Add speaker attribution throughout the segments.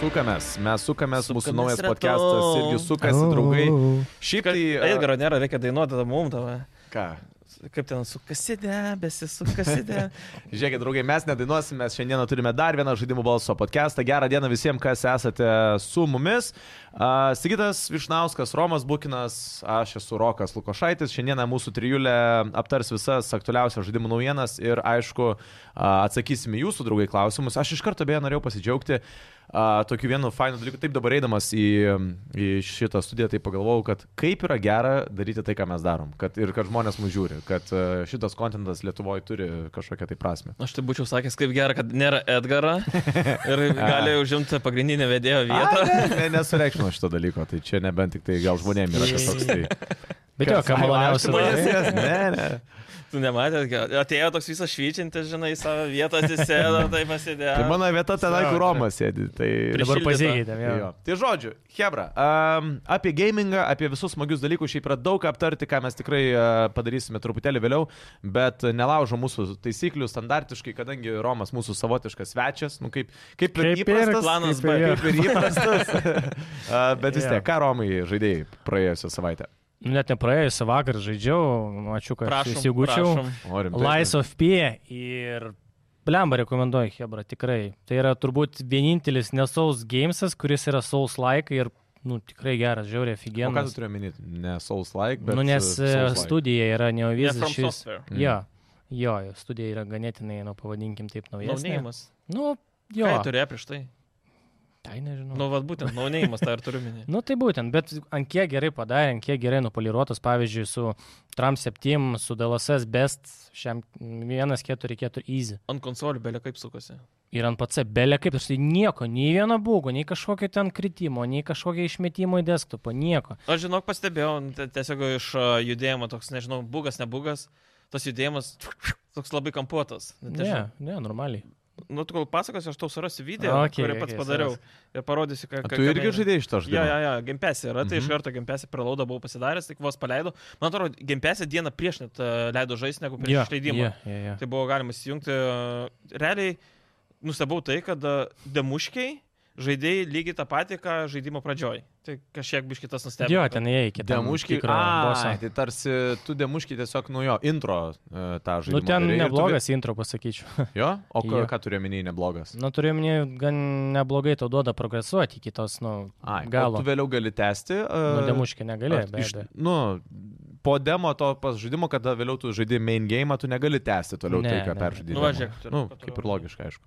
Speaker 1: sukamės, mes sukamės, mūsų
Speaker 2: Sukamės
Speaker 1: naujas
Speaker 2: ratu.
Speaker 1: podcastas irgi sukasi, draugai. Šiaip tai...
Speaker 2: Edgaro nėra, reikia dainuoti tada mum tavo.
Speaker 1: Ką?
Speaker 2: Kaip ten sukasidė, besisukasidė.
Speaker 1: Žiūrėkit, draugai, mes nedainuosim, mes šiandieną turime dar vieną žaidimų balso podcastą. Gerą dieną visiems, kas esate su mumis. A, Sigitas Višnauskas, Romas Bukinas, aš esu Rokas Lukošaitis. Šiandieną mūsų trijulė aptars visas aktualiausias žaidimų naujienas ir, aišku, a, atsakysim į jūsų, draugai, klausimus. Aš iš karto beje norėjau pasidžiaugti a, tokiu vienu fainu dalyku. Taip dabar eidamas į, į šitą studiją, tai pagalvojau, kad kaip yra gera daryti tai, ką mes darom. Kad, ir kad žmonės mus žiūri, kad a, šitas kontentas Lietuvoje turi kažkokią tai prasme.
Speaker 2: Aš tai būčiau sakęs, kaip gerai, kad nėra Edgara ir gali užimti pagrindinę vedėjo vietą.
Speaker 1: Ai, Ne, ne, nesureikšmino šito dalyko, tai čia nebent tik tai gal žmonėms yra kažkoks tai.
Speaker 3: Bet jo, ką
Speaker 1: Ai,
Speaker 3: maloniausia. tai-
Speaker 1: va,
Speaker 2: dalykas.
Speaker 1: žmonės, Ne, ne.
Speaker 2: Tu nematėt, atėjo toks visas švyčintis, žinai, į savo vietą atsisėdo, tai pasidėjo.
Speaker 1: Tai mano vieta tenai, kur Romas sėdi. Tai...
Speaker 2: Prieš-
Speaker 3: Dabar
Speaker 2: Prišildyta.
Speaker 3: pasikeitėm,
Speaker 1: Jo.
Speaker 3: jo.
Speaker 1: Tai žodžiu, Hebra, um, apie gamingą, apie visus smagius dalykus šiaip yra daug ką aptarti, ką mes tikrai uh, padarysime truputėlį vėliau, bet nelaužo mūsų taisyklių standartiškai, kadangi Romas mūsų savotiškas svečias, nu kaip, kaip,
Speaker 3: Kaip ir
Speaker 1: ir įprastas,
Speaker 2: planas
Speaker 3: B.
Speaker 1: kaip ir įprastas. uh, bet vis tiek, ką Romai žaidėjai praėjusią savaitę?
Speaker 3: Nu, Net nepraėjusią vakarą žaidžiau, ačiū, kad
Speaker 2: Prašom,
Speaker 3: įsigučiau.
Speaker 2: prašom.
Speaker 1: Norim.
Speaker 3: Lies of P ir Blemba rekomenduoju Hebra, tikrai. Tai yra turbūt vienintelis nesauls gamesas, kuris yra sauls like ir nu, tikrai geras, žiauriai
Speaker 1: O ką
Speaker 3: aфиgenas.
Speaker 1: tu turiu minėti? Ne Souls Like, bet.
Speaker 3: Nu, nes e,
Speaker 1: studija.
Speaker 3: studija yra
Speaker 2: Ne, from
Speaker 3: neovizas šis.
Speaker 2: software.
Speaker 1: Mm.
Speaker 3: Jo, jo, jo, studija yra ganėtinai, nu, pavadinkim taip, naujesnė.
Speaker 2: Naunėjimas.
Speaker 3: Nu,
Speaker 2: Jo.
Speaker 3: jo,
Speaker 2: Ką jie turėjo prieš tai?
Speaker 3: tai nežinau.
Speaker 2: Nu, vad būtent, naunėjimas, tai ir turiu minėti.
Speaker 3: Nu tai būtent, bet ant kiek gerai padarė, ant kiek gerai nupoliruotas, pavyzdžiui, su Tram 7, su DLSS Best, šiam 144 Easy.
Speaker 2: Ant konsolių belė kaip sukosi.
Speaker 3: Ir ant PC belė kaip, aš tai nieko, nei vieno būgo, nei kažkokio ten kritimo, nei kažkokio išmetimo į desktopą, nieko.
Speaker 2: Aš žinok, pastebėjau, te- tiesiog iš a, judėjimo toks, nežinau, bugas, nebugas, tas judėjimas toks labai kampuotas. Nu, tai Net nežinau.
Speaker 3: Ne, ne, normaliai.
Speaker 2: Nu, tu kol pasakosiu, aš tau surasiu video,
Speaker 3: Okei,
Speaker 2: okay, kurį pats
Speaker 3: okei,
Speaker 2: okay, padariau
Speaker 3: surask.
Speaker 2: ir parodysiu, ką... ką-
Speaker 1: Tu
Speaker 2: ką
Speaker 1: irgi
Speaker 2: mėgau.
Speaker 1: žaidėjai šitą žaidimą?
Speaker 2: Jo, jo, jo, gimpesė yra, tai mm -hmm. iš
Speaker 1: Mhm.
Speaker 2: karto gimpesė pralauda buvau pasidaręs, tik vos paleidau. Man atrodo, gimpesė dieną prieš net a, leido žaisti, negu prieš yeah, išleidimą. Yeah.
Speaker 3: Jo, jo, jo.
Speaker 2: Tai buvo galima įsijungti. a, Realiai nustebau tai, kad a, demuškiai žaidėjai lygiai tą patį, ką žaidimo pradžioj. Tai kažkiek biškitas nustebino.
Speaker 3: Jo, ten jie iki
Speaker 1: Demuškiai, a, tai tarsi tu demuškiai tiesiog nu jo intro e, tą žaidimą.
Speaker 3: Nu ten
Speaker 1: darei ir tu
Speaker 3: neblogas intro, pasakyčiau.
Speaker 1: vi- Jo, o ką,
Speaker 3: Jo.
Speaker 1: ką turiu minėjai neblogas?
Speaker 3: nu turiu minėti, gan neblogai tau duoda progresuoti iki tos, nu,
Speaker 1: Ai, gal.
Speaker 3: galo.
Speaker 1: Tu vėliau gali tęsti.
Speaker 3: Nu,
Speaker 1: Uh,
Speaker 3: demuškė negalėjo, bet.
Speaker 1: Nu, po demo to pas žaidimo, kada vėliau tu žaidži main game, tu negali tęsti toliau
Speaker 3: Ne,
Speaker 1: tai, ką
Speaker 3: ne.
Speaker 1: peržaidži.
Speaker 2: Nu, va, žiūrėk, turiu-
Speaker 1: nu,
Speaker 2: turiu-
Speaker 1: kaip ir logiška, aišku.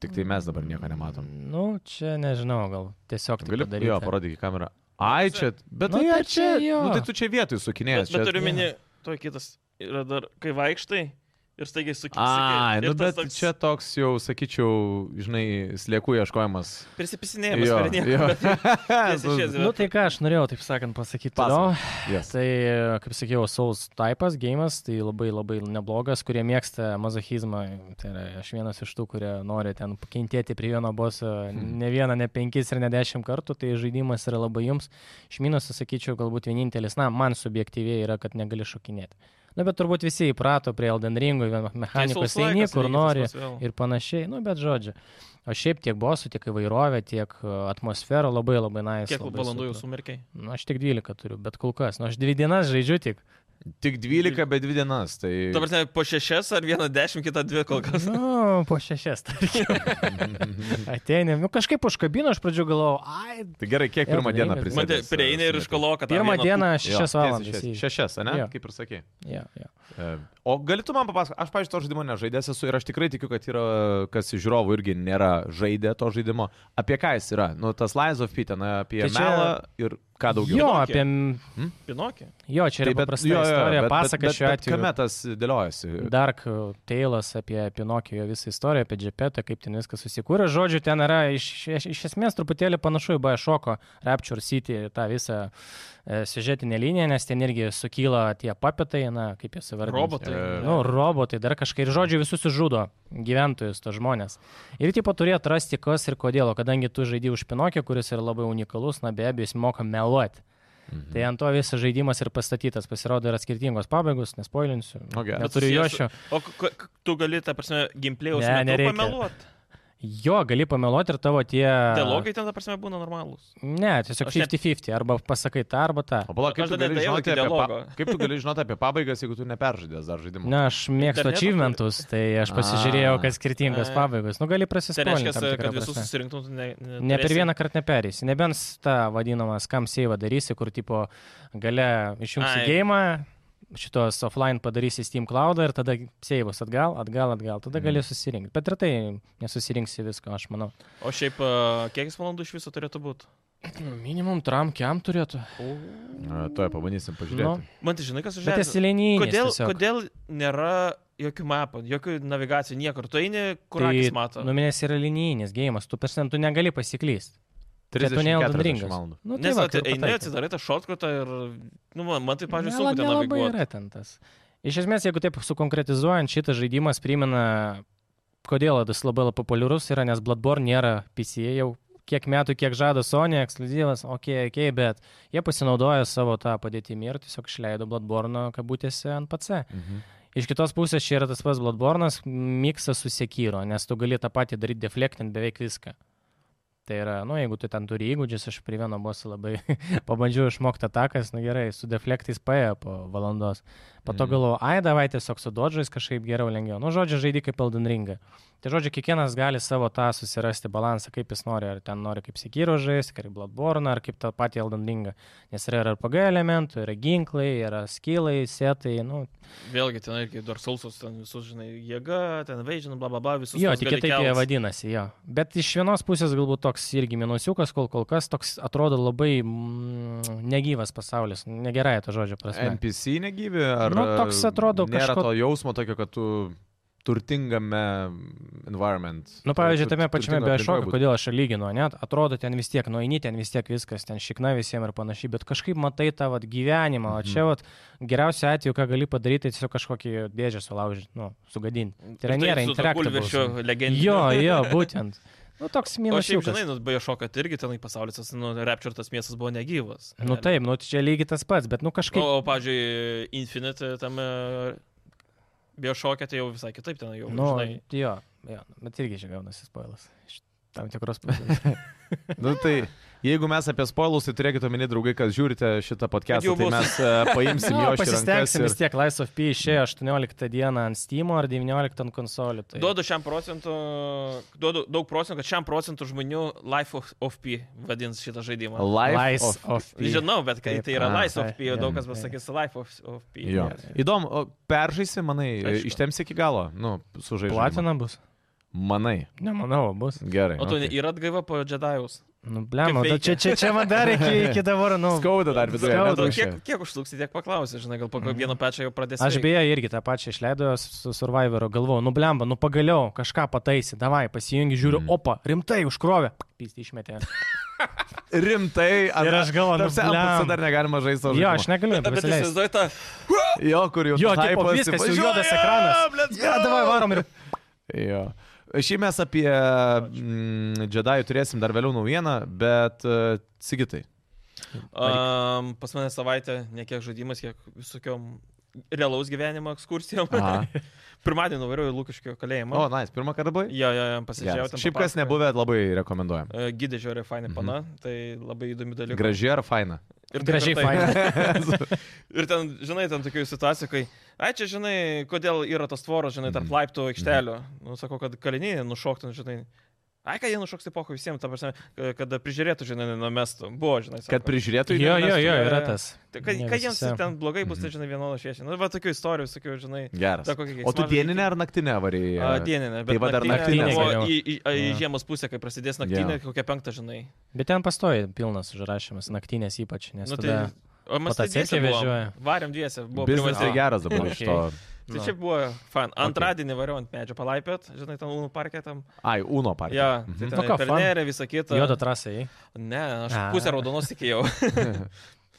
Speaker 1: Tik tai mes dabar nieko nematom.
Speaker 3: Nu, čia nežinau, gal tiesiog tai
Speaker 1: Gali,
Speaker 3: padaryti.
Speaker 1: jo, parodyk į kamerą. Ai, čia, bet
Speaker 3: Nu,
Speaker 1: tai,
Speaker 3: tai
Speaker 1: ai, čia,
Speaker 3: čia jo.
Speaker 1: nu, tai tu čia vietoj sukinėjai.
Speaker 2: Bet, bet turiu minį, to kitas yra dar, kai vaikštai ir staigiai suki-
Speaker 1: Ai,
Speaker 2: suki-
Speaker 1: nu
Speaker 2: ir tas
Speaker 1: bet toks... čia toks jau, sakyčiau, žinai, sliekų ieškojimas.
Speaker 2: Prisipisinėjimas, jo, jo. tiesiai išėjęs.
Speaker 3: Nu tai ką aš norėjau, taip sakant, pasakyti.
Speaker 1: Pasakok.
Speaker 3: Toliau.
Speaker 1: Yes.
Speaker 3: Tai, kaip sakiau, Souls typas, gėjimas, tai labai labai neblogas, kurie mėgsta mazochizmą. Tai yra, aš vienas iš tų, kurie nori ten pakentėti prie vieno boso
Speaker 1: Hmm.
Speaker 3: ne vieną, ne penkis ir ne dešimt kartų, tai žaidimas yra labai jums. Šminas, sakyčiau, galbūt vienintelis, na, man subjektyviai yra, kad negali šokinėti. Na, bet turbūt visi įprato prie Elden Ringo, vien mechanikos eini, kur nori ir panašiai, nu, bet žodžiu. O šiaip tiek bosų, tiek įvairovė, tiek e, atmosfera labai labai nais.
Speaker 2: Kiek valandų jau sumirkiai?
Speaker 3: Na, aš tik 12 turiu, bet kol kas. Na, aš 2 dienas žaidžiu tik.
Speaker 1: Tik 12 be 2 dienas. Tai...
Speaker 2: Dabar ne po šešias ar vieną dešimt, kitą dvi kol kas.
Speaker 3: Nu, po 6, tarkim. Ateinė. Nu, kažkaip užkabino, aš pradžiu galvojau, ai.
Speaker 1: tai gerai, kiek
Speaker 3: Jo,
Speaker 1: pirmą
Speaker 3: tai
Speaker 1: dieną uh,
Speaker 3: reikia.
Speaker 1: prisimeni?
Speaker 2: Matė, prieini ir iškoloka.
Speaker 3: Pirmą dieną 6 valandas.
Speaker 1: 6,
Speaker 3: įeidžiu.
Speaker 1: ne?
Speaker 3: Jo.
Speaker 1: Kaip ir sakė.
Speaker 3: Jo, jo.
Speaker 1: O galėtum man papasakoti, aš, pažiūrėjau, to žaidimo nežaidęs esu ir aš tikrai tikiu, kad yra, kas iš žiūrovų irgi nėra žaidę to žaidimo. Apie ką jis yra? Nu, tas Lies of Pitan, apie
Speaker 3: Tai
Speaker 1: čia...
Speaker 3: čia-
Speaker 1: melą ir ką daugiau.
Speaker 3: Jo,
Speaker 2: Pinokį.
Speaker 3: apie...
Speaker 2: Pinokį.
Speaker 3: Jo, čia yra paprasta
Speaker 1: jo, jo,
Speaker 3: istorija,
Speaker 1: bet- bet-
Speaker 3: pasaka
Speaker 1: bet-
Speaker 3: šiuo
Speaker 1: bet
Speaker 3: atveju.
Speaker 1: Kame tas dėliojasi?
Speaker 3: Dark Tales apie Pinokijo visą istoriją, apie Džepetą, kaip ten viskas susikūrė. Žodžiu, ten yra iš, iš, iš esmės truputėlį panašu į Bajashoko, Rapture City, tą visą e, siužetinę liniją, nes ten irgi sukyla tie papitai, na, kaip jie savardė.
Speaker 2: Robotai.
Speaker 1: E,
Speaker 3: Nu, robotai dar kažkaip, ir žodžiu, visus žudo gyventojus, to žmonės. Ir tipo turėjo atrasti, kas ir kodėl, o kadangi tu žaidži už Pinokį, kuris yra labai unikalus, na be abejo, jis moka meluoti. Mhm. Tai ant to visas žaidimas ir pastatytas, pasirodo, yra skirtingos pabaigos, nespoilinsiu.
Speaker 1: O, geras.
Speaker 3: Neturiu
Speaker 2: Bet susijęs
Speaker 3: jošio.
Speaker 2: O k- k- tu gali, ta prasme, gimplėjaus
Speaker 3: Ne,
Speaker 2: metu
Speaker 3: nereikia.
Speaker 2: pameluot.
Speaker 3: Jo, gali pameluoti ir tavo tie...
Speaker 2: Dialogai ten, ta prasme, būna normalūs.
Speaker 3: Ne, tiesiog
Speaker 2: Aš net-
Speaker 3: 50-50. Arba pasakai tą, arba tą.
Speaker 1: O palauk, kaip,
Speaker 2: Aš
Speaker 1: tu
Speaker 2: dar
Speaker 1: gali
Speaker 2: neatėjau
Speaker 1: žinoti
Speaker 2: iki
Speaker 1: apie
Speaker 2: dialogo.
Speaker 1: pa- kaip tu gali žinoti apie pabaigas, jeigu tu neperžaidęs dar žaidimą?
Speaker 3: Na, aš mėgstu
Speaker 2: Interneto
Speaker 3: achievementus, tai aš pasižiūrėjau,
Speaker 1: A.
Speaker 3: kad skirtingos
Speaker 2: E.
Speaker 3: pabaigos. Nu, gali
Speaker 2: Tai
Speaker 3: prasiskolinti.
Speaker 2: reiškia,
Speaker 3: tam tikra
Speaker 2: kad visus
Speaker 3: prasme.
Speaker 2: susirinktum, tu ne, ne,
Speaker 3: Ne per
Speaker 2: turėsi-
Speaker 3: vieną kartą neperėsi. Nebent s- tą vadinamą skam seivą darysi, kur tipo gale išjungsi
Speaker 2: Ai.
Speaker 3: gėjimą, šitos offline padarysi Steam cloudą ir tada seivus atgal, atgal, atgal. Tada
Speaker 1: Mm.
Speaker 3: gali susirinkti. Bet ir tai nesusirinksi visko, aš manau.
Speaker 2: O šiaip, a, kiek jis valandų iš viso turėtų būti?
Speaker 3: Minimum tram kiam turėtų.
Speaker 1: Na, Tuoj pabandysim
Speaker 3: Nu,
Speaker 1: pažiūrėti.
Speaker 2: Man tai žinai, kas
Speaker 3: bet
Speaker 2: užžiūrėjo.
Speaker 3: esi leninis.
Speaker 2: Kodėl,
Speaker 3: tiesiog.
Speaker 2: kodėl nėra jokių mapų, jokių navigacijų, niekur. Tu eini, kur tai, akis mato.
Speaker 3: Nu, nes yra linijinis gėjimas, tu persen, tu negali pasiklysti.
Speaker 1: valandų.
Speaker 3: Nu, tai
Speaker 2: Nes
Speaker 3: va,
Speaker 2: va,
Speaker 3: kur
Speaker 2: eini,
Speaker 3: pataikė.
Speaker 2: atsidarai tą šortkutą ir, nu, man, man tai, pažiūrėjau,
Speaker 3: Nela-
Speaker 2: sunku ten
Speaker 3: nelabai
Speaker 2: naviguoti.
Speaker 3: yra ten tas. Iš esmės, jeigu taip sukonkretizuojant, šitas žaidimas primena, kodėl jis labai labai populiarus yra, nes Bloodborne nėra PC jau kiek metų, kiek žada Sony, ekskluzyvas, ok, ok, bet jie pasinaudojo savo tą padėtimi ir tiesiog išleido Bloodborne kabutėse ant PC.
Speaker 1: Mhm.
Speaker 3: Iš kitos pusės čia yra tas pats Bloodborne'as, miksas susiekyro, nes tu gali tą patį daryti deflektint beveik viską. Tai yra, nu, jeigu tu ten turi įgūdžius, aš prie vieno bosų labai pabandžiau išmokti atakas, nu gerai, su deflektais paėjo po valandos. Pato
Speaker 1: Mhm.
Speaker 3: galvoju, ai, davai tiesiog su dodžais kažkaip geriau lengviau. Nu, žodžiu, žaidži kaip Elden Ringą. Tai žodžiu, kiekvienas gali savo tą susirasti balansą, kaip jis nori, ar ten nori kaip Sekyro žaisti, kaip Bloodborne, ar kaip tą patį Elden Ringą. Nes yra ir RPG elementų, yra ginklai, yra skilai, setai, nu,
Speaker 2: Vėlgi, ten irgi Dorsulsus, ten visus, žinai, jėga, ten veidžiam, bla, bla, bla, visus.
Speaker 3: Jo,
Speaker 2: tuos
Speaker 3: tik
Speaker 2: gali
Speaker 3: kitaip jie
Speaker 2: kelt.
Speaker 3: vadinasi, jo. Bet iš vienos pusės galbūt toks irgi minusiukas, kol kol kas toks atrodo labai mm, negyvas pasaulis, negerai to žodžio prasme.
Speaker 1: NPC negyvi, ar e,
Speaker 3: Nu, toks atrodo
Speaker 1: nėra
Speaker 3: kažko-
Speaker 1: to jausmo tokio, kad tu turtingame environment.
Speaker 3: Nu, pavyzdžiui,
Speaker 1: tur-
Speaker 3: tame pačiame
Speaker 1: turtingoj aplinkoj
Speaker 3: biošoke,
Speaker 1: būtum.
Speaker 3: kodėl aš čia lyginu, net atrodo ten vis tiek, nueini ten vis tiek viskas, ten šikna visiems ir panašiai, bet kažkaip matai tą vat, gyvenimą, o čia vat, geriausiu atveju, ką gali padaryti, tai tiesiog kažkokį dėžę sulaužyti, nu, sugadinti. Tai yra nėra interaktyvų.
Speaker 2: Kulvišio legendinio.
Speaker 3: Jo, jo, būtent. Nu, toks
Speaker 2: O šiaip, žinai,
Speaker 3: minusiukas.
Speaker 2: nu, beje, šoka, tai irgi tenai pasaulis, tas, nu, repčiurtas miestas buvo negyvas.
Speaker 3: Nu taip, nu čia lygiai tas pats, bet nu kažkaip
Speaker 2: O, o pavyzdžiui, Infinite tame biošokė, tai jau visai kitaip ten jau.
Speaker 3: Nu,
Speaker 2: žinai.
Speaker 3: jo, jo, bet irgi čia gaunasi spoilas. Iš tam tikros pusės.
Speaker 1: Nu, tai jeigu mes apie spoilus, tai turėkite omeny, draugai, kad žiūrite šitą podcastą,
Speaker 2: jau
Speaker 1: tai
Speaker 2: bus.
Speaker 1: mes e, paimsim jo
Speaker 3: jo,
Speaker 1: iš rankas.
Speaker 3: Nu, pasistengsim
Speaker 1: ir-
Speaker 3: vis tiek. Lies of P išėjo 18 dieną ant Steam ar 19 ant konsolių. Tai...
Speaker 2: Duodu šiam procentu, duodu daug procentų, kad šiam procentu žmonių Life of, of P vadins šitą žaidimą.
Speaker 1: Life
Speaker 3: Lies
Speaker 1: of...
Speaker 3: of P.
Speaker 2: Žinau, bet kai
Speaker 3: Taip,
Speaker 2: tai yra
Speaker 1: a,
Speaker 2: Life of
Speaker 3: taip,
Speaker 2: P, jau daug
Speaker 1: jo,
Speaker 2: kas
Speaker 3: taip.
Speaker 2: pasakys Life of, of P.
Speaker 1: Jo. Įdomu, o peržaisi, manai,
Speaker 2: Aišku.
Speaker 1: ištemsi iki galo, nu, sužaidžiu.
Speaker 3: Platina bus?
Speaker 1: Manai.
Speaker 3: Nemanau, bus.
Speaker 1: Gerai.
Speaker 2: O tu
Speaker 1: okei.
Speaker 2: okay. yra atgaiva po Jedi'aus.
Speaker 3: Nu, blem,
Speaker 2: Kaip
Speaker 3: čia, čia, čia man dar iki, iki dabar, nu.
Speaker 1: Skauda dar viduje.
Speaker 3: Skauda.
Speaker 2: Atrodo,
Speaker 1: neatmušė.
Speaker 2: kiek, kiek užtruksi, tiek paklausi, žinai, gal po kokio vieno pečio jau pradėsi.
Speaker 3: Mhm. Aš beje irgi tą pačią išleidau su Survivoru, galvojau, nu blemba, nu pagaliau kažką pataisi, davai, pasijungi, žiūriu,
Speaker 1: Mm.
Speaker 3: mm. opa, rimtai užkrovė, pysti išmetė.
Speaker 1: Rimtai, ar
Speaker 3: Ir aš galvoju, nu,
Speaker 1: Apsa dar
Speaker 3: blemba.
Speaker 1: negalima žaisti savo.
Speaker 3: Jo, aš negaliu,
Speaker 2: Bet
Speaker 3: pasileisiu.
Speaker 2: įsivaizduoju tą.
Speaker 1: Jo, kur jau
Speaker 3: Jo,
Speaker 1: tas
Speaker 3: tipo,
Speaker 1: hypas,
Speaker 3: viskas,
Speaker 1: tipo,
Speaker 3: jau
Speaker 1: jo,
Speaker 3: juodas
Speaker 1: jo,
Speaker 3: ekranas.
Speaker 1: let's
Speaker 3: Ja,
Speaker 1: go!
Speaker 3: davai varom ir...
Speaker 1: Jo. Šiaip mes apie mm, Jedi turėsim dar vėliau naujieną, bet uh, Sigitai.
Speaker 2: Um, pas mane savaitę ne kiek žaidimas, kiek visokiom realaus gyvenimo ekskursijom.
Speaker 1: Aha.
Speaker 2: Pirmadienį nuvariau į Lukiškio kalėjimą.
Speaker 1: O, na, nice, pirmą kartą buvai?
Speaker 2: Jo, jo, jo, pasižiūrėjau.
Speaker 1: Geras.
Speaker 2: Nu. ten
Speaker 1: Šiaip kas
Speaker 2: papasakojo.
Speaker 1: nebuvę, labai rekomenduojam.
Speaker 2: E, Gidė žiūri fainai
Speaker 1: Mhm.
Speaker 2: pana, tai labai įdomi dalykai.
Speaker 1: Graži ar faina?
Speaker 2: Ir taip,
Speaker 3: Gražiai
Speaker 2: ir taip.
Speaker 3: faina.
Speaker 2: Ir ten, žinai, ten tokių situacijų, kai, ai čia, žinai, kodėl yra tos tvoros, žinai, tarp
Speaker 1: Mhm.
Speaker 2: laiptų aikštelių. Nu, sako, kad kaliniai nušoktų, žinai. Ai, kad jie nušoks į poką visiems, ta prasme, ka- kad prižiūrėtų, žinai, numestų. Buvo, žinai, sako.
Speaker 1: Kad
Speaker 2: Tai
Speaker 1: prižiūrėtų į
Speaker 3: Jo, jo, jo,
Speaker 2: jo, jo.
Speaker 3: yra tas.
Speaker 2: Tai Kad,
Speaker 3: Ne
Speaker 2: kad jiems
Speaker 3: visose.
Speaker 2: ten blogai bus, tai
Speaker 1: Mhm.
Speaker 2: žinai, vienodo šviečia. Na, va, tokių istorijų, sakiau, žinai.
Speaker 1: Geras.
Speaker 2: Ta,
Speaker 1: O
Speaker 2: kokia
Speaker 1: tu
Speaker 2: keiksmažodžiai.
Speaker 1: dieninę ar naktinę
Speaker 2: A,
Speaker 1: varėjai?
Speaker 2: Dieninė,
Speaker 1: Tai
Speaker 2: bet
Speaker 1: va dar
Speaker 2: naktinė
Speaker 3: naktinė
Speaker 2: buvo
Speaker 3: geriau.
Speaker 2: į, į, į, į
Speaker 3: Jo.
Speaker 2: žiemos pusę, kai prasidės naktinė,
Speaker 1: Jo.
Speaker 2: kokia penktą, žinai.
Speaker 3: Bet ten pastoja pilnas užrašymas, naktinės ypač, nes
Speaker 2: Nu,
Speaker 3: nu,
Speaker 2: tai,
Speaker 3: tada...
Speaker 2: o mes tai
Speaker 3: motociklė
Speaker 2: dviese buvo.
Speaker 3: vežioja.
Speaker 2: Varėm dviese, buvo
Speaker 1: Biznis tai
Speaker 2: privažiavę.
Speaker 1: geras dabar iš
Speaker 3: Okei.
Speaker 1: to.
Speaker 2: Tai
Speaker 3: Nu.
Speaker 2: čia buvo fan. Antradienį variau ant medžio palaipėt, žinai, ten Lūnų parke tam.
Speaker 1: Ai, Uno partija.
Speaker 2: Ja,
Speaker 1: Mhm.
Speaker 2: tai
Speaker 3: Nu
Speaker 2: ten
Speaker 3: ką, fan.
Speaker 2: pernerė, visą kitą.
Speaker 3: Juodo trasai.
Speaker 2: Ne, aš
Speaker 3: A.
Speaker 2: pusę raudonos tikėjau.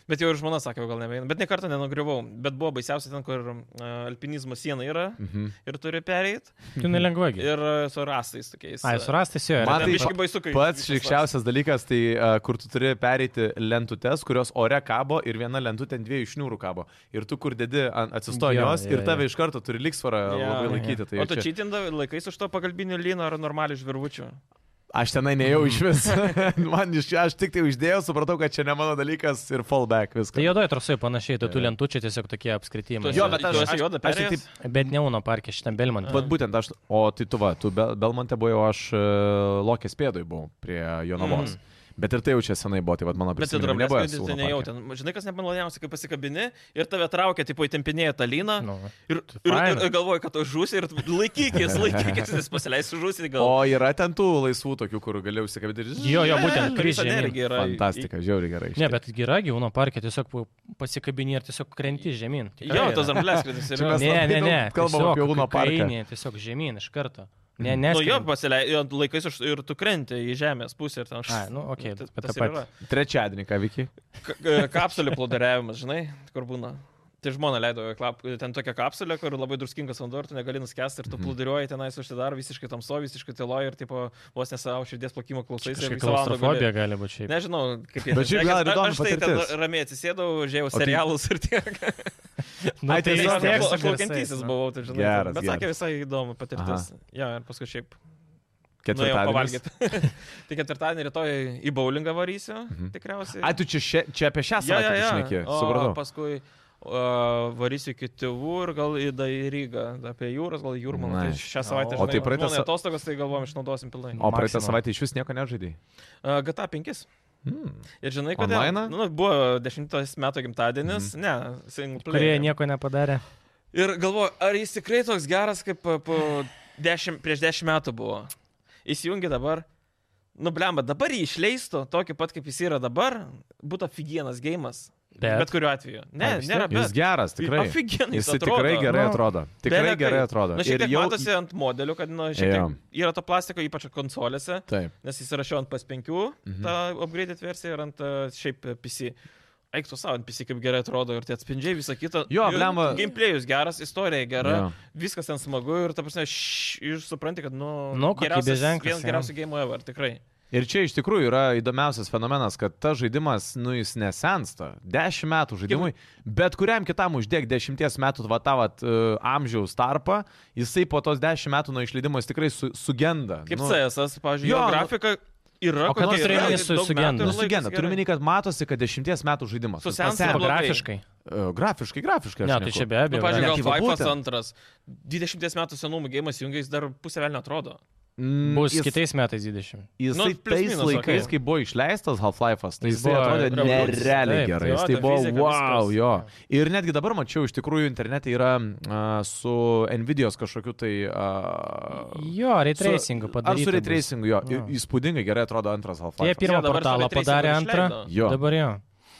Speaker 2: Bet jau ir žmona sakė, jau gal nebeina. Bet niekada nenugriuvau. Bet buvo baisiausia ten, kur uh, alpinizmo siena yra
Speaker 1: Mhm.
Speaker 2: ir turi pereiti.
Speaker 3: Tu nelengvai.
Speaker 2: Ir uh, su rastais tokiais.
Speaker 3: Ai, surastas
Speaker 1: Man
Speaker 3: jo.
Speaker 2: Mhm. Man
Speaker 1: tai
Speaker 2: tai biškai baisu, kai.
Speaker 1: Pats
Speaker 2: viskas
Speaker 1: šlikščiausias dalykas, tai a, kur tu turi pereiti lentutes, kurios ore kabo ir viena lentutė ant dviejų šniūrų kabo. Ir tu kur dedi ant atsistojos
Speaker 3: Jo,
Speaker 1: jos
Speaker 3: jo,
Speaker 1: ir
Speaker 3: jo.
Speaker 1: tave iš karto turi liksvarą
Speaker 2: Jo,
Speaker 1: labai
Speaker 2: jo, jo.
Speaker 1: laikyti. Tai
Speaker 2: O
Speaker 1: jau
Speaker 2: tu
Speaker 1: čia...
Speaker 2: čitindavai laikais už to pagalbinio lyno ar normalių žvirvučių?
Speaker 1: Aš tenai nejau iš vis. Man iš čia, aš tik tai uždėjau, supratau, kad čia ne mano dalykas ir fallback viskas.
Speaker 3: Tai juodoji trasai panašiai, tai tų lentučių tiesiog tokie
Speaker 1: Nu,
Speaker 3: apskritimai.
Speaker 1: Jo, bet aš-
Speaker 2: esu juoda
Speaker 1: aš tik
Speaker 2: perėjęs.
Speaker 1: taip-
Speaker 3: Bet ne Uno parke, šitam Belmonte.
Speaker 1: Vat būtent aš, o tai tu va, tu Bel- Belmonte buvai, o aš e, Lokės pėdoj buvau prie Jonavos. Bet ir tai jau čia senai buvo, tai vad mano
Speaker 2: Mhm. Bet tai
Speaker 1: prisiminimai nebuvo.
Speaker 2: drablesko
Speaker 1: esu Luna
Speaker 2: tai
Speaker 1: parke.
Speaker 2: nejautin. Žinai, kas nemaloniausia, kai pasikabini ir tave traukia, tipo įtempinėja tą lyną.
Speaker 3: Nu,
Speaker 2: Ir,
Speaker 3: Tai
Speaker 2: ir, ir,
Speaker 3: faina.
Speaker 2: ir galvoju, kad tu žūsi ir tu laikykis, laikykis, nes pasileisi žūsi gal.
Speaker 1: O yra ten tų laisvų tokių, kur galėjau įsikabinti ir
Speaker 3: Jo, jo, būtent kryžiai.
Speaker 2: energija yra.
Speaker 1: Fantastika, žiauriai gerai. iš
Speaker 3: Ne,
Speaker 1: tikrųjų.
Speaker 3: bet yra gyvūno parke, tiesiog pu- pasikabini ir tiesiog krenti žemyn. Tikrai
Speaker 2: Jo,
Speaker 3: yra.
Speaker 2: tas drambleskridis
Speaker 1: Čia
Speaker 2: yra.
Speaker 1: mes-
Speaker 3: Ne,
Speaker 1: labai
Speaker 3: ne, ne.
Speaker 1: daug kalbam apie Uno parką.
Speaker 3: Ne, tiesiog žemyn iš karto. Ne, ne.
Speaker 2: Nu jo, pasileisi, laikais už- ir tu krenti į žemės pusę ir ten
Speaker 3: Ai, nu, okei,
Speaker 2: Tas-
Speaker 3: bet
Speaker 2: tas
Speaker 3: tą
Speaker 2: ir
Speaker 3: patį.
Speaker 2: yra.
Speaker 1: Trečiadienį, ką Viki?
Speaker 2: Ka- ka- Kapsulių plodariavimas, žinai, kur būna. Tai žmona leido klap, ten tokią kapsulę, kur labai druskingas vanduo, ir tu negali nuskesti, ir tu plūduriuoji tenais užsidaro visiškai tamso, visiškai tyloji, ir tipo, vos nesavo širdies plakimo klausai.
Speaker 3: Kažkokia klaustrofobija gali būti šiaip.
Speaker 2: Nežinau, kaip jie
Speaker 1: Bet šiaip gal ir
Speaker 2: Aš-
Speaker 1: įdomi
Speaker 2: Aš tai ten
Speaker 1: patirtis.
Speaker 2: ramiai atsisėdau, žiūrėjau
Speaker 1: tai-
Speaker 2: serialus ir tiek.
Speaker 3: Nu,
Speaker 1: Ai,
Speaker 3: tai
Speaker 1: tiesiog
Speaker 3: vis tiek
Speaker 2: Aš
Speaker 3: su
Speaker 2: aš laukiantysis
Speaker 3: garsais, nu.
Speaker 2: buvau, tai žinai.
Speaker 1: Geras,
Speaker 2: bet sakė visai įdomu patirtis.
Speaker 1: Aha.
Speaker 2: Jo, ir paskui šiaip. Nuėjau
Speaker 1: Ketvirtadienį.
Speaker 2: pavalgyti. tai ketvirtadienį rytoj į bowlingą varysiu,
Speaker 1: Mhm.
Speaker 2: tikriausiai.
Speaker 1: Ai, tu čia, še, čia apie šią
Speaker 2: Jo, jo,
Speaker 1: savaitę
Speaker 2: jo.
Speaker 1: išneki,
Speaker 2: O
Speaker 1: supratau.
Speaker 2: Paskui o, varysiu iki tėvų ir gal į, da, į Rygą, apie jūras, gal į Jūrmaną. Tai
Speaker 1: Nice.
Speaker 2: šią savaitę,
Speaker 1: O tai
Speaker 2: žinai,
Speaker 1: praeitą
Speaker 2: žmonai
Speaker 1: sa-
Speaker 2: atostogas, tai galvom išnaudosim pilnai.
Speaker 1: O praeitą
Speaker 3: Maximum.
Speaker 1: savaitę iš vis nieko nežaidai.
Speaker 2: Uh, GTA 5.
Speaker 1: Hmm.
Speaker 2: Ir žinai, kodėl?
Speaker 1: Onlainą?
Speaker 2: Nu, buvo 10 metų gimtadienis,
Speaker 1: Mhm.
Speaker 2: mm. ne, single
Speaker 3: Kurie
Speaker 2: player.
Speaker 3: nieko nepadarė.
Speaker 2: Ir galvoju, ar jis tikrai toks geras, kaip a, po dešim, prieš 10 metų buvo. Įsijungi dabar. Nu, blemba, dabar jį išleistų, tokį pat kaip jis yra dabar, būtų aфиgenas gėjimas. Bet, bet
Speaker 3: Bet.
Speaker 2: kuriuo atveju. Ne,
Speaker 3: Ai, vis
Speaker 2: nėra
Speaker 3: tiek.
Speaker 2: bet.
Speaker 1: Jis geras, tikrai.
Speaker 2: Aфиgenai.
Speaker 1: Jis tikrai gerai
Speaker 3: Nu,
Speaker 1: atrodo. Tikrai
Speaker 2: bele kaip.
Speaker 1: gerai atrodo.
Speaker 2: tai- Na, šiek tiek jau... matosi ant modelių, kad nu, šiek
Speaker 1: Jo.
Speaker 2: tiek yra to plastiko, ypač konsolėse,
Speaker 1: Taip.
Speaker 2: nes jis yra šio ant PS5,
Speaker 1: Mhm.
Speaker 2: ta upgraded versija ir ant e, šiaip e, PC. Eiktų savo ant PC, kaip gerai atrodo ir tie atspindžiai, visa kita.
Speaker 1: Jo,
Speaker 2: Ir
Speaker 1: blemba.
Speaker 2: Gameplay'us geras, istorija gera,
Speaker 1: Jo.
Speaker 2: viskas ten smagu ir, ta prasme, š- ir supranti, kad, nu,
Speaker 3: Nu, kokybės
Speaker 2: geriausias-
Speaker 3: ženklas,
Speaker 2: vienas
Speaker 3: jo.
Speaker 2: geriausių game ever, tikrai.
Speaker 1: Ir čia iš tikrųjų yra įdomiausias fenomenas, kad tas žaidimas, nu jis nesensta. Dešimt metų žaidimui, bet kuriam kitam uždėk dešimties metų vatavat uh, amžiaus tarpą, jisai po tos dešimt metų nuo išleidimo jis tikrai su, sugenda.
Speaker 2: Kaip
Speaker 1: nu,
Speaker 2: CSS, pavyzdžiui,
Speaker 1: jo,
Speaker 2: jo, jo
Speaker 1: nu-
Speaker 2: grafika yra,
Speaker 1: O ką nors
Speaker 2: yra,
Speaker 3: renginys su-
Speaker 2: daug metų
Speaker 3: sugenda.
Speaker 2: ir
Speaker 1: Nu,
Speaker 2: laikosi
Speaker 1: sugenda,
Speaker 2: gerai.
Speaker 1: turiu minį, kad matosi, kad dešimties metų žaidimas.
Speaker 2: Susensta
Speaker 1: Jis paseno.
Speaker 2: blogai.
Speaker 3: Grafiškai.
Speaker 1: E, grafiškai, grafiškai.
Speaker 3: Ne, tai čia be
Speaker 2: Na,
Speaker 3: abejo.
Speaker 2: Nu, pavyzdžiui,
Speaker 1: Ne,
Speaker 3: yra.
Speaker 1: tai
Speaker 2: gal
Speaker 1: va
Speaker 2: Fifas
Speaker 1: būtent.
Speaker 2: antras. 20 metų senumo gėjimas jungiais dar pusę velnio atrodo.
Speaker 3: Bus
Speaker 1: Mm, jis,
Speaker 3: kitais metais 20.
Speaker 1: Jisai
Speaker 2: Nu,
Speaker 1: nu,
Speaker 2: plius
Speaker 1: tais
Speaker 2: minus,
Speaker 1: minus, laikais,
Speaker 2: okei.
Speaker 1: okay. kai buvo išleistas Half-Life'as, tai
Speaker 3: Jis
Speaker 1: jisai
Speaker 3: buvo
Speaker 1: atrodė
Speaker 3: revoliucinis,
Speaker 1: nerealiai
Speaker 3: taip,
Speaker 1: gerai.
Speaker 2: jo,
Speaker 1: Jis
Speaker 2: ta
Speaker 1: tai buvo
Speaker 2: fizika,
Speaker 1: wow,
Speaker 2: viskas.
Speaker 1: jo. Ir netgi dabar mačiau, iš tikrųjų, internete yra a, su Nvidios kažkokiu tai... A,
Speaker 3: Jo, retracingo
Speaker 1: ar
Speaker 3: padarė.
Speaker 1: su retracingu, jo. Ir
Speaker 3: Jo.
Speaker 1: Įspūdingai gerai atrodo antras
Speaker 3: Jie
Speaker 1: Half-Life'as.
Speaker 3: pirmą
Speaker 2: Jo, dabar su
Speaker 3: portalą
Speaker 2: retracingų
Speaker 3: padarė antrą.
Speaker 2: išleido.
Speaker 1: Jo.
Speaker 3: Dabar jo.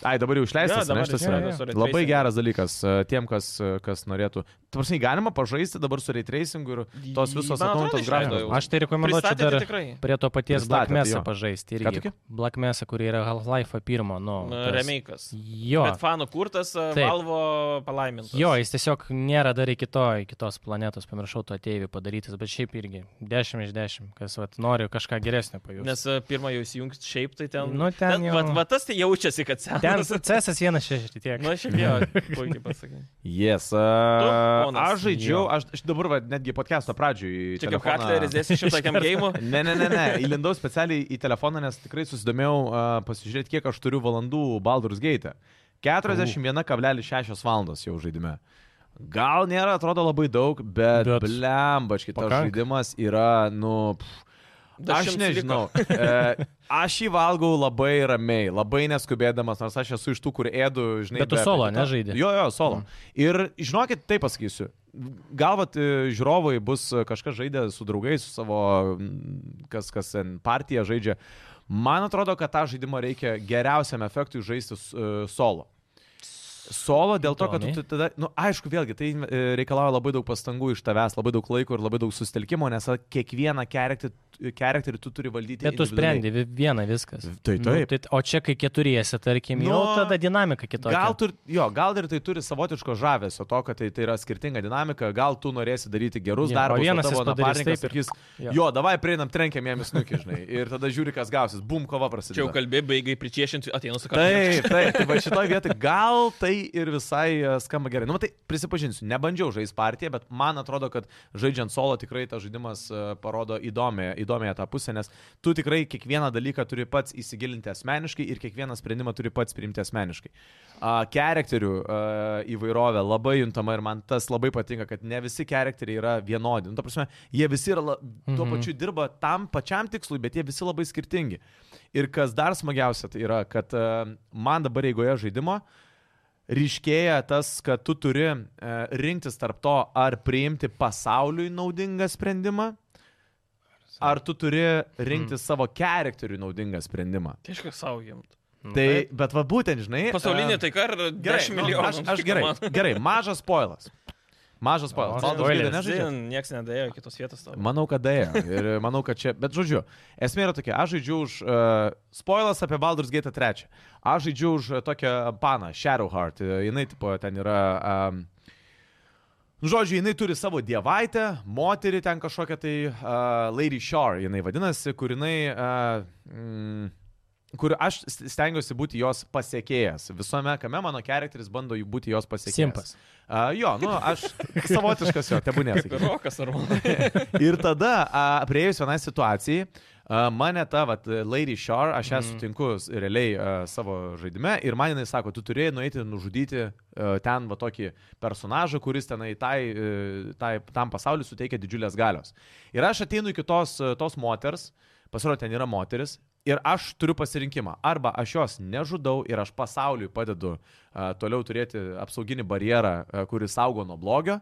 Speaker 1: Ai, dabar jau
Speaker 2: Jo,
Speaker 1: išleistas,
Speaker 2: dabar
Speaker 1: ne, šitas
Speaker 2: jis
Speaker 1: yra.
Speaker 3: jo, jo.
Speaker 2: su ray
Speaker 1: Labai
Speaker 2: tracingu.
Speaker 1: geras dalykas a, tiem, kas, a, kas norėtų. Tarsi galima pažaisti dabar su retracingu ir tos visos
Speaker 2: Man atrodo,
Speaker 1: atnaujintos
Speaker 2: išleido
Speaker 1: grafikos.
Speaker 2: jau.
Speaker 3: Aš tai rekomenduočiau
Speaker 2: Pristatė
Speaker 3: dar
Speaker 2: tai tikrai.
Speaker 3: prie to paties
Speaker 1: Pristatė,
Speaker 3: Black
Speaker 1: tai
Speaker 3: Mesa
Speaker 1: jo.
Speaker 3: pažaisti.
Speaker 1: Ką tokį?
Speaker 3: irgi. Black Mesa, kur yra Half-Life pirmo, nu.
Speaker 2: Na,
Speaker 3: tas-
Speaker 2: Remake'as.
Speaker 3: Jo.
Speaker 2: Bet fanų kurtas, a,
Speaker 3: Taip.
Speaker 2: Valvo palaimintas.
Speaker 3: Jo, jis tiesiog nėra dar iki to, iki tos planetos, pamiršau to ateivių padarytas, bet šiaip irgi 10 iš 10, kas vat, nori kažką geresnio pajusti.
Speaker 2: Nes a, pirmą jau įsijungt šiaip tai ten.
Speaker 3: Nu, ten jau-
Speaker 2: Vat, vat tas tai jaučiasi, kad
Speaker 3: Ten
Speaker 2: senas.
Speaker 3: CS16 tiek.
Speaker 2: Na, šiaip jau, puikiai pasakai.
Speaker 1: Yes. Uh,
Speaker 2: ponas?
Speaker 1: aš žaidžiau,
Speaker 3: Jo.
Speaker 1: aš, aš dabar va, netgi podcast'o pradžioj. į
Speaker 2: Čia kaip
Speaker 1: telefoną-
Speaker 2: Katleris dėsi šimtakiam gėjimu.
Speaker 1: Ne, ne, ne, ne. Įlindau specialiai į telefoną, nes tikrai susidomėjau uh, pasižiūrėti, kiek aš turiu valandų Baldur's Gate. 41,6 valandos jau žaidime. Gal nėra, atrodo labai daug, bet,
Speaker 3: Bet
Speaker 1: bet blembački, tas
Speaker 3: pakanka.
Speaker 1: žaidimas yra, nu, pff, Aš nežinau. E, aš jį valgau labai ramiai, labai neskubėdamas, nors aš esu iš tų, kur ėdu, žinai.
Speaker 3: Bet tu
Speaker 1: be
Speaker 3: solo
Speaker 1: apetito.
Speaker 3: nežaidi? Mhm.
Speaker 1: Jo, jo, solo. Ir žinokit, taip pasakysiu. Galvat e, žiūrovai bus e, kažkas žaidę su draugais, su savo, mm, kas, kas ten partiją žaidžia. Man atrodo, kad tą žaidimą reikia geriausiam efektui žaisti s- e, solo. Solo dėl to, kad tu
Speaker 3: Įdomiai.
Speaker 1: t- tada, na, nu, aišku, vėlgi, tai e, reikalauja labai daug pastangų iš tavęs, labai daug laiko ir labai daug sustelkimo, nes a, kiekvieną kerektį charakterį tu turi valdyti.
Speaker 3: Bet tu
Speaker 1: individualiai.
Speaker 3: sprendi vi- vieną viskas.
Speaker 1: Tai taip.
Speaker 3: Nu, tai, o čia, kai keturiesi, tarkim, nu,
Speaker 1: Nu,
Speaker 3: jau tada dinamika kitokia.
Speaker 1: Gal, tu, ir- jo, gal ir tai turi savotiško žavesio, to, kad tai, tai yra skirtinga dinamika, gal tu norėsi daryti gerus
Speaker 3: Jo,
Speaker 1: darbus,
Speaker 3: o vienas
Speaker 1: o tavo
Speaker 3: jis padarys
Speaker 1: napartininkas
Speaker 3: taip ir-
Speaker 1: sakys,
Speaker 3: jo.
Speaker 1: jo, davai prieinam, trenkiam jam į snukį, žinai, ir tada žiūri, kas gausis, bum, kova
Speaker 2: Čia jau
Speaker 1: prasideda.
Speaker 2: kalbėjai, baigai pričiešinti atėjus su
Speaker 1: Taip,
Speaker 2: kažkokiu.
Speaker 1: taip, tai va šitoje vietoje gal tai ir visai e, skamba gerai. Na, nu, tai prisipažinsiu, nebandžiau žaisti partiją, bet man atrodo, kad žaidžiant solo tikrai tas žaidimas e, parodo įdomią, įdomią tą pusę, nes tu tikrai kiekvieną dalyką turi pats įsigilinti asmeniškai ir kiekvieną sprendimą turi pats priimti asmeniškai. A, Charakterių a, įvairovė labai juntama ir man tas labai patinka, kad ne visi charakteriai yra vienodi. Nu, ta prasme, jie visi yra la, tuo
Speaker 3: Mhm.
Speaker 1: pačiu dirba tam pačiam tikslui, bet jie visi labai skirtingi. Ir kas dar smagiausia, tai yra, kad a, man dabar eigoje žaidimo ryškėja tas, kad tu turi e, rinktis tarp to, ar priimti pasauliui naudingą sprendimą, ar tu turi rinktis
Speaker 2: Hmm.
Speaker 1: savo charakteriui naudingą sprendimą.
Speaker 2: Tai aišku, savo gimt.
Speaker 3: Nu,
Speaker 1: Tai, bet va būtent, žinai. e,
Speaker 2: Pasaulinė taika ar 10
Speaker 1: nu,
Speaker 2: milijonų.
Speaker 1: Aš, aš gerai, gerai, mažas spoilas. Mažas spoilas.
Speaker 3: O,
Speaker 1: Baldur's
Speaker 3: spoileris.
Speaker 1: Gate nežaidžiat?
Speaker 2: Žinai, niekas nedėjo iki tos vietos tavo.
Speaker 1: Manau, kad dėjo. Ir manau, kad čia. Bet žodžiu, esmė yra tokia. Aš žaidžiu už... Uh, spoilas apie Baldur's Gate 3. Aš žaidžiu už e, tokią paną, Shadowheart. E, Jinai, tipo, ten yra... Um, Žodžiu, jinai turi savo dievaitę, moterį ten kažkokią tai uh, Lady Shore, jinai vadinasi, kur jinai... Uh, mm, kur aš s- stengiuosi būti jos pasiekėjas. Visame kame mano charakteris bando jų būti jos pasiekėjas.
Speaker 3: Simpas.
Speaker 1: Uh, jo, nu, aš savotiškas jo, tebūnės.
Speaker 2: Kaip ir rokas, ar man.
Speaker 1: Ir tada, a, prieėjus vienai situacijai, a, mane ta, vat, Lady Shore, aš ją mm. sutinku s- realiai a, savo žaidime ir man jinai sako, tu turėjai nueiti nužudyti a, ten, va, tokį personažą, kuris tenai tai, e, tai, tam pasauliu suteikia didžiulės galios. Ir aš ateinu iki tos, e, tos moters, pasirodo, ten yra moteris. Ir aš turiu pasirinkimą. Arba aš jos nežudau ir aš pasauliui padedu uh, toliau turėti apsauginį barjerą, uh, kuris saugo nuo blogio,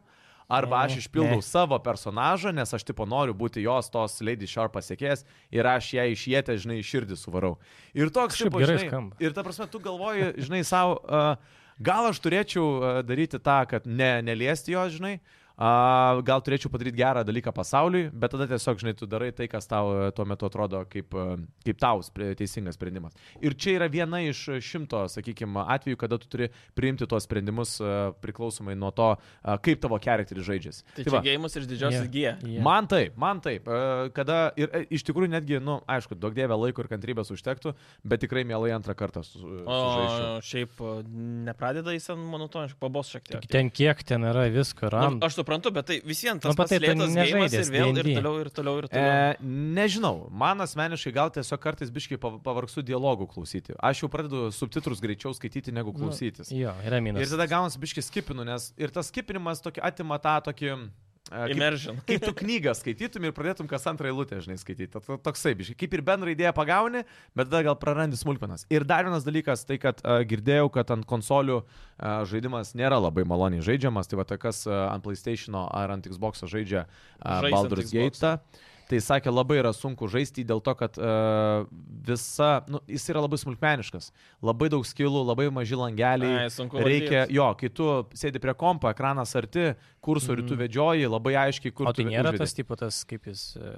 Speaker 1: Arba
Speaker 3: Ne,
Speaker 1: aš išpildau
Speaker 3: ne.
Speaker 1: savo personažą, nes aš tipo noriu būti jos tos Lady Sharp pasiekėjas ir aš ją išėtę, žinai, iš širdį suvarau. Ir toks,
Speaker 3: Kažkaip
Speaker 1: tipo,
Speaker 3: gerai
Speaker 1: žinai,
Speaker 3: skamba.
Speaker 1: ir ta prasme, tu galvoji, žinai, savo, uh, gal aš turėčiau uh, daryti tą, kad ne, neliesti jo, žinai, uh, gal turėčiau padaryti gerą dalyką pasauliui, bet tada tiesiog, žinai, tu darai tai, kas tau uh, tuo metu atrodo kaip, uh, kaip tau spre- teisingas sprendimas. Ir čia yra viena iš šimto, sakykime, atvejų, kada tu turi priimti tuos sprendimus uh, priklausomai nuo to, uh, kaip tavo charakteris žaidžiasi.
Speaker 2: Tai
Speaker 1: va.
Speaker 2: čia gėjimas iš didžiosios G.
Speaker 3: Yeah.
Speaker 1: Man taip, man taip. E, Kada ir e, iš tikrųjų netgi, na, nu, aišku, daug dievė laiko ir kantrybės užtektų, bet tikrai mielai antrą kartą su, e,
Speaker 2: O
Speaker 1: sužaisiu.
Speaker 2: šiaip e, nepradeda jis ant monotoniškų, pabos šiek tiek.
Speaker 3: Ten kiek ten yra visko,
Speaker 2: Nu,
Speaker 3: RAM.
Speaker 2: aš suprantu, bet tai vis vien tas
Speaker 3: Nu, bet
Speaker 2: pats
Speaker 3: tai tu
Speaker 2: lėtas gėjimas ir
Speaker 3: nežaidęs
Speaker 2: vėl ir
Speaker 3: D&D.
Speaker 2: toliau ir toliau ir
Speaker 1: E,
Speaker 2: toliau.
Speaker 1: nežinau, man asmeniškai gal tiesiog kartais biškai pavargsiu dialogų klausyti. Aš jau pradedu subtitrus greičiau skaityti negu
Speaker 3: Nu,
Speaker 1: klausytis.
Speaker 3: Jo, yra
Speaker 1: Ir
Speaker 3: minusas.
Speaker 1: tada gaunasi biškai skipinu, nes ir tas skipinimas tokį atima tą tokį... e, kaip-
Speaker 2: Immersion.
Speaker 1: Kaip tu knygą skaitytum ir pradėtum kas antrą eilutę, žinai, skaityti. To- Toksai, biškai. Kaip ir bendrą idėją pagauni, bet tada gal prarandi smulkmenas. Ir dar vienas dalykas, tai kad uh, girdėjau, kad ant konsolių uh, žaidimas nėra labai maloniai žaidžiamas. Tai va, tai kas uh, ant PlayStation ar ant Xbox žaidžia uh,
Speaker 2: Žais ant
Speaker 1: Baldur's
Speaker 2: Xbox'o.
Speaker 1: Gate. Tai sakė, labai yra sunku žaisti jį dėl to, kad uh, visa, nu, jis yra labai smulkmeniškas. Labai daug skilų, labai maži langeliai.
Speaker 2: Ai, sunku
Speaker 1: Reikia,
Speaker 2: valdyt.
Speaker 1: jo, kai tu sėdi prie kompo, ekranas arti, kursorių mm. tu vedžioji, labai aiškiai, kur
Speaker 3: Mhm. O tai
Speaker 1: tu
Speaker 3: nėra
Speaker 1: užvedi.
Speaker 3: tas tipo, tas kaip jis, e,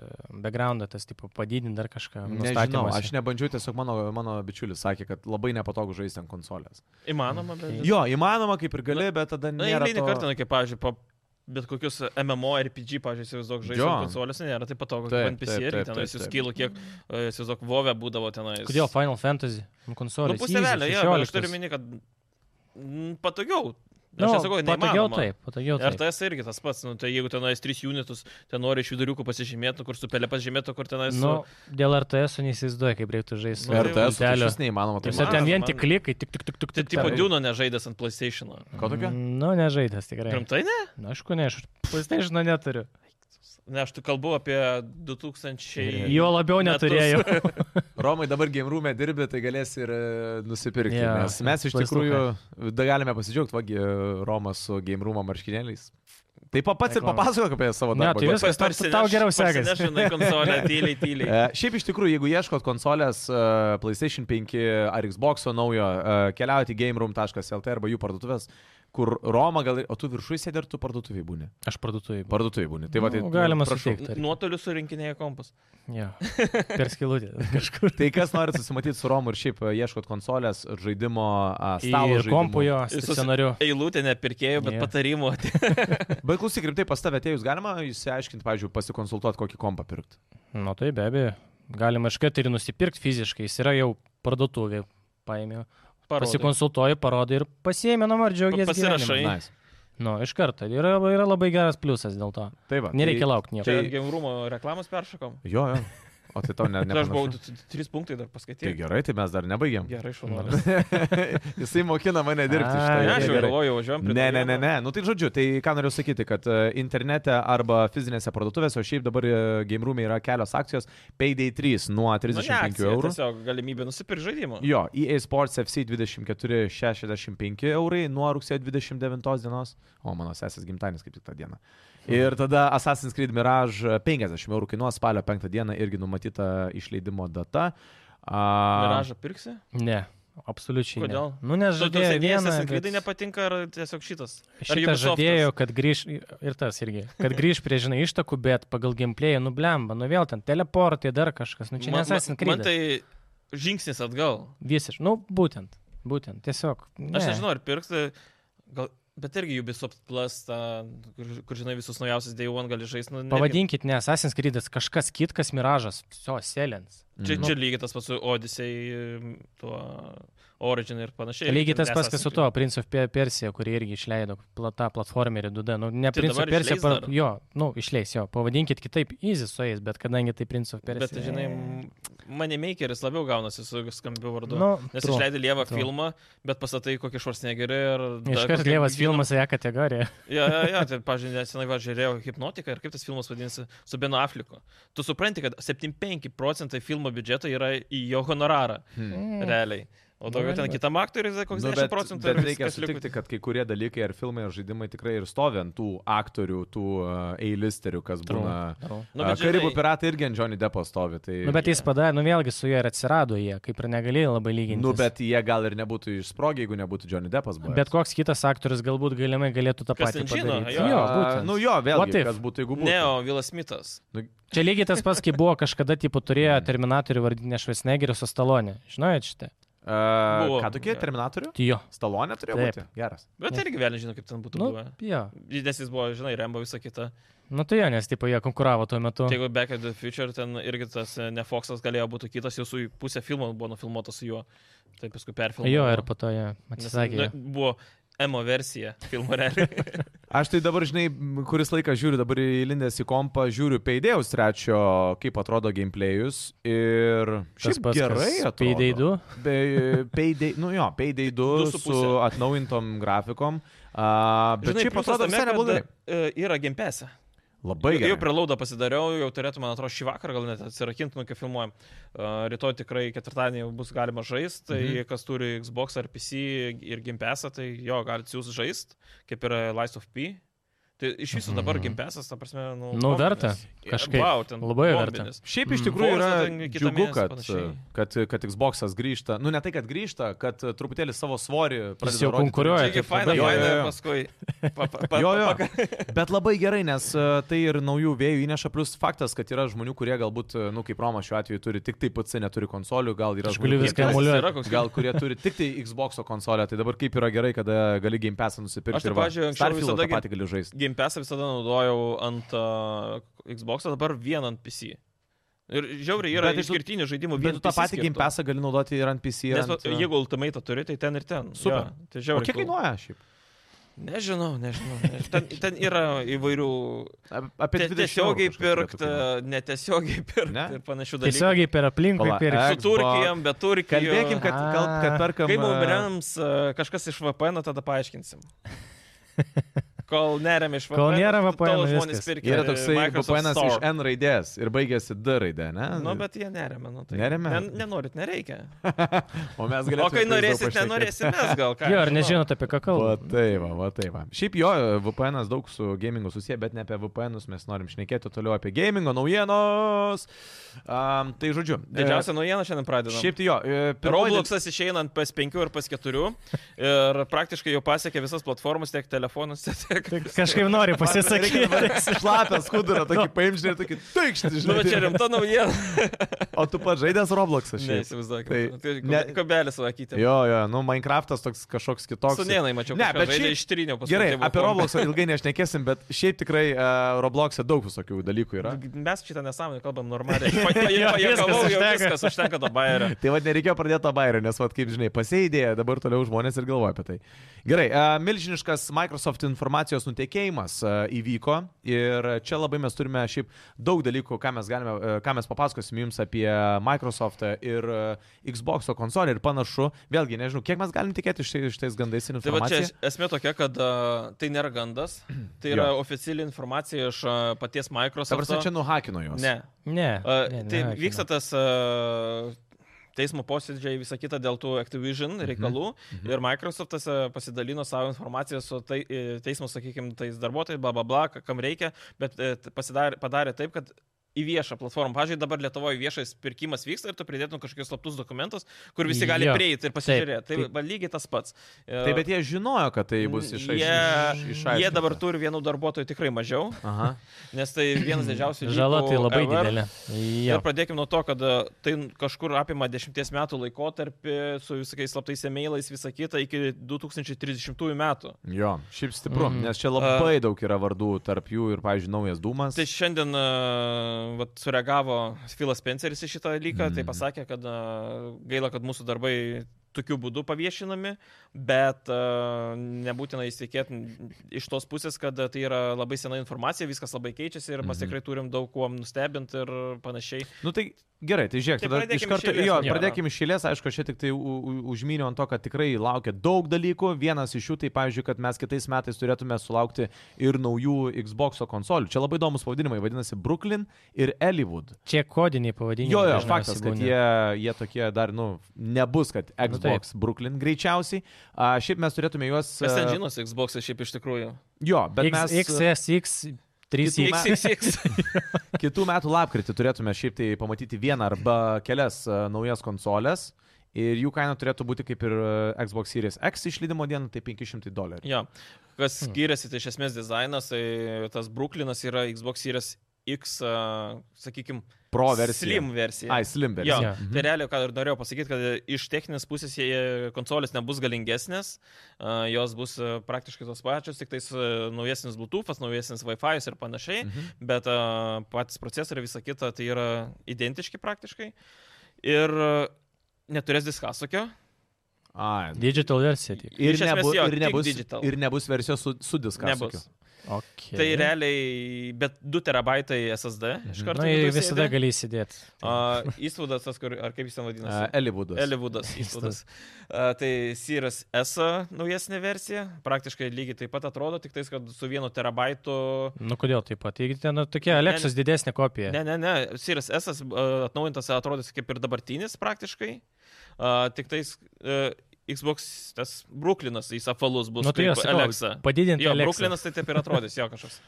Speaker 3: backgroundą, tas tipo, padidinti dar kažką.
Speaker 1: Nežinau,
Speaker 3: nustatymuose?
Speaker 1: aš nebandžiau, tiesiog mano, mano bičiulis sakė, kad labai nepatogu žaisti ant konsolės.
Speaker 2: Įmanoma, bet.
Speaker 3: Mhm.
Speaker 1: Jo, įmanoma kaip ir gali, bet tada
Speaker 2: Na,
Speaker 1: nėra.
Speaker 2: eilinį to... kartą, nu, kaip, pavyzdžiui, po bet kokius MMORPG, pavyzdžiui, įsivaizduok, žaisti
Speaker 1: Jo.
Speaker 2: konsolėse nėra taip patogu,
Speaker 1: Taip,
Speaker 2: kaip ant PC
Speaker 1: taip,
Speaker 2: irgi
Speaker 1: taip,
Speaker 2: tenai
Speaker 1: taip, taip.
Speaker 2: suskilų, kiek, e, įsivaizduok, vovė būdavo tenai.
Speaker 3: Kodėl Final Fantasy? Konsolė.
Speaker 2: Nu, pusė velio, jo, bet aš turiu minį, kad mm, patogiau. Aš no, nesakau,
Speaker 3: Nu, Patogiau
Speaker 2: neįmanoma.
Speaker 3: taip, patogiau
Speaker 2: Ir
Speaker 3: taip.
Speaker 2: tas irgi tas pats, nu, tai jeigu tenais 3 unitus, ten nori iš viduriukų pasižymėti, kur su pelė pasižymėti, kur tenais...
Speaker 3: Nu,
Speaker 2: Nu,
Speaker 3: dėl RTS neįsivaizduoju, kaip reiktų žaisti.
Speaker 2: Nu,
Speaker 1: RTS tai
Speaker 3: Telio.
Speaker 1: iš vis neįmanoma.
Speaker 3: Taip,
Speaker 2: man-
Speaker 3: ten vien
Speaker 2: man-
Speaker 3: tik klikai, tik, tik, tik, tik.
Speaker 2: tai
Speaker 3: tik
Speaker 2: tipo
Speaker 3: tą.
Speaker 2: Dūno nežaidęs ant PlayStation.
Speaker 1: Ko tokio?
Speaker 3: Nu, nežaidęs tikrai.
Speaker 2: Rimtai, ne?
Speaker 3: Na, aišku, ne, aš PlayStation neturiu.
Speaker 2: Ne, aš tu kalbu apie 2000.
Speaker 3: Jo labiau
Speaker 2: metus.
Speaker 3: neturėjau.
Speaker 1: Romai dabar game room'e dirbi, tai galės ir e, nusipirkti.
Speaker 3: Jo,
Speaker 1: Yeah. Nes mes iš
Speaker 3: plaistukai.
Speaker 1: tikrųjų da galime pasidžiaugti, vagi, Romas su game room'o e marškinėliais. Taip pa- pats ir
Speaker 3: Reklama.
Speaker 1: papasakok apie savo
Speaker 3: Ne,
Speaker 1: darbą.
Speaker 3: tai
Speaker 1: Gal-
Speaker 3: viskas, tau- tau geriau sekasi.
Speaker 2: Nežinau, konsolę, tyliai, tyliai.
Speaker 1: E, Šiaip iš tikrųjų, jeigu ieškot konsolės e, PlayStation 5 ar Xbox naujo, e, keliauti gameroom.lt arba jų parduotuvės, kur Roma gal, ir- o tu viršui sėdi ar tu parduotuviai būni?
Speaker 3: Aš parduotuvėje.
Speaker 1: Parduotuviai būni. Tai, va, tai,
Speaker 3: Nu, galima
Speaker 1: prašau.
Speaker 3: suteikt. Tarkim.
Speaker 2: Nuotoliu surinkinėja kompus.
Speaker 3: Jo. Per skilutę kažkur.
Speaker 1: Tai kas norit susimatyti su Romu ir šiaip e, ieškot konsolės, žaidimo, a, stalo
Speaker 3: Ir
Speaker 1: žaidimų.
Speaker 3: kompu jo,
Speaker 2: Visus-
Speaker 3: stacionariu.
Speaker 2: Eilutė ne pirkėjų, bet
Speaker 3: Jo.
Speaker 2: patarimų.
Speaker 1: Bet klausyk, rimtai pas tavę atėjus galima išsiaiškinti, pavyzdžiui, pasikonsultuoti, kokį kompą pirkti.
Speaker 3: Nu tai be abejo. Galima iš karto ir nusipirkti fiziškai. Jis yra jau parduotuvė. Paėmiau. Pasikonsultuoju, parodai ir pasiėmė namą ir džiaugiasi.
Speaker 2: Pasirašai. Tai-
Speaker 1: Nice.
Speaker 3: Nu, iš karto. Yra, yra labai geras pliusas dėl to.
Speaker 1: Tai va.
Speaker 3: Nereikia
Speaker 1: tai...
Speaker 3: laukti nieko.
Speaker 2: Čia
Speaker 1: Tai-
Speaker 2: gimrumo reklamos peršokom.
Speaker 1: Jo, jo. O tai tau ne,
Speaker 2: Tai aš buvau
Speaker 1: ne.
Speaker 2: t- t- trys punktai dar
Speaker 1: Tai
Speaker 2: paskaityti.
Speaker 1: gerai, tai mes dar nebaigėm.
Speaker 2: Gerai,
Speaker 3: Nu,
Speaker 2: šaunuolis.
Speaker 1: Jisai mokina mane dirbti
Speaker 3: Ai,
Speaker 1: šitą.
Speaker 2: Ne,
Speaker 3: gerai,
Speaker 2: aš jau
Speaker 3: gerai.
Speaker 2: galvoju, važiuojam prie
Speaker 1: Ne, ne, ne,
Speaker 2: naujienų.
Speaker 1: ne. Nu tai žodžiu, tai ką noriu sakyti, kad e, internete arba fizinėse parduotuvėse, o šiaip dabar e, game room yra kelios akcijos, Payday 3 nuo
Speaker 2: Nu, ne
Speaker 1: 35
Speaker 2: akcija,
Speaker 1: eurų.
Speaker 2: Tiesiog galimybė nusipirkti žaidimą.
Speaker 1: Jo, EA Sports FC 24,65 eurai nuo rugsėjo 29 dienos, o mano sesės gimtadienis kaip tik tą dieną. Ir tada Assassin's Creed Mirage 50 eurų kainuos spalio 5 dieną irgi numatyta išleidimo data. A,
Speaker 2: Miražą pirksi?
Speaker 3: Ne, absoliučiai.
Speaker 2: Kodėl?
Speaker 3: Ne. Nu, nes
Speaker 2: Žodžiu,
Speaker 3: žadėjo vieną.
Speaker 2: vienas klydai
Speaker 3: bet
Speaker 2: nepatinka ar tiesiog šitas. Ar
Speaker 3: Šitą
Speaker 2: Ubisoftas?
Speaker 3: žadėjo, kad grįž ir tas irgi, kad grįž prie žinai ištakų, bet pagal gameplay nublemba, nu vėl ten teleportai, dar kažkas, nu čia
Speaker 2: Ma- ma-
Speaker 3: nesasin
Speaker 2: Man
Speaker 3: kryptis.
Speaker 2: tai žingsnis atgal.
Speaker 3: Visiškai, nu būtent, būtent, tiesiog. Ne.
Speaker 2: Aš nežinau, ar pirkti, gal, bet irgi Ubisoft Plus, ta, kur, kur žinai visus naujausius Day One gali žaisti. Nu,
Speaker 3: Pavadinkit, ne Assassin's Creed'as, kažkas kitkas miražas, so, selins.
Speaker 2: Čia,
Speaker 1: mm.
Speaker 2: čia lygiai tas pats su Odyssey, tuo Origin ir panašiai.
Speaker 3: Lygiai
Speaker 2: Ir
Speaker 3: tas
Speaker 2: mes
Speaker 3: pats, kas
Speaker 2: esam-
Speaker 3: su to Prince of Pe- Persija, kurį irgi išleido, plata platformerį 2D, nu ne
Speaker 2: Tai
Speaker 3: Prince of
Speaker 2: dabar
Speaker 3: Persija,
Speaker 2: išleis
Speaker 3: par...
Speaker 2: dar?
Speaker 3: jo, nu išleis jo, pavadinkit kitaip, easy su jais, bet kadangi tai Prince of Persija.
Speaker 2: Bet, žinai, mane makeris labiau gaunasi su skambiu vardu.
Speaker 3: nu,
Speaker 2: Nes
Speaker 3: tru.
Speaker 2: išleidai lievą
Speaker 3: tru.
Speaker 2: filmą, bet pasatai kokį švarsnegerį ir...
Speaker 3: Iškart Lievas filmas į ją kategoriją.
Speaker 2: Ja, ja, ja, tai, pažiūrėjau, nesenai va žiūrėjau Hipnotiką ir kaip tas filmas vadinasi su Beno Afliku. Tu supranti, kad 75 procentai filmo biudžeto yra į jo honorarą,
Speaker 1: Hmm.
Speaker 3: Mm.
Speaker 2: realiai. O
Speaker 3: Nu,
Speaker 2: daugiau ten
Speaker 3: gali
Speaker 2: kitam aktoriui, tai koks
Speaker 1: Nu,
Speaker 2: 10
Speaker 1: bet,
Speaker 2: procentų
Speaker 1: bet
Speaker 2: ir
Speaker 1: reikia
Speaker 2: viskas liko.
Speaker 1: sutikti, kad kai kurie dalykai ar filmai ar žaidimai tikrai ir stovi ant tų aktorių, tų e, eilisterių, kas
Speaker 3: Tru,
Speaker 1: būna.
Speaker 3: tru.
Speaker 2: Nu,
Speaker 1: Nu,
Speaker 2: bet
Speaker 1: Karibų
Speaker 2: žinai-
Speaker 1: piratai irgi ant Johnny Depo stovi. Tai...
Speaker 3: Nu, bet jis padarė, nu vėlgi su juo ir atsirado jie, kaip ir negalėjo labai lyginti.
Speaker 1: Nu, bet jie gal ir nebūtų išsprogę, jeigu nebūtų Johnny Depas buvęs.
Speaker 3: bet koks kitas aktorius galbūt galimai galėtų tą
Speaker 2: Kas
Speaker 3: patį
Speaker 2: ten žino,
Speaker 3: padaryti.
Speaker 2: jo.
Speaker 3: jo,
Speaker 1: A,
Speaker 3: būtent.
Speaker 1: Nu jo, vėl
Speaker 3: What if?
Speaker 1: kas būtų, jeigu būtų.
Speaker 2: Ne, o Vilas Smithas.
Speaker 3: Čia lygiai tas pats, kai buvo kažkada, tipo, turėjo Terminatorių vardinę Švesnegerį su Stalonė. Žinojai šitą?
Speaker 1: A,
Speaker 2: Buvo.
Speaker 1: E, ką tokie, Terminatorių?
Speaker 3: Tai jo.
Speaker 1: Stalonė turėjo
Speaker 3: Taip.
Speaker 1: būti. Geras.
Speaker 2: Bet
Speaker 3: Ne.
Speaker 2: irgi vėl nežinau, kaip ten būtų
Speaker 3: Nu,
Speaker 2: buvę.
Speaker 3: jo.
Speaker 2: Nes jis buvo, žinai, Rembo visą kitą.
Speaker 3: Nu, tai jo, nes, tipo, jie konkuravo tuo metu.
Speaker 2: Tai jeigu Back to the Future ten irgi tas e, ne Foxas galėjo būti kitas, jau su pusė filmo buvo nufilmuotas su juo. Tai paskui perfilmuotas.
Speaker 3: Jo, ir po to jie atsisakė. jo.
Speaker 2: Buvo emo versija filmo realiai.
Speaker 1: Aš tai dabar, žinai, m, kuris laikas žiūriu, dabar įlindęs į kompą, žiūriu Peidėjus trečio, kaip atrodo gameplayus. Ir
Speaker 3: Tas
Speaker 1: šiaip
Speaker 3: pats, kas
Speaker 1: gerai atrodo.
Speaker 3: Payday 2.
Speaker 1: Be, payday, nu jo, Payday 2
Speaker 2: Du
Speaker 1: su,
Speaker 2: su
Speaker 1: su
Speaker 2: puse.
Speaker 1: atnaujintom grafikom. A, bet Žinai, šiaip
Speaker 2: pliusas
Speaker 1: atrodo
Speaker 2: tame,
Speaker 1: visai
Speaker 2: kad,
Speaker 1: neblogai.
Speaker 2: e, Yra gimpesė.
Speaker 1: Labai gerai.
Speaker 2: Jau prie laudo pasidariau, jau turėtų, man atrodo, šį vakarą gal net atsirakinti, nu, kai filmuojam. E, Rytoj tikrai ketvirtadienį jau bus galima žaisti, tai
Speaker 1: Mhm.
Speaker 2: mhm. kas turi Xbox ar PC ir gimpesą, tai jo, galite jūs žaisti, kaip yra Lies of P. Tai iš viso dabar
Speaker 3: Mhm.
Speaker 2: gimpesas, ta prasme, nu...
Speaker 3: Nu, verta.
Speaker 2: bombinis.
Speaker 3: Kažkaip.
Speaker 2: Wow, ten
Speaker 3: Labai verta.
Speaker 2: bombinis.
Speaker 1: Šiaip
Speaker 3: Mm.
Speaker 1: iš tikrųjų yra
Speaker 2: Forza ten kitą
Speaker 1: džiugu,
Speaker 2: mėnesį
Speaker 1: kad,
Speaker 2: panašiai.
Speaker 1: kad, kad Xbox'as grįžta. Nu, ne tai, kad grįžta, kad truputėlį savo svorį pradeda.
Speaker 3: Jis jau
Speaker 1: rodyti.
Speaker 3: konkuruoja.
Speaker 2: Taigi,
Speaker 3: taip
Speaker 2: faina,
Speaker 1: tai
Speaker 3: labai
Speaker 1: Jo,
Speaker 2: faina,
Speaker 1: jo, jo.
Speaker 2: ir paskui. Pa, pa, pa,
Speaker 1: Jo, jo.
Speaker 2: pa- pa-
Speaker 1: Bet labai gerai, nes e, tai ir naujų vėjų įneša, plus faktas, kad yra žmonių, kurie galbūt, e, nu, kaip Roma šiuo atveju, turi tik tai PC, neturi konsolių, gal yra
Speaker 3: Aš galiu
Speaker 1: žmonių,
Speaker 3: viską
Speaker 1: kurie-
Speaker 3: emuliuot.
Speaker 2: Yra koks-
Speaker 1: Gal kurie turi tik tai Xbox konsolę, tai dabar kaip yra gerai, kada gali Game Pass nusipirkti.
Speaker 2: Aš tai,
Speaker 1: ir va,
Speaker 2: pavyzdžiui, anksčiau
Speaker 1: Starfield'ą
Speaker 2: visada
Speaker 1: tą patį galiu žaisti.
Speaker 2: Game Passą visada naudojau ant uh, Xbox, dabar vien ant PC. Ir žiauriai yra
Speaker 1: Bet tai tu-
Speaker 2: išskirtinių
Speaker 1: Bet
Speaker 2: žaidimų Nu, vien
Speaker 1: tu tą
Speaker 2: PC
Speaker 1: patį Game
Speaker 2: skirtų.
Speaker 1: Passą gali naudoti ir ant PC. Ir
Speaker 2: Nes,
Speaker 1: ant,
Speaker 2: ant... jeigu Ultimate turi, tai ten ir ten.
Speaker 1: Super.
Speaker 2: Jo, tai
Speaker 1: O
Speaker 2: žiauriai.
Speaker 1: kiek
Speaker 2: cool.
Speaker 1: kainuoja šiaip?
Speaker 2: Nežinau, nežinau. nežinau. Ten, ten yra įvairių.
Speaker 1: Ap- Apie
Speaker 2: te-
Speaker 1: 20 eurų tai
Speaker 2: Tiesiogiai e,
Speaker 1: kažkas turėtų
Speaker 2: pirkti,
Speaker 1: kainuot.
Speaker 2: netiesiogiai
Speaker 1: Ne?
Speaker 2: pirkti ir panašių dalykų.
Speaker 3: Tiesiogiai per aplinkui,
Speaker 1: Pala,
Speaker 3: per...
Speaker 1: e,
Speaker 2: Su Turkijam, bet Turkija.
Speaker 1: Kalbėkim, kad, kal, kad
Speaker 3: Ah.
Speaker 1: perkam.
Speaker 2: Kaip
Speaker 1: e,
Speaker 2: mums rems e, kažkas iš VPN, tada paaiškinsim. nu, kol nerem iš VPN.
Speaker 3: Kol nėra
Speaker 2: tol
Speaker 1: nu,
Speaker 3: VPN,
Speaker 2: žmonės
Speaker 3: viskas.
Speaker 2: pirkia.
Speaker 1: Yra toksai
Speaker 2: Microsoft
Speaker 1: VPN iš
Speaker 2: Store.
Speaker 1: N raidės ir baigėsi D raidė, ne?
Speaker 2: Nu, bet jie neremia, nu tai.
Speaker 1: Neremia?
Speaker 2: Nen, nenorit, nereikia.
Speaker 1: O mes galėtume.
Speaker 2: O kai norėsit, nenorėsit, mes gal ką.
Speaker 3: Jo,
Speaker 2: aš
Speaker 3: ar
Speaker 2: žinau.
Speaker 3: nežinot apie ką
Speaker 1: Va
Speaker 3: kalbate?
Speaker 1: tai, va, va tai, va. Šiaip jo, VPN daug su gamingu susiję, bet ne apie VPN, mes norim šnekėti toliau apie gamingo naujienos. Um, tai žodžiu. e,
Speaker 2: Didžiausia naujiena šiandien pradedame.
Speaker 1: Šiaip tai jo, e, pirmoji dien-
Speaker 2: Robloxas išeina ant PS5 ir PS4 ir praktiškai jau pasiekė visas platformas, tiek telefonus, tiek... Nu,
Speaker 3: Tai Kažkaip nori pasisakyti.
Speaker 1: Šlapęs kudurą, tokį paimžinį ir tokį tuikštį,
Speaker 2: Nu, bet čia
Speaker 1: žinai.
Speaker 2: rimta naujiena.
Speaker 1: O tu pats žaidęs Robloxą šiaip.
Speaker 2: Neįsivaizduok. Tai,
Speaker 1: Tai-
Speaker 2: tai
Speaker 1: ne-
Speaker 2: ne... kabelis vakyti.
Speaker 1: Jo, jo, nu Minecraftas toks kažkoks kitoks.
Speaker 2: Su Nenai mačiau.
Speaker 1: Ne,
Speaker 2: Ne,
Speaker 1: bet
Speaker 2: bet čia
Speaker 1: šiaip-
Speaker 2: ištriniau paskui.
Speaker 1: Gerai,
Speaker 2: tai buvo
Speaker 1: apie
Speaker 2: forma.
Speaker 1: Robloxą ilgai nešnekėsim, bet šiaip tikrai uh, Roblox'e daug visokių dalykų yra.
Speaker 2: Mes šitą nesąmonę kalbam normaliai. Pa, pa,
Speaker 3: Jo,
Speaker 2: pa,
Speaker 3: viskas
Speaker 2: jau
Speaker 3: užtenka.
Speaker 2: viskas užtenka to bairio.
Speaker 1: Tai vad nereikėjo pradėti to bairio, nes vad kaip žinai, pasėdėjo, dabar toliau žmonės ir galvoja apie tai. Gerai, a, milžiniškas Microsoft informacijos nutekėjimas a, įvyko ir čia labai mes turime šiaip daug dalykų, ką mes, galime, a, ką mes papasakosim jums apie Microsoftą ir a, Xbox'o konsolę ir panašu. Vėlgi, nežinau, kiek mes galim tikėti šitai- šitais gandais ir
Speaker 2: Tai va
Speaker 1: informacija.
Speaker 2: čia es- esmė tokia, kad a, tai nėra gandas, tai yra oficiali informacija iš a, paties
Speaker 1: Ta
Speaker 2: Microsoft.
Speaker 1: prasme, čia nuhakino juos.
Speaker 2: Ne.
Speaker 3: Ne.
Speaker 2: A,
Speaker 3: ne,
Speaker 2: tai
Speaker 3: ne,
Speaker 2: vyksta tas a, teismo posėdžiai, visa kita dėl tų Activision
Speaker 3: Mhm.
Speaker 2: reikalų ir Microsoftas a, pasidalino savo informaciją su tai, e, teismo, sakykime, tais darbuotojais, bla bla bla, ka- kam reikia, bet e, t- pasidarė, padarė taip, kad į viešą platformą. Pavyzdžiui, dabar Lietuvoje viešas pirkimas vyksta ir tu pridėtum kažkokius slaptus dokumentus, kur visi gali
Speaker 3: Jo.
Speaker 2: prieiti ir pasižiūrėti. Tai
Speaker 3: tai-
Speaker 2: va, lygiai tas pats. E,
Speaker 1: Taip, bet jie žinojo, kad tai bus
Speaker 2: N-
Speaker 1: išaiš- iš-
Speaker 2: Jie,
Speaker 1: išaiškinta.
Speaker 2: jie dabar turi vienų darbuotojų tikrai mažiau,
Speaker 1: Aha.
Speaker 2: nes tai vienas didžiausių
Speaker 3: žinau. Žala
Speaker 2: leakų
Speaker 3: tai labai
Speaker 2: ever.
Speaker 3: didelė.
Speaker 2: Ir
Speaker 3: Jo.
Speaker 2: pradėkime nuo to, kad e, tai kažkur apima dešimties metų laikotarpį su visokiais slaptais emailais, visa kita iki 2030 metų.
Speaker 1: Jo, šiaip stipru, mm.
Speaker 3: Mhm.
Speaker 1: nes čia labai daug yra vardų, tarp jų ir, pavyzdžiui, naujas Dūmas.
Speaker 2: Tai šiandien e, vat, sureagavo Filas Spenceris į šitą dalyką,
Speaker 1: Mhm.
Speaker 2: tai pasakė, kad e, gaila, kad mūsų darbai tokiu būdu paviešinami, bet e, nebūtina įsitikėti iš tos pusės, kad e, tai yra labai sena informacija, viskas labai keičiasi ir mes
Speaker 1: Mhm.
Speaker 2: tikrai turim daug kuo nustebinti ir panašiai.
Speaker 1: Nu tai gerai, tai žiūrėk,
Speaker 2: Tai
Speaker 1: tada
Speaker 2: pradėkim
Speaker 1: iš karto,
Speaker 2: iš eilės,
Speaker 1: jo,
Speaker 2: jo.
Speaker 1: pradėkime iš eilės, aišku, aš čia tik tai u- u- užmyniau ant to, kad tikrai laukia daug dalykų. Vienas iš jų, tai pavyzdžiui, kad mes kitais metais turėtume sulaukti ir naujų Xbox konsolių. Čia labai įdomus pavadinimai, vadinasi Brooklyn ir Elywood.
Speaker 3: Čia kodiniai pavadinimai.
Speaker 1: Jo, jo,
Speaker 3: dažniausiai
Speaker 1: faktas, kad
Speaker 3: būna.
Speaker 1: jie, jie tokie dar, nu, nebus, kad Xbox Brooklyn greičiausiai. A, šiaip mes turėtume juos...
Speaker 2: Kas ten
Speaker 1: a,
Speaker 2: žinos, Xbox šiaip iš tikrųjų.
Speaker 1: Jo, bet
Speaker 3: X-
Speaker 1: mes...
Speaker 3: XSX.
Speaker 1: Kitų
Speaker 3: 3
Speaker 1: metų-
Speaker 2: XXX.
Speaker 1: Kitų metų lapkritį turėtume šiaip tai pamatyti vieną arba kelias e, naujas konsoles. Ir jų kaina turėtų būti kaip ir e, Xbox Series X išleidimo diena, tai 500 dolerių.
Speaker 2: Jo. Kas
Speaker 1: Hmm.
Speaker 2: skiriasi, tai iš esmės dizainas, tai tas Brooklynas yra Xbox Series X, sakykime,
Speaker 1: Pro versija.
Speaker 2: Slim versija.
Speaker 1: Ai, slim
Speaker 2: Jo,
Speaker 1: versija. Mhm.
Speaker 2: tai realiai, ką ir norėjau pasakyti, kad iš techninės pusės jie- konsolės nebus galingesnės, a, jos bus a, praktiškai tos pačios, tik tais a, naujesnis Bluetooth'as, naujesnis Wi-Fi ir panašiai,
Speaker 1: Mhm.
Speaker 2: bet a, patys procesoriai visą kitą tai yra identiški praktiškai. Ir a, neturės diskasokio,
Speaker 1: Ai.
Speaker 3: Digital versija tik.
Speaker 1: Tai Ir,
Speaker 2: Iš esmės
Speaker 1: nebu,
Speaker 2: jo,
Speaker 1: ir,
Speaker 2: tik
Speaker 1: nebus,
Speaker 2: digital.
Speaker 1: ir nebus versijos su, su diskasokiu.
Speaker 2: nebus.
Speaker 3: Okay.
Speaker 2: Tai realiai, bet 2 terabaitai SSD iš karto.
Speaker 3: Mhm. Na,
Speaker 2: viduj
Speaker 3: ir
Speaker 2: sėdi.
Speaker 3: visada gali įsidėti.
Speaker 2: A, Įspūdas tas, kur, ar kaip jis ten
Speaker 1: E,
Speaker 2: vadinasi?
Speaker 1: Elivudas.
Speaker 2: Elivudas įspūdas. A, Tai Siras S naujesnė versija, praktiškai lygiai taip pat atrodo, tik tais, kad su vienu terabaitu.
Speaker 3: Nu, kodėl taip pat? Taigi ten nu, tokia Alexos didesnė kopija.
Speaker 2: Ne, ne, ne, Siras S atnaujintas atrodys kaip ir dabartinis praktiškai, A, tik tais a, Xbox tas Brooklynas, jis apvalus bus.
Speaker 3: Nu, tai
Speaker 2: kaip
Speaker 3: jo, sakau,
Speaker 2: Alexa.
Speaker 3: Padidinti
Speaker 2: Jo,
Speaker 3: Alexą.
Speaker 2: Brooklynas tai taip ir atrodys, jo kažkas.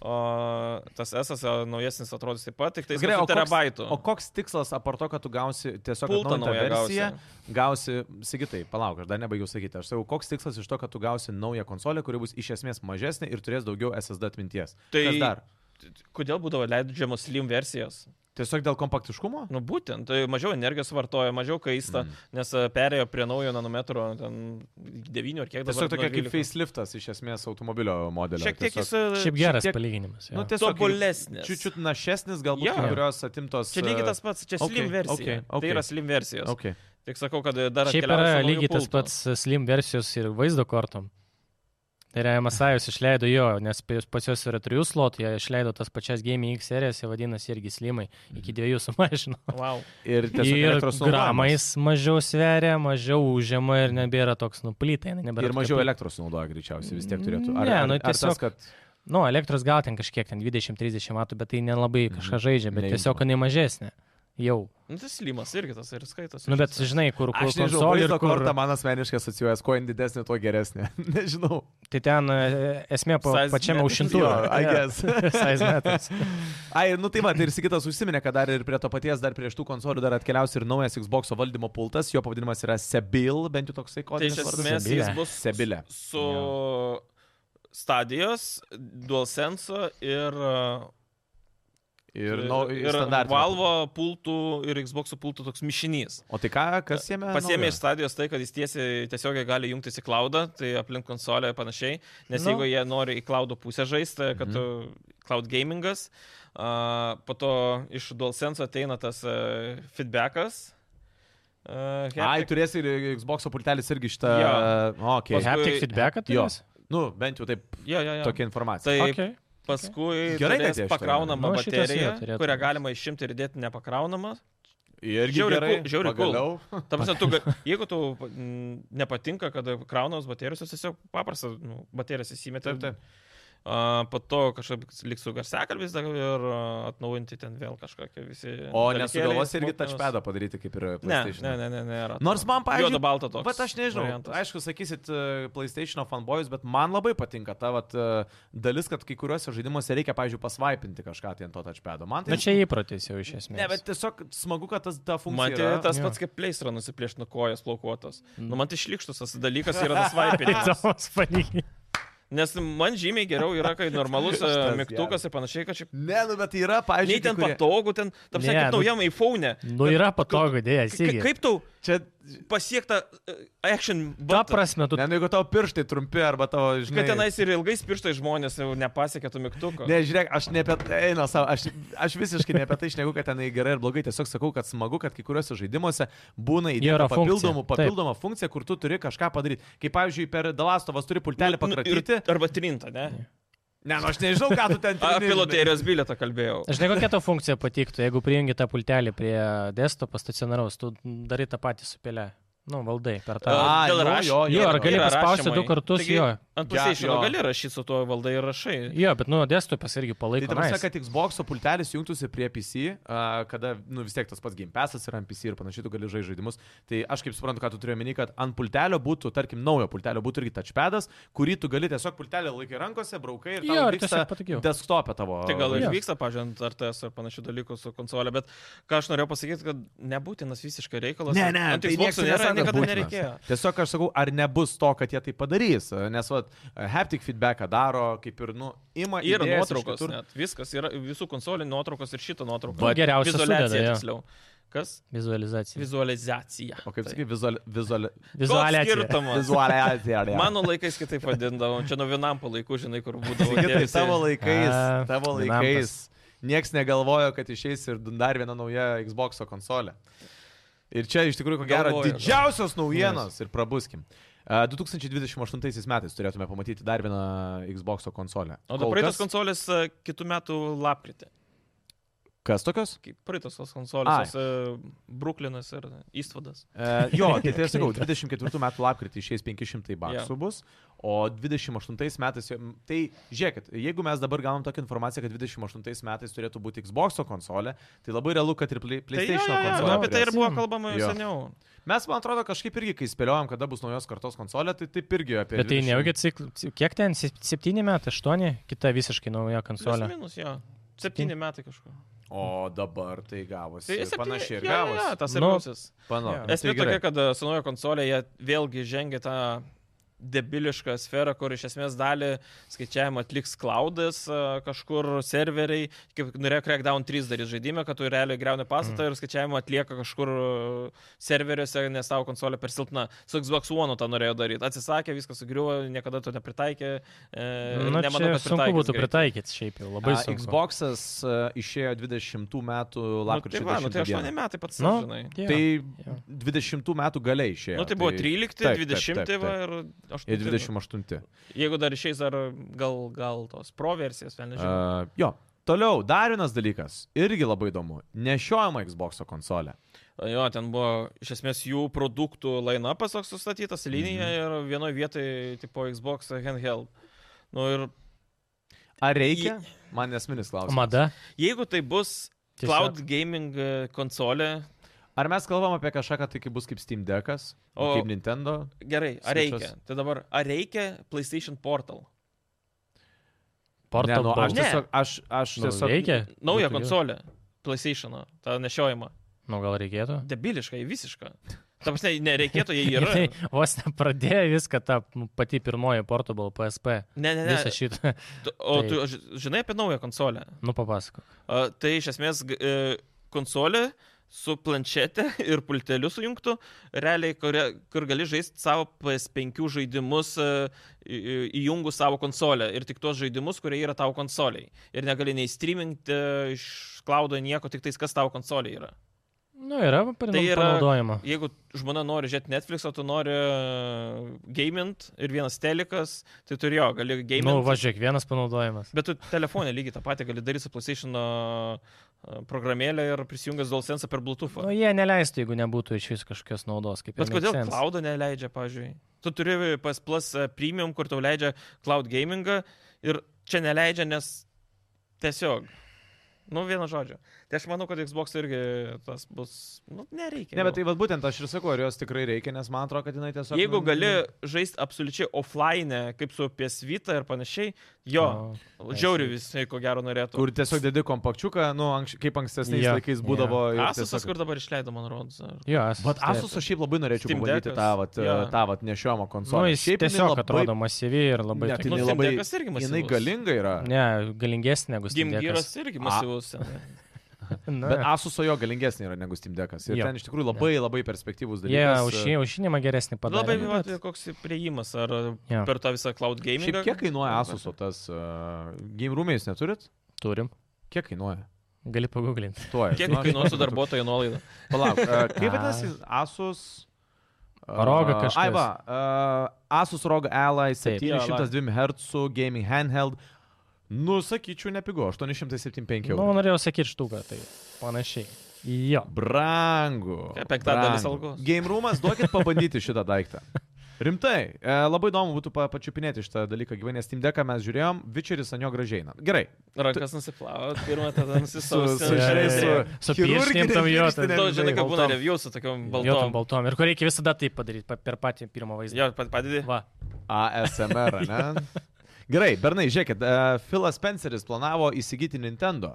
Speaker 2: O tas S naujesnis atrodys taip pat, tik tai
Speaker 1: Nu, Gerai, o
Speaker 2: su
Speaker 1: koks-
Speaker 2: terabaitu.
Speaker 1: O koks tikslas, apart to, kad tu gausi tiesiog
Speaker 2: Pultą
Speaker 1: atnaujintą
Speaker 2: naują
Speaker 1: versiją,
Speaker 2: gausi.
Speaker 1: gausi, sakytai, palauk, aš dar nebaigiau sakyti, aš sakau, koks tikslas iš to, kad tu gausi naują konsolę, kuri bus iš esmės mažesnė ir turės daugiau SSD atminties.
Speaker 2: Tai-
Speaker 1: Kas dar?
Speaker 2: Kodėl būdavo leidžiamos slim versijos?
Speaker 1: Tiesiog dėl kompaktiškumo?
Speaker 2: Nu būtent, tai mažiau energijos vartoja, mažiau kaista,
Speaker 1: Mm.
Speaker 2: mm. nes e, perėjo prie naujo nanometro, ten 9 ar kiek dabar.
Speaker 1: Tiesiog tokia
Speaker 2: nuo
Speaker 1: kaip
Speaker 2: 12.
Speaker 1: faceliftas iš esmės automobilio modelio.
Speaker 2: Šiek tiek jis.
Speaker 1: Tiesiog-
Speaker 2: e,
Speaker 3: Šiaip geras
Speaker 1: šiek tiek-
Speaker 3: palyginimas. jo.
Speaker 1: Nu, tiesiog
Speaker 2: tobulesnis.
Speaker 1: Čiučiut našesnis, galbūt
Speaker 2: Jo.
Speaker 1: kai kurios atimtos. e,
Speaker 2: Čia lygiai tas pats, čia slim
Speaker 1: okay,
Speaker 2: okay, versija.
Speaker 1: okay,
Speaker 2: Okay, okay. Tai yra slim versijos. Okay.
Speaker 1: Okay.
Speaker 2: Tik sakau, kad e, dar
Speaker 3: Šiaip
Speaker 2: atkeliauja
Speaker 3: yra
Speaker 2: su nauju
Speaker 3: lygiai tas
Speaker 2: pultu.
Speaker 3: pats slim versijos ir vaizdo kortom. Tai yra Masajus išleido jo, nes pi- pas juos yra trijų slotų, jie išleido tas pačias Game X serijas, jie vadinasi irgi slimai, iki dviejų sumažino.
Speaker 2: Wow.
Speaker 1: Ir tiesiog
Speaker 3: Ir
Speaker 1: elektros sunaudojimas.
Speaker 3: gramais mažiau sveria, mažiau užima ir nebėra toks nu, nuplytai.
Speaker 1: Ir mažiau elektros sunaudoja greičiausiai vis tiek turėtų. Ar,
Speaker 3: Ne,
Speaker 1: ar,
Speaker 3: nu,
Speaker 1: ar tas,
Speaker 3: tiesiog
Speaker 1: kad...
Speaker 3: Nu, elektros gal ten kažkiek, ten 20-30 metų, bet tai nelabai
Speaker 1: Mhm.
Speaker 3: kažką žaidžia, bet
Speaker 1: Nejuntama.
Speaker 3: tiesiog jinai mažesnė. Jau.
Speaker 2: Nu, tas limas irgi tas ir skaitos.
Speaker 3: Nu, bet žinai, kur, kur
Speaker 1: Aš nežinau,
Speaker 3: konsolė
Speaker 1: vaizdo
Speaker 3: ir kur...
Speaker 1: kortą man asmeniškai asocijuojas, kuo jin didesnė, tuo geresnė. nežinau.
Speaker 3: Tai ten e, esmė po,
Speaker 2: Size
Speaker 3: pačiame
Speaker 2: matters.
Speaker 1: Jo,
Speaker 3: aušintuvė.
Speaker 1: I guess.
Speaker 3: Size matters.
Speaker 1: Ai, nu tai va, tai ir Sikitas užsiminė, kad dar ir prie to paties, dar prie šitų konsolių dar atkeliaus ir naujas Xbox valdymo pultas, jo pavadinimas yra Sebil, bent jau toksai
Speaker 2: Tai
Speaker 1: kodinis
Speaker 2: iš
Speaker 1: vardas.
Speaker 2: esmės
Speaker 3: Sebilė.
Speaker 2: jis bus
Speaker 1: Sebilė.
Speaker 2: su stadijos, DualSense ir,
Speaker 1: Ir, nau- ir,
Speaker 2: ir
Speaker 1: standartinio.
Speaker 2: Valvo pultų ir Xbox pultų toks mišinys.
Speaker 1: O tai ką, kas jame?
Speaker 2: Pasiemė
Speaker 1: naujo?
Speaker 2: iš stadijos tai, kad jis tiesiai tiesiogiai gali jungtis į klaudą, tai aplink konsolę ir panašiai, nes
Speaker 3: Nu.
Speaker 2: nu. jeigu jie nori į klaudo pusę žaisti, kad mhm. cloud gamingas, uh, po to iš DualSense ateina tas uh, feedbackas. Uh,
Speaker 1: Ai, turės ir Xbox pultelis irgi šitą...
Speaker 2: Jo.
Speaker 1: Okay.
Speaker 2: Paskui-
Speaker 3: Haptic feedback
Speaker 1: Jo.
Speaker 3: atėjęs?
Speaker 1: Nu, bent jau taip
Speaker 2: jo, jo, jo.
Speaker 1: tokia informacija.
Speaker 2: Tai okay.
Speaker 3: Okay.
Speaker 2: paskui
Speaker 1: Gerai,
Speaker 2: Gerai,
Speaker 1: kad jie
Speaker 2: turės
Speaker 1: šitą
Speaker 2: pakraunamą
Speaker 3: rado.
Speaker 2: nu,
Speaker 3: Nu, šitas jo
Speaker 2: bateriją,
Speaker 3: turėtų
Speaker 2: kurią
Speaker 3: būt.
Speaker 2: galima išimti ir dėti nepakraunamą.
Speaker 1: Irgi
Speaker 2: žiauriai
Speaker 1: gerai,
Speaker 2: cool- žiauriai cool.
Speaker 1: pagaliau.
Speaker 2: Ta prasme, tu, ga- jeigu tau mm, nepatinka, kad kraunamos baterijos, jos tiesiog paprasta, nu, baterijas įsimeti.
Speaker 1: Taip, taip.
Speaker 2: A, po to kažkaip liks su garsekalbis dar ir a, atnaujinti ten vėl kažkokią visi.
Speaker 1: O
Speaker 2: dalykėliai,
Speaker 1: nesugalvos irgi
Speaker 2: smulkmenos.
Speaker 1: touchpadą padaryti kaip ir
Speaker 2: Ne,
Speaker 1: PlayStation.
Speaker 2: ne, ne, ne, nėra.
Speaker 1: Nors man, pavyzdžiui,
Speaker 2: Juoda balta toks.
Speaker 1: Bet aš nežinau, variantas. aišku, sakysit e, PlayStation fanboys, bet man labai patinka ta vat, e, dalis, kad kai kuriuose žaidimuose reikia, pavyzdžiui, pasvaipinti kažką tai ant to touchpado. Man tai...
Speaker 3: Na čia įprotis jau iš esmės.
Speaker 1: Ne, bet tiesiog smagu, kad tas ta funkcija.
Speaker 2: Man tai
Speaker 1: yra.
Speaker 2: tas
Speaker 3: Jo. Mm.
Speaker 2: pats kaip pleistra nusiplėšti nuo kojos plaukuotos. Nu, man tai šlikštus tas dalykas yra tas vaipinis.
Speaker 3: Įdomus palyginti.
Speaker 2: Nes man žymiai geriau yra, kai normalus e,
Speaker 1: Šitas
Speaker 2: mygtukas ir panašiai, kad čia...
Speaker 1: Ne, nu bet tai yra,
Speaker 2: Nei
Speaker 1: pavyzdžiui,
Speaker 2: ten
Speaker 1: kai kurie...
Speaker 2: patogu, ten, tam
Speaker 3: Ne,
Speaker 2: sakant,
Speaker 3: nu-
Speaker 2: naujam iPhone.
Speaker 3: Nu yra patogu, dėja,
Speaker 2: Ka-
Speaker 3: įsigyti.
Speaker 2: Kaip tau
Speaker 1: Čia,
Speaker 2: pasiektą e, action
Speaker 3: Ta
Speaker 2: button?
Speaker 3: prasme, tu...
Speaker 1: ne, nu jeigu tavo pirštai trumpi arba tavo, žinai...
Speaker 2: Kad tenais ir ilgais pirštais žmonės jau nepasiekia to mygtuko.
Speaker 1: Ne, žiūrėk, aš ne apie tai, eina savo, aš, aš visiškai ne apie tai šneku, kad ten gerai ir blogai, tiesiog sakau, kad smagu, kad kai kuriuose žaidimuose būna įdėta
Speaker 3: yra
Speaker 1: papildomų,
Speaker 3: funkcija, taip.
Speaker 1: papildoma funkcija, kur tu turi kažką padaryti. Kaip, pavyzdžiui, per Dalastovas turi pultelį
Speaker 2: Nu, nu, ir-
Speaker 1: pakratyti.
Speaker 2: Arba trintą, ne?
Speaker 1: Ne, nu aš nežinau, ką tu ten
Speaker 2: A, Apie
Speaker 1: trini,
Speaker 2: loterijos bilietą kalbėjau.
Speaker 3: Žinai, kokia to funkcija patiktų, jeigu prijungi tą pultelį prie desktopo stacionaraus, tu darai tą patį su pelė. Nu, valdai per tą.
Speaker 1: A,
Speaker 2: E, dėl
Speaker 1: jo,
Speaker 2: raš-
Speaker 1: jo,
Speaker 3: jo, ar gali
Speaker 2: yra
Speaker 3: paspausti
Speaker 2: rašymai.
Speaker 3: du kartus,
Speaker 2: Taigi,
Speaker 3: jo.
Speaker 2: Ant
Speaker 1: Ja,
Speaker 2: pusėšino
Speaker 1: jo.
Speaker 2: gali rašyti su tuo valdai ir rašai.
Speaker 3: Jo, bet nu, desktopas irgi
Speaker 1: Tai
Speaker 3: palaiko.
Speaker 1: tam prasme,
Speaker 3: nice.
Speaker 1: kad Xbox pultelis jungtųsi prie PC, a, kada, nu vis tiek tas pats Game Passas yra ant PC ir panašiai, tu gali žaisti žaidimus. Tai aš kaip suprantu, ką tu turėjai omeny, kad ant pultelio būtų, tarkim, naujo pultelio būtų irgi touchpadas, kurį tu gali tiesiog pultelį laikai rankose, braukai ir
Speaker 3: Jo,
Speaker 1: tau
Speaker 3: ir tiesiog patogiau.
Speaker 1: desktopė tavo.
Speaker 2: Tai gal ir
Speaker 3: Jo.
Speaker 2: vyksta, pažiūrėjant, ar tas ar panašių dalykų su konsolė, bet ką aš norėjau pasakyti, kad nebūtinas visiškai reikalas.
Speaker 1: Ne, ne,
Speaker 2: Ant
Speaker 1: tai
Speaker 2: Xbox'o
Speaker 1: nieks
Speaker 2: nėra,
Speaker 1: nesako, kad
Speaker 2: niekada
Speaker 1: būtinas.
Speaker 2: nereikėjo.
Speaker 1: Tiesiog aš sakau, ar nebus to, kad jie tai padarys, nes vat, haptic feedbacką daro, kaip ir, nu, ima
Speaker 2: Yra
Speaker 1: idėjas iš
Speaker 2: nuotraukos,
Speaker 1: kitur.
Speaker 2: net. viskas, yra visų konsolių nuotraukos ir šito nuotraukos.
Speaker 3: Nu, geriausia sudeda, jo.
Speaker 2: tiksliau. Kas?
Speaker 3: Vizualizacija.
Speaker 2: Vizualizacija. Tai.
Speaker 1: O kaip sakai, vizual... vizual...
Speaker 3: Vizualizacija.
Speaker 2: skirtumas?
Speaker 1: vizualizacija.
Speaker 2: Mano laikais kitaip vadindavom, čia nuo vienam palaikų, žinai, kur būdavo.
Speaker 1: Sigitai,
Speaker 2: tie
Speaker 1: tavo
Speaker 2: visi-
Speaker 1: laikais,
Speaker 3: A,
Speaker 1: tavo
Speaker 3: vienam
Speaker 1: laikais. Niekas negalvojo, kad išeis ir dar viena nauja Xbox konsolė. Ir čia iš tikrųjų, ko gero,
Speaker 2: Galvojo, galvojo.
Speaker 1: didžiausios naujienos ir prabuskim. A, 2028 metais turėtume pamatyti dar vieną Xbox konsolę.
Speaker 2: O dabar
Speaker 1: Kol
Speaker 2: praeitos
Speaker 1: kas-
Speaker 2: konsolės e, kitų metų lapkritį.
Speaker 1: Kas tokios?
Speaker 2: Kaip praeitos tos
Speaker 1: Ai.
Speaker 2: konsolės, e, Brooklynas ir Eastvadas.
Speaker 1: E, jo, tai tai aš sakau, 24 metų lapkritį išeis 500 baksų
Speaker 2: Jo.
Speaker 1: bus, o 28 metais, jau- tai žiūrėkit, jeigu mes dabar gaunam tokią informaciją, kad 28 metais turėtų būti Xbox konsolė, tai labai realu, kad ir Play- PlayStation
Speaker 2: tai, jo, jo, jo,
Speaker 1: konsolė.
Speaker 2: apie tai ir
Speaker 1: turės.
Speaker 2: buvo kalbama jau
Speaker 1: Jo.
Speaker 2: seniau.
Speaker 1: Mes, man atrodo, kažkaip irgi, kai spėliojom, kada bus naujos kartos konsolė, tai taip irgi apie...
Speaker 3: Bet tai
Speaker 1: 20.
Speaker 3: neaugi cikl... Kiek ten? 7 metai, 8? Kita visiškai nauja
Speaker 2: Plius
Speaker 3: konsolė.
Speaker 2: minus, jo. Septyni metai kažkur.
Speaker 1: O dabar tai gavosi.
Speaker 2: Tai
Speaker 1: Tai
Speaker 2: septyni-
Speaker 1: panašiai ir
Speaker 2: jo, jo, jo,
Speaker 1: gavosi.
Speaker 2: Tas
Speaker 3: Nu,
Speaker 2: ir gausis.
Speaker 1: Pano,
Speaker 3: jo.
Speaker 1: tai
Speaker 2: Esmė
Speaker 1: gerai.
Speaker 2: tokia, kad e, su naujo konsolė jie vėlgi žengia tą debilišką sferą, kur iš esmės dalį skaičiavimą atliks klaudas e, kažkur serveriai, kaip norėjo Crackdown 3 daryti žaidimą, kad tu realiai greuni pastatą mm. ir skaičiavimą atlieka kažkur e, serveriuose, nes tavo konsolė per silpna. Su Xbox One tą norėjo daryti. Atsisakė, viskas sugriuvo, niekada to nepritaikė. E, ir
Speaker 3: Nu,
Speaker 2: nemanau,
Speaker 3: čia
Speaker 2: kad
Speaker 3: sunku
Speaker 2: pritaikys
Speaker 3: būtų
Speaker 2: greitai.
Speaker 3: pritaikyti šiaip jau, labai
Speaker 1: A,
Speaker 3: sunku.
Speaker 1: Xbox'as e, išėjo 20 metų
Speaker 2: Nu,
Speaker 1: lapkričio.
Speaker 2: tai va, nu, tai
Speaker 1: 10 dieną.
Speaker 2: 8 metai pats,
Speaker 3: Nu,
Speaker 2: nu, žinai.
Speaker 3: jo.
Speaker 1: Tai
Speaker 3: Jo.
Speaker 1: 20 metų galiai išėjo.
Speaker 2: Nu, tai buvo nu, tai- 13,
Speaker 1: taip, taip,
Speaker 2: 20
Speaker 1: taip,
Speaker 2: va, ir
Speaker 1: Ir 28.
Speaker 2: Jeigu dar išeis, ar gal, gal tos proversijos, vėl nežinau.
Speaker 1: Uh, jo. Toliau, dar vienas dalykas, irgi labai įdomu, nešiojama Xbox konsolė.
Speaker 2: A, Jo, ten buvo iš esmės jų produktų line-upas toks sustatytas, linija
Speaker 3: Mhm.
Speaker 2: ir vienoje vietoje, tipo Xbox handheld. Nu ir
Speaker 1: Ar reikia? Man esminis klausimas.
Speaker 3: Mada.
Speaker 2: jeigu tai bus
Speaker 3: Tiesiog.
Speaker 2: cloud gaming e, konsolė,
Speaker 1: Ar mes kalbam apie kažką, kad tai kaip bus kaip Steam Deckas, o
Speaker 2: O-
Speaker 1: kaip Nintendo?
Speaker 2: gerai, ar
Speaker 1: Switch'as.
Speaker 2: reikia? Tai dabar, ar reikia PlayStation Portal?
Speaker 1: Ne,
Speaker 3: Portal.
Speaker 1: nu, aš
Speaker 2: Ne.
Speaker 1: tiesiog, aš, aš
Speaker 3: Nu,
Speaker 1: tiesiog
Speaker 3: reikia.
Speaker 2: Nauja
Speaker 3: Būtų gerai.
Speaker 2: konsolė. PlayStation, tą nešiojimą.
Speaker 3: Nu, gal reikėtų.
Speaker 2: Debiliškai, visišką. Tam aš nereikėtų, jei
Speaker 3: Ir
Speaker 2: yra.
Speaker 3: tai vos nepradėjo viską ta pati pirmoji Portable PSP.
Speaker 2: Ne, ne, ne.
Speaker 3: Visą šitą.
Speaker 2: Tu- O
Speaker 3: tai-
Speaker 2: tu ži- žinai apie naują konsolę?
Speaker 3: Nu, papasakok.
Speaker 2: A, Tai iš esmės g- e, konsolė su planšete ir pulteliu sujungtų, realiai, kur, kur gali žaisti savo PS5 žaidimus e, į- į- įjungus savo konsolę ir tik tuos žaidimus, kurie yra tavo konsoliai. Ir negali nei streaminti e, iš klaudo nieko, tik tais kas tavo konsoliai yra.
Speaker 3: Nu, yra, tai
Speaker 2: Tai yra-
Speaker 3: yra panaudojama.
Speaker 2: Jeigu žmona nori žiūrėti Netflix, o tu nori e, gamint ir vienas telikas, tai turi jo, gali gamint.
Speaker 3: Nu, važiuok, vienas panaudojimas.
Speaker 2: Bet tu telefonė lygiai tą patį gali daryti su PlayStation uh, programėlė ir prisijungęs DualSense per Bluetooth.
Speaker 3: Nu, jie neleistų, jeigu nebūtų iš vis kažkokios naudos. Kaip ir
Speaker 2: Bet
Speaker 3: makes
Speaker 2: kodėl
Speaker 3: sense.
Speaker 2: cloudą neleidžia, pažiūrėjau? Tu turi PS Plus e, Premium, kur tau leidžia cloud gamingą ir čia neleidžia, nes tiesiog. Nu, vieno žodžio. Tai aš manau, kad Xbox irgi tas bus. Nu, nereikia.
Speaker 1: Ne,
Speaker 2: jau.
Speaker 1: bet tai vad būtent aš ir sakau, ar jos tikrai reikia, nes man atrodo, kad jinai tiesiog...
Speaker 2: Jeigu
Speaker 1: nu,
Speaker 2: gali žaisti absoliučiai offline, kaip su PS Vita ir panašiai, jo,
Speaker 3: Nu,
Speaker 2: žiauriai visi, ko gero, norėtų.
Speaker 1: Kur tiesiog dedi kompakčiuką, nu, anks, kaip ankstesniais
Speaker 3: Jo.
Speaker 1: laikais būdavo. ir
Speaker 2: Asusas,
Speaker 1: tiesiog-
Speaker 2: kur dabar išleido, man rodos. ar-
Speaker 3: Jo, Nu, esu.
Speaker 1: Vat Asus aš šiaip labai norėčiau
Speaker 2: Steam
Speaker 1: pabandyti
Speaker 2: Deckas,
Speaker 1: tą, vat, e,
Speaker 2: jo.
Speaker 1: tą vat nešiojamą
Speaker 3: Nu,
Speaker 1: konsolę.
Speaker 3: jis
Speaker 1: Šiaip jinai
Speaker 3: tiesiog
Speaker 1: labai-
Speaker 3: atrodo masyvi ir labai...
Speaker 1: Ne,
Speaker 3: tokia-
Speaker 1: tai
Speaker 2: Nu,
Speaker 1: jinai
Speaker 2: Steam
Speaker 1: labai...
Speaker 2: Deckas irgi
Speaker 1: Jinai
Speaker 2: masyvus.
Speaker 1: galinga yra.
Speaker 3: Ne, galingesnė negu Steam
Speaker 2: Gimgyras
Speaker 3: Deckas.
Speaker 2: irgi masyvus. ten.
Speaker 3: Na,
Speaker 1: Bet Asuso jo galingesnė yra negu Steam Deckas. Ir
Speaker 3: nu, Jo.
Speaker 1: ten iš tikrųjų labai labai perspektyvus
Speaker 3: Jie
Speaker 1: dalykas. e,
Speaker 3: auši- aušinimą geresnį padarė.
Speaker 2: Labai
Speaker 3: bet-
Speaker 2: vat, koks prieimas, ar
Speaker 3: Jo.
Speaker 2: per tą visą cloud gaming.
Speaker 1: Šiaip kiek kainuoja Asuso tas... Uh, game room'ai jūs neturit?
Speaker 3: Turim.
Speaker 1: Kiek kainuoja?
Speaker 3: Gali paguglinti.
Speaker 1: Tuo.
Speaker 2: Kiek kainuos su darbuotojo nuolaida?
Speaker 1: Palauk, e, kaip vadinasi Asus? e,
Speaker 3: Roga kažkas.
Speaker 1: Ai, va, e, Asus Roga Ally
Speaker 3: Taip.
Speaker 1: 702 Hz gaming handheld. Nu, sakyčiau, nepigu, 875
Speaker 3: Nu,
Speaker 1: eurų.
Speaker 3: norėjau sakyti štuką, tai panašiai. Jo.
Speaker 1: Brangu.
Speaker 2: Ką, penktadalis
Speaker 1: brangu.
Speaker 2: algos?
Speaker 1: Game roomas, duokit pabandyti šitą daiktą. Rimtai, e, labai įdomu būtų pa- pačiupinėti šitą dalyką gyvenę Steam Decką, mes žiūrėjom, Vičeris anjo gražiai eina. Gerai.
Speaker 2: Rankas nusiplaut, pirmą tada
Speaker 1: Su- su-
Speaker 3: žinai,
Speaker 2: nusisausinti.
Speaker 3: su- su pirštinėm tom jo, ten-
Speaker 1: pirštinėm,
Speaker 2: Daug nu, žinai, kaip būna
Speaker 1: baltom.
Speaker 2: review su tokiam
Speaker 3: Baltom,
Speaker 2: baltom.
Speaker 3: baltom. Ir kur reikia visada tai padaryti pa- per patį pirmą vaizdą.
Speaker 2: Jo, pa- padedi.
Speaker 3: Va.
Speaker 1: ASMR, ne? Gerai, Bernai, žiūrėkit, uh, Philas Spenceris planavo įsigyti Nintendo.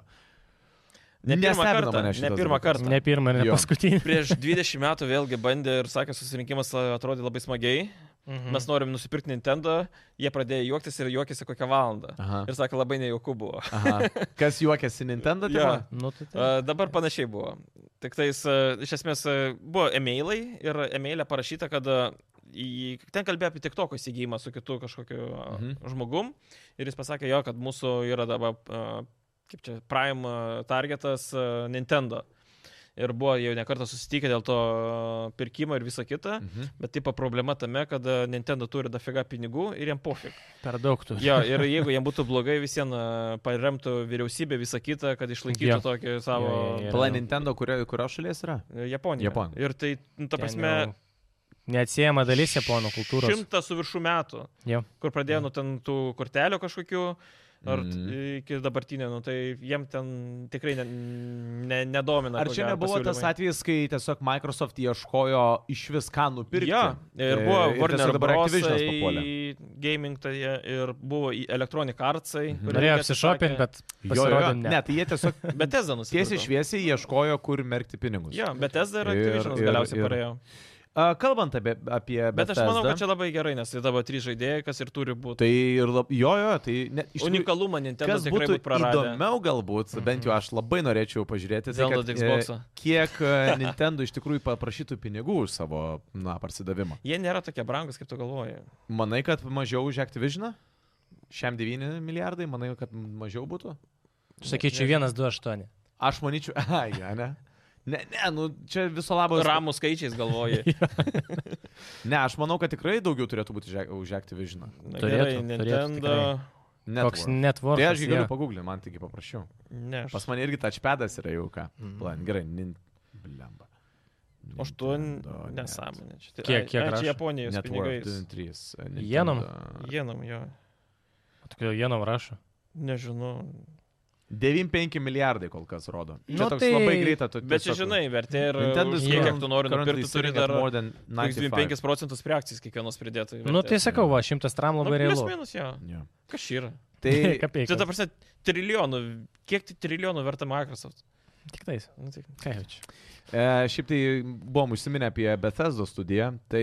Speaker 2: Ne pirmą
Speaker 1: Nestebina
Speaker 2: kartą.
Speaker 1: mane šitas
Speaker 2: Ne pirmą
Speaker 1: dalykas.
Speaker 2: kartą.
Speaker 3: Ne pirmą ir ne
Speaker 1: Jo.
Speaker 3: paskutinį.
Speaker 2: Prieš 20 metų vėlgi bandė ir sakė, susirinkimas e, atrodė labai smagiai.
Speaker 3: Mhm.
Speaker 2: Mes norim nusipirkti Nintendo, jie pradėjo juoktis ir juokėsi kokią valandą.
Speaker 1: Aha.
Speaker 2: Ir sakė, labai nejauku buvo.
Speaker 1: Aha. Kas juokiasi Nintendo?
Speaker 2: Jo.
Speaker 1: tema?
Speaker 3: Nu, tai, tai.
Speaker 2: E, Dabar panašiai buvo. Tik tais, e, iš esmės, e, buvo emailai ir emailė parašyta, kad e, į, ten kalbėjo apie tik toko įsigijimą su kitu kažkokiu mhm.
Speaker 1: Mhm.
Speaker 2: žmogum ir jis pasakė jo, kad mūsų yra dabar, e, kaip čia, prime e, targetas e, Nintendo. Ir buvo jau nekartą susitikę dėl to e, pirkimo ir viso kita.
Speaker 1: Mhm.
Speaker 2: Bet tipo problema tame, kad e, Nintendo turi dafiga pinigų ir jiem pofik.
Speaker 3: Per daug tų.
Speaker 2: Jo, ir jeigu jiem būtų blogai, visiems paremtų vyriausybė visą kitą, kad išlaikytų jo.
Speaker 3: Jo.
Speaker 2: tokį savo
Speaker 3: Jo, jo, jo.
Speaker 1: Pala Nintendo, kurio, kurio šalies yra?
Speaker 2: Japonija.
Speaker 1: Japonija.
Speaker 2: Ir tai, nu, ta prasme,
Speaker 3: Neatsiejama dalis japonų kultūros.
Speaker 2: šimtas su viršų metų,
Speaker 3: Jo.
Speaker 2: kur
Speaker 1: Mm.
Speaker 2: pradėjo nuo ten tų kortelių kažkokių, ar
Speaker 1: Mhm.
Speaker 2: t- iki dabartinio, nu, tai jiem ten tikrai ne, ne, nedomina.
Speaker 1: Ar
Speaker 2: ko
Speaker 1: čia
Speaker 2: gero,
Speaker 1: nebuvo tas
Speaker 2: pasiūlymai.
Speaker 1: atvejis, kai tiesiog Microsoft ieškojo iš viską nupirkti?
Speaker 2: Jo, ir buvo
Speaker 1: tiesiog
Speaker 2: Warner
Speaker 1: dabar
Speaker 2: Bros.
Speaker 1: Activisionas papuolė.
Speaker 2: į Gaming, tai ir buvo į Electronic Artsai.
Speaker 1: Mhm.
Speaker 2: kurie
Speaker 3: Norėjau
Speaker 2: irgi
Speaker 3: apsišopinti,
Speaker 2: atsisakė.
Speaker 3: bet
Speaker 1: Jo, jo, jo.
Speaker 3: pasirodė
Speaker 1: Ne,
Speaker 3: ne.
Speaker 1: tai jie tiesiog
Speaker 2: Bet Tesla nusipirko.
Speaker 1: tiesiai šviesiai ieškojo, kur merkti pinigus.
Speaker 2: Jo, bet Tesla ir
Speaker 1: Ir-
Speaker 2: Activisionas
Speaker 1: ir-
Speaker 2: galiausiai
Speaker 1: ir-
Speaker 2: parėjo.
Speaker 1: A, Kalbant apie, apie
Speaker 2: Bet aš
Speaker 1: Bethesda,
Speaker 2: manau, kad čia labai gerai, nes tai dabar trys žaidėjai, kas ir turi būti.
Speaker 1: Tai ir lab... jo, jo, tai ne, iš tikrųjų-
Speaker 2: Unikalumą Nintendo
Speaker 1: Kas
Speaker 2: tikrai
Speaker 1: būtų
Speaker 2: būtų praradę.
Speaker 1: įdomiau galbūt, bent jau aš labai norėčiau pažiūrėti, tai,
Speaker 2: Zelda
Speaker 1: kad,
Speaker 2: Xbox'o.
Speaker 1: e, kiek e, Nintendo iš tikrųjų paprašytų pinigų už savo, na, parsidavimą.
Speaker 2: Jie nėra tokie brangus, kaip tu galvoji.
Speaker 1: Manai, kad mažiau už Activision? Šiam 9 milijardai, manai, kad mažiau būtų?
Speaker 3: Sakyčiau, 128.
Speaker 1: Aš manyčiau, ai, ja, ne. Ne, ne, nu čia viso labo.
Speaker 2: Ramų skaičiais galvoju.
Speaker 1: Ne, aš manau, kad tikrai daugiau turėtų būti ža- už Activision.
Speaker 2: Na,
Speaker 3: Turėtų,
Speaker 2: gerai,
Speaker 3: turėtų
Speaker 2: Nintendo.
Speaker 3: tikrai.
Speaker 1: Network.
Speaker 3: Koks network.
Speaker 1: Tai aš galiu paguglinti, man tik paprašiau.
Speaker 2: Ne, aš
Speaker 1: Pas mane irgi touchpadas yra jau ką.
Speaker 2: Mhm.
Speaker 3: Mm.
Speaker 1: Plan, gerai, nin... Blemba.
Speaker 2: Aštuoni.
Speaker 1: Nintendo net-
Speaker 2: Nesąmonė. Čia, tai-
Speaker 3: Kiek-
Speaker 2: ai-
Speaker 3: kiek
Speaker 2: ai,
Speaker 3: rašo?
Speaker 2: čia Japonijos
Speaker 1: Network
Speaker 2: pinigais.
Speaker 1: 23.
Speaker 3: Jenom?
Speaker 2: Jenom jo.
Speaker 3: Kodėl Jenom rašo?
Speaker 2: Nežinau.
Speaker 1: 95 milijardai kol kas rodo. Čia
Speaker 3: Nu,
Speaker 1: toks
Speaker 3: tai-
Speaker 1: labai greita. Tu,
Speaker 2: Bet čia
Speaker 1: tiesiog-
Speaker 2: žinai, vertė ir
Speaker 1: Nintendo
Speaker 2: už
Speaker 1: is
Speaker 2: tiek, kiek
Speaker 1: current-
Speaker 2: tu nori
Speaker 1: currently
Speaker 2: nupirkti, turi
Speaker 1: sitting at
Speaker 2: dar
Speaker 1: more than 95.
Speaker 2: 25 procentus prie akcijos kiekvienos pridėtų.
Speaker 3: Nu tai sakau, va, šimtas tram
Speaker 2: nu,
Speaker 3: labai
Speaker 2: plius
Speaker 3: realu.
Speaker 2: minus jo.
Speaker 1: Jo.
Speaker 2: Kas čia yra?
Speaker 1: Tai
Speaker 3: Kapeikas.
Speaker 2: Čia ta prasme, trilijonų. Kiek tai trilijonų verta Microsoft?
Speaker 3: Tik tais.
Speaker 2: Nu, tai...
Speaker 3: Ką jau čia?
Speaker 1: E, šiaip tai buvom užsiminę apie Bethesda studiją, tai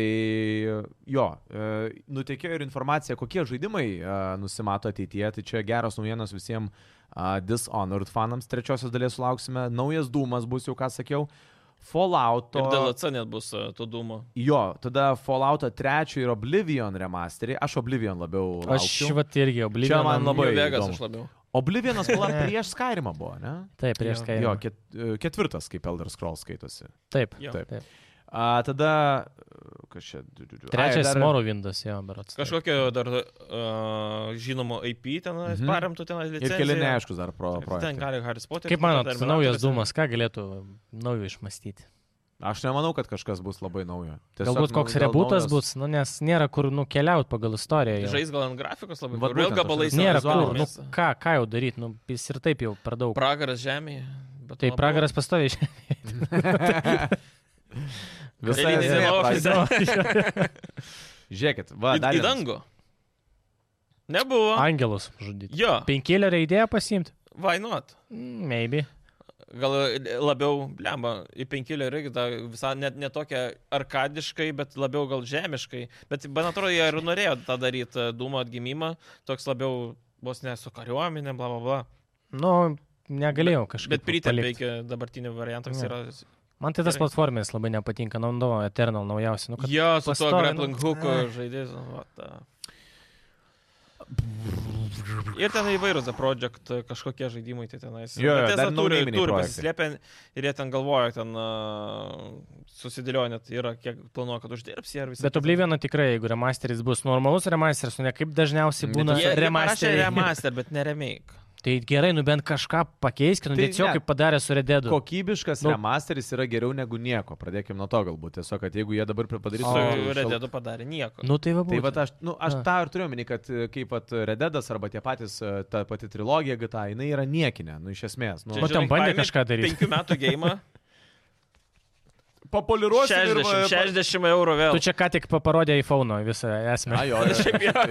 Speaker 1: jo, e, nutekėjo ir informacija, kokie žaidimai e, nusimato ateityje, tai čia geros naujienos visiems e, Dishonored fanams, trečiosios dalies sulauksime, naujas Dūmas bus jau, ką sakiau, Fallouto.
Speaker 2: Ir DLC net bus e, to dūmo.
Speaker 1: Jo, tada Fallouto 3 ir Oblivion remasterį, aš Oblivion labiau.
Speaker 3: Aš
Speaker 1: laukiu.
Speaker 3: vat irgi oblivion.
Speaker 1: man labai-
Speaker 2: Jo Vegas
Speaker 1: įdomu.
Speaker 2: aš labiau.
Speaker 1: Oblivionas pala prieš Skyrimą buvo, ne?
Speaker 3: Taip, prieš
Speaker 2: Jo.
Speaker 3: Skyrim.
Speaker 1: Jo, ket, e, ketvirtas kaip Elder Scrolls skaitosi.
Speaker 3: Taip.
Speaker 2: Jo.
Speaker 1: Taip.
Speaker 3: Taip.
Speaker 1: A, tada. Kažia,
Speaker 3: Trečias dar... Morrowindas, jo, berots.
Speaker 2: Kažkokio dar uh, žinomo IP ten mm
Speaker 1: Mhm.
Speaker 2: -hmm. paremtų ten
Speaker 1: Ir
Speaker 2: licenciją.
Speaker 1: keli neaiškus dar pro
Speaker 2: Ten
Speaker 1: projektai.
Speaker 2: gali Harry Potter.
Speaker 3: Kaip manot,
Speaker 2: Terminatorius
Speaker 3: naujas
Speaker 2: ir-
Speaker 3: dūmas, ką galėtų naujo išmastyti?
Speaker 1: Aš nemanau, kad kažkas bus labai naujo. Tiesiog,
Speaker 3: Galbūt
Speaker 1: nu,
Speaker 3: koks
Speaker 1: gal
Speaker 3: rebutas
Speaker 1: naujas-
Speaker 3: bus, nu, nes nėra kur nukeliauti pagal istoriją. Jau.
Speaker 2: Žais gal ant grafikos labai.
Speaker 1: Vat
Speaker 2: Vat vėl
Speaker 1: būtent,
Speaker 2: gabalais.
Speaker 1: aš-
Speaker 3: Nėra
Speaker 2: vizualų
Speaker 3: kur, nu,
Speaker 2: mėgsta.
Speaker 3: ką, ką jau daryti, nu, jis ir taip jau per daug.
Speaker 2: Pragaras žemėje. bet
Speaker 3: Tai
Speaker 2: labiau-
Speaker 3: pragaras pastovi iš
Speaker 1: Visa
Speaker 2: Eilinė
Speaker 1: esmė,
Speaker 2: diena
Speaker 1: pra-
Speaker 2: ofise.
Speaker 1: Žiūrėkit, va,
Speaker 2: Į,
Speaker 1: dar
Speaker 2: į dangų. Nebuvo.
Speaker 3: angelus žudyti.
Speaker 2: Jo,
Speaker 3: Penkėlę idėją pasimti?
Speaker 2: vainuot.
Speaker 3: Mm, Maybe.
Speaker 2: Gal e, labiau, blemba, į penkilį irgi tą visą net netokią arkadiškai, bet labiau gal žemiškai. Bet, man atrodo, jie ir norėjo tą daryti, dūmo atgimimą, toks labiau vos nesu kariuomenė, bla bla bla.
Speaker 3: Nu, negalėjau kažkaip.
Speaker 2: Bet pritempė
Speaker 3: palikt.
Speaker 2: iki dabartinio varianto, kas
Speaker 3: Ne.
Speaker 2: yra.
Speaker 3: Man tai tas
Speaker 2: Gerai.
Speaker 3: platformės labai nepatinka, naudoju Eternal naujausią. Nu, kad...
Speaker 2: Jo, su to
Speaker 3: pastoviai, nu,
Speaker 2: grappling hooku nu,
Speaker 3: ai.
Speaker 2: žaidėjas. Ir ten įvairūs The Project kažkokie žaidimai, tai tenais.
Speaker 1: Jo, jo,
Speaker 2: Bethesda
Speaker 1: dar
Speaker 2: turi,
Speaker 1: naujaminiai
Speaker 2: turi
Speaker 1: projektai.
Speaker 2: pasislėpę ir jie ten galvoja, ten uh, susidėlioja net yra, kiek planuoja, kad uždirbs jie ir visi.
Speaker 3: Bet Oblivioną tikrai, jeigu remasteris bus normalus remasteris, o ne kaip dažniausiai būna
Speaker 2: Jie, jie parašė
Speaker 3: remasteris.
Speaker 2: remaster, bet ne remake.
Speaker 3: Tai gerai, nu bent kažką pakeiskit, nu
Speaker 1: Tai
Speaker 3: tiesiog
Speaker 1: ne.
Speaker 3: kaip padarė su Rededu.
Speaker 1: Kokybiškas
Speaker 3: Nu.
Speaker 1: remasteris yra geriau negu nieko. Pradėkime nuo to galbūt. Tiesiog, kad jeigu jie dabar padarytų...
Speaker 3: O,
Speaker 2: Su Red Deadu padarė nieko.
Speaker 3: Nu tai va,
Speaker 1: Tai va, aš, nu, aš
Speaker 3: Na.
Speaker 1: tą ir turiu omeny, kad e, kaip pat Rededas arba tie patys, e, ta pati trilogija GTA, jinai yra niekinė, nu iš esmės. Nu,
Speaker 2: Čia,
Speaker 3: O ten
Speaker 2: žinai,
Speaker 3: bandė
Speaker 2: paėmė
Speaker 3: kažką daryt.
Speaker 2: Penkių metų game.
Speaker 1: Papoliruosi
Speaker 2: 60, 60 eurų vėl.
Speaker 3: Tu čia ką tik pa- parodė iPhone visą esmę,
Speaker 1: Ajo, šiaip jau.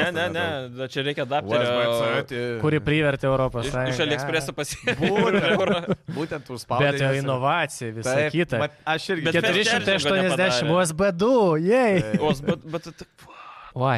Speaker 2: Ne, ne, ne, da- čia reikia adapterio.
Speaker 1: Westbrook,
Speaker 3: kuri privertė Europos
Speaker 2: Iš, iš
Speaker 3: Sąjungą.
Speaker 2: Aliexpreso pasiekti.
Speaker 1: Būtent, būtent užspaudė.
Speaker 3: Bet
Speaker 1: visą-
Speaker 3: inovacija, visą
Speaker 1: Taip,
Speaker 3: kita.
Speaker 1: mat- Aš irgi.
Speaker 2: Bet
Speaker 1: Keturi
Speaker 2: Fetcher's
Speaker 3: 480
Speaker 2: nepadarė.
Speaker 3: USB2, jei.
Speaker 2: OSB, bet, bet
Speaker 3: Vai.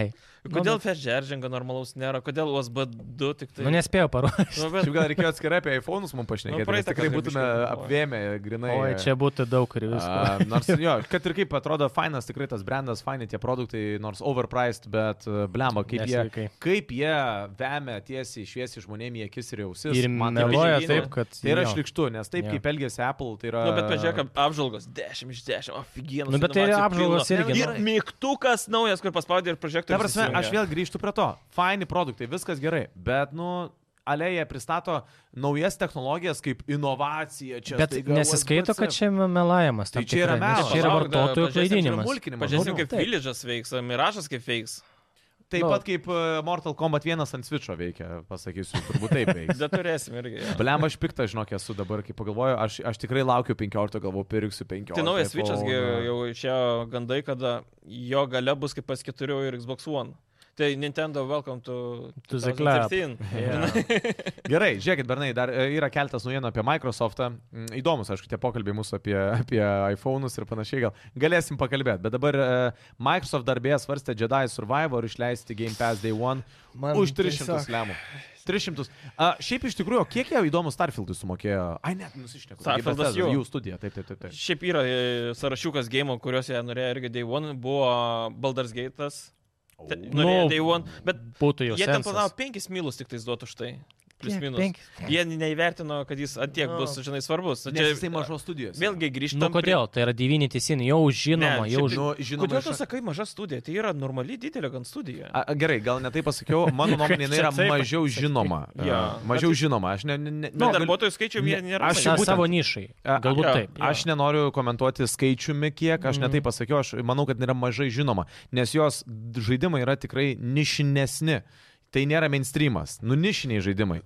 Speaker 2: kodėl Fedžeržingo normalaus nėra, kodėl OSB 2 tik tai...
Speaker 3: Nu nespėjau parodyti.
Speaker 2: Nu, bet,
Speaker 1: Šiaip gal reikėjo atskirai apie iPhone'us mums pašnekėti.
Speaker 2: Nu,
Speaker 1: Nu,
Speaker 2: praeitą
Speaker 1: tikrai
Speaker 2: kartą
Speaker 1: būtume
Speaker 2: biškį buvo.
Speaker 1: apvėmę grinai.
Speaker 3: Oi, čia būtų daug ir visko.
Speaker 1: a, nors jo, kad ir kaip atrodo fainas, tikrai tas brandas, faini tie produktai, nors overpriced, bet e, blemba, kaip jie,
Speaker 3: Nesveikai.
Speaker 1: kaip jie vemia tiesiai šviesiai žmonėmi į akis ir į ausis.
Speaker 3: Ir
Speaker 1: Man tai yra
Speaker 3: meluoja
Speaker 1: žinai,
Speaker 3: taip, kad...
Speaker 1: Tai yra
Speaker 3: jo.
Speaker 1: šlikštu, nes taip
Speaker 3: Jo.
Speaker 1: kaip elgėsi Apple, tai yra...
Speaker 2: nu, bet pažiūrėk, ap- apžvalgos 10 iš 10, aфиgenas.
Speaker 3: Nu, bet tai yra apžvalgos irgi,
Speaker 2: Ir
Speaker 3: nu.
Speaker 2: mygtukas naujas, kur paspaudė ir
Speaker 1: Ta
Speaker 2: projektorius.
Speaker 1: prasme, aš
Speaker 2: įsijungia.
Speaker 1: vėl grįžtu prie to. Faini produktai, viskas gerai, bet, nu, alėje pristato naujas technologijas kaip inovacija. Čia tai
Speaker 3: Bet
Speaker 1: staiga
Speaker 3: nesiskaito,
Speaker 1: USB-C.
Speaker 3: kad čia melavimas. tam
Speaker 1: Tai čia yra
Speaker 3: tikrai, nes
Speaker 1: melas.
Speaker 3: Čia yra
Speaker 2: Palauk, dar
Speaker 3: vartotojų
Speaker 2: pažiūrėsim, čia
Speaker 1: yra
Speaker 3: klaidinimas.
Speaker 1: mulkinimas. Nu,
Speaker 2: Pažiūrėsim, kaip
Speaker 3: Nu, Taip.
Speaker 2: Village'as veiks, Miražas kaip veiks.
Speaker 1: Taip
Speaker 3: Nu.
Speaker 1: pat kaip e, Mortal Kombat 1 ant Switch'o veikia, pasakysiu, turbūt taip veiks.
Speaker 2: Bet turėsim irgi. jo.
Speaker 1: Blem, aš piktą, žinok, esu dabar, kai pagalvoju, aš, aš tikrai laukiu 15, galvoju, pirksiu e, 15.
Speaker 2: Tai naujas Switch'as gi
Speaker 1: iPhone'ą.
Speaker 2: jau išėjo gandai, kada jo gale bus kaip pas 4 ir Xbox One. Tai Nintendo Welcome to,
Speaker 3: To the club.
Speaker 2: 2013.
Speaker 1: Gerai, žiūrėkit, Bernai, dar e, yra keltas naujienų apie Microsoftą. Mm, Įdomus, aišku, tie pokalbiai mūsų apie, apie iPhone'us ir panašiai gal. Galėsim pakalbėti, bet dabar e, Microsoft darbėje svarstė Jedi Survivor išleisti Game Pass Day One Man už 300 tiesiog... lemų. 300. A, šiaip iš tikrųjų, o kiek jie įdomus Starfieldui sumokėjo? Ai, net nusišneku. Taigi
Speaker 2: Starfieldas
Speaker 1: Bethesda,
Speaker 2: jų.
Speaker 1: jų studija, taip, taip, taip. taip.
Speaker 2: Šiaip yra e, sąrašiukas game, kuriuos jie norėjo irgi Day One, buvo Baldur's Gate'as. Te- Norėjo
Speaker 3: Nu,
Speaker 2: Day One, bet
Speaker 3: Būtų jau.
Speaker 2: jie ten
Speaker 3: sensas.
Speaker 2: planavo 5 milus tik tais duotų už tai. plus minus.
Speaker 3: Penkis.
Speaker 2: Jie neįvertino, kad jis antiek bus, žinai, svarbus. Na,
Speaker 1: Nes jisai mažos studijos.
Speaker 2: Vėlgi grįžtame.
Speaker 3: Nu kodėl? Tai yra devyni teisinai, jau žinoma,
Speaker 2: Ne,
Speaker 3: jau
Speaker 2: šiaip-
Speaker 3: žinoma.
Speaker 1: Nu, žinoma,
Speaker 2: Kodėl
Speaker 1: iš-
Speaker 2: tu sakai maža studija? Tai yra normali didelė gan studija.
Speaker 1: A, a, gerai, gal ne taip pasakiau, mano nuomonė jinai
Speaker 3: Čia
Speaker 1: yra
Speaker 3: taip
Speaker 1: mažiau žinoma.
Speaker 2: Jo. Nu,
Speaker 1: A, Mažiau žinoma, aš ne... ne, ne
Speaker 3: nu,
Speaker 2: Bet
Speaker 1: negaliu-
Speaker 2: darbuotojų skaičiumi jie
Speaker 1: ne, aš
Speaker 2: nėra. maži.
Speaker 1: čia
Speaker 3: Na,
Speaker 1: būtent-
Speaker 3: savo nišai.
Speaker 1: A,
Speaker 3: Galbūt
Speaker 2: jo. Mhm.
Speaker 3: taip.
Speaker 1: Aš nenoriu komentuoti skaičiumi kiek, aš netai pasakiau, aš manau, kad yra mažai žinoma, nes jos d- žaidimai yra tikrai nišinesni. Tai nėra mainstreamas, nu nišiniai žaidimai.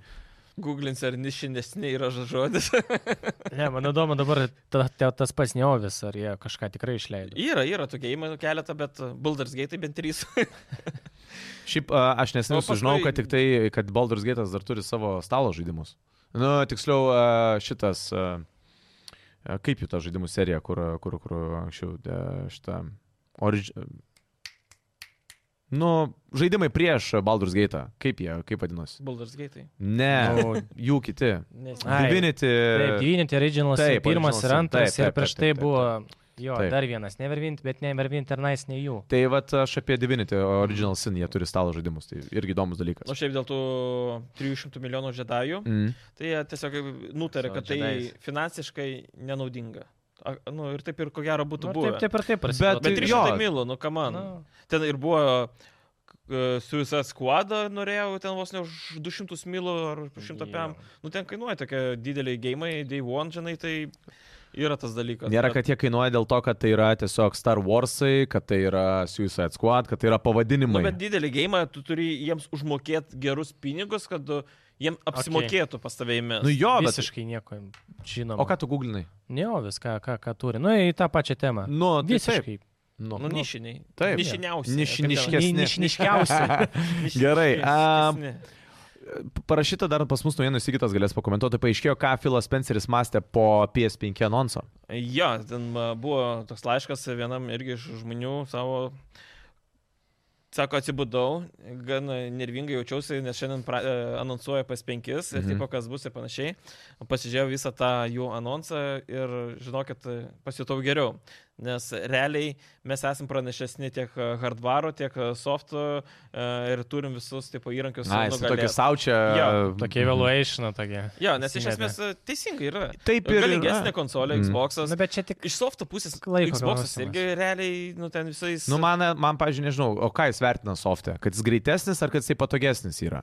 Speaker 2: Googlins ar nišinesnė yra ža- žodis.
Speaker 3: Ne, man įdomu dabar ta, ta, tas pats neovis, ar jie kažką tikrai išleido.
Speaker 2: yra, yra tokie įmonių keletą, bet uh, Baldur's Gate tai bent trys.
Speaker 1: Šiaip a, aš
Speaker 2: O
Speaker 1: neseniai
Speaker 2: paskui-
Speaker 1: sužinojau, kad tik tai, kad Baldur's Gate'as dar turi savo stalo žaidimus. Nu, tiksliau a, šitas, a, a, kaip jų ta žaidimų serija, kur, a, kur, kur anksčiau a, šitą... Origi... Nu, žaidimai prieš Baldur's Gate'ą, kaip jie, kaip vadinosi?
Speaker 2: Baldur's Gate.
Speaker 1: Ne,
Speaker 3: O,
Speaker 1: jų kiti.
Speaker 2: Nes...
Speaker 3: Ai,
Speaker 1: Divinity.
Speaker 3: Taip, Divinity Originals
Speaker 1: Taip,
Speaker 3: taip, pirmas ir
Speaker 1: Originals, taip,
Speaker 3: antras, taip,
Speaker 1: taip,
Speaker 3: ir prieš
Speaker 1: taip,
Speaker 3: tai
Speaker 1: taip, taip,
Speaker 3: buvo, jo,
Speaker 1: Taip.
Speaker 3: taip. dar vienas, Nevervint, bet Nevervint ir Nice, ne jų.
Speaker 1: Tai vat aš apie Divinity Original Sin, jie turi stalo žaidimus, tai irgi įdomus dalykas.
Speaker 2: O Nu, šiaip dėl tų 300 milijonų žedajų,
Speaker 1: Mm.
Speaker 2: tai jie tiesiog nutarė,
Speaker 3: Su
Speaker 2: kad tai
Speaker 3: Jedi'ais.
Speaker 2: finansiškai nenaudinga. A, nu ir taip ir ko gero būtų
Speaker 3: Nu,
Speaker 2: buvę.
Speaker 3: Taip, taip ir taip
Speaker 1: Bet-
Speaker 2: Bet
Speaker 3: prasidėjo.
Speaker 1: Tai jo.
Speaker 2: 300 milų, nu kaman.
Speaker 3: Na.
Speaker 2: Ten ir buvo e, Suicide Squad, norėjau ten vos ne už 200 milų ar už 100 pėm. Nu ten kainuoja tokie dideliai gėjimai, Day One, žinai, tai yra tas dalykas.
Speaker 1: Nėra, kad jie kainuoja dėl to, kad tai yra tiesiog Star Warsai, kad tai yra Suicide Squad, kad tai yra
Speaker 2: Nu,
Speaker 1: pavadinimai.
Speaker 2: bet didelį gėjimą tu turi jiems užmokėti gerus pinigus, kad tu- jiem apsimokėtų okay. pas tavėjimės.
Speaker 1: Nu jo, bet...
Speaker 3: Visiškai nieko žinoma.
Speaker 1: O ką tu googlinai?
Speaker 3: Neovis, ką, ką, ką turi. Nu, į tą pačią temą.
Speaker 1: Nu, tai
Speaker 3: Visiškai.
Speaker 1: Nu,
Speaker 2: Nu, nišiniai.
Speaker 1: Taip.
Speaker 2: Nišiniausi.
Speaker 1: Nišiniški-
Speaker 3: Ni- Nišniškiausia.
Speaker 1: Gerai, a, Parašyta dar pas mus naujienų įsigytas galės pakomentuoti, paaiškėjo, ką Filas Spenceris mąstė po PS5 annonso.
Speaker 2: Jo, ten a, buvo toks laiškas vienam irgi iš žmonių savo. Sako, atsibudau, gan nervingai jaučiausi, nes šiandien pra, e, anonsuoja pas penkis
Speaker 1: Mhm.
Speaker 2: ir mm -hmm. tipo, kas bus ir panašiai. Pasižiūrėjau visą tą jų anonsą ir žinokit, e, pasijutau geriau, nes realiai mes esam pranašesni tiek e, hardvaro, tiek e, softo e, ir turim visus tipo įrankius.
Speaker 1: Na, jis
Speaker 2: nugalėt.
Speaker 1: tokį saučią.
Speaker 2: Jo,
Speaker 1: Mhm.
Speaker 3: Tokia evaluation tokia.
Speaker 2: Jo, nes iš
Speaker 3: Įsivedė.
Speaker 2: esmės e, teisingai yra.
Speaker 1: Taip ir.
Speaker 2: Galingesnė konsolė,
Speaker 1: Mm.
Speaker 2: mm. Xbox'as.
Speaker 3: Na, Nu, bet čia tik
Speaker 2: Iš softo pusės
Speaker 3: Laiko
Speaker 2: Xbox'as
Speaker 3: klausimas.
Speaker 2: irgi realiai, nu ten visais.
Speaker 1: Nu, man, man pažiūrėjau, nežinau, o ką jis vertina softę? Kad jis greitesnis ar kad jisai patogesnis yra?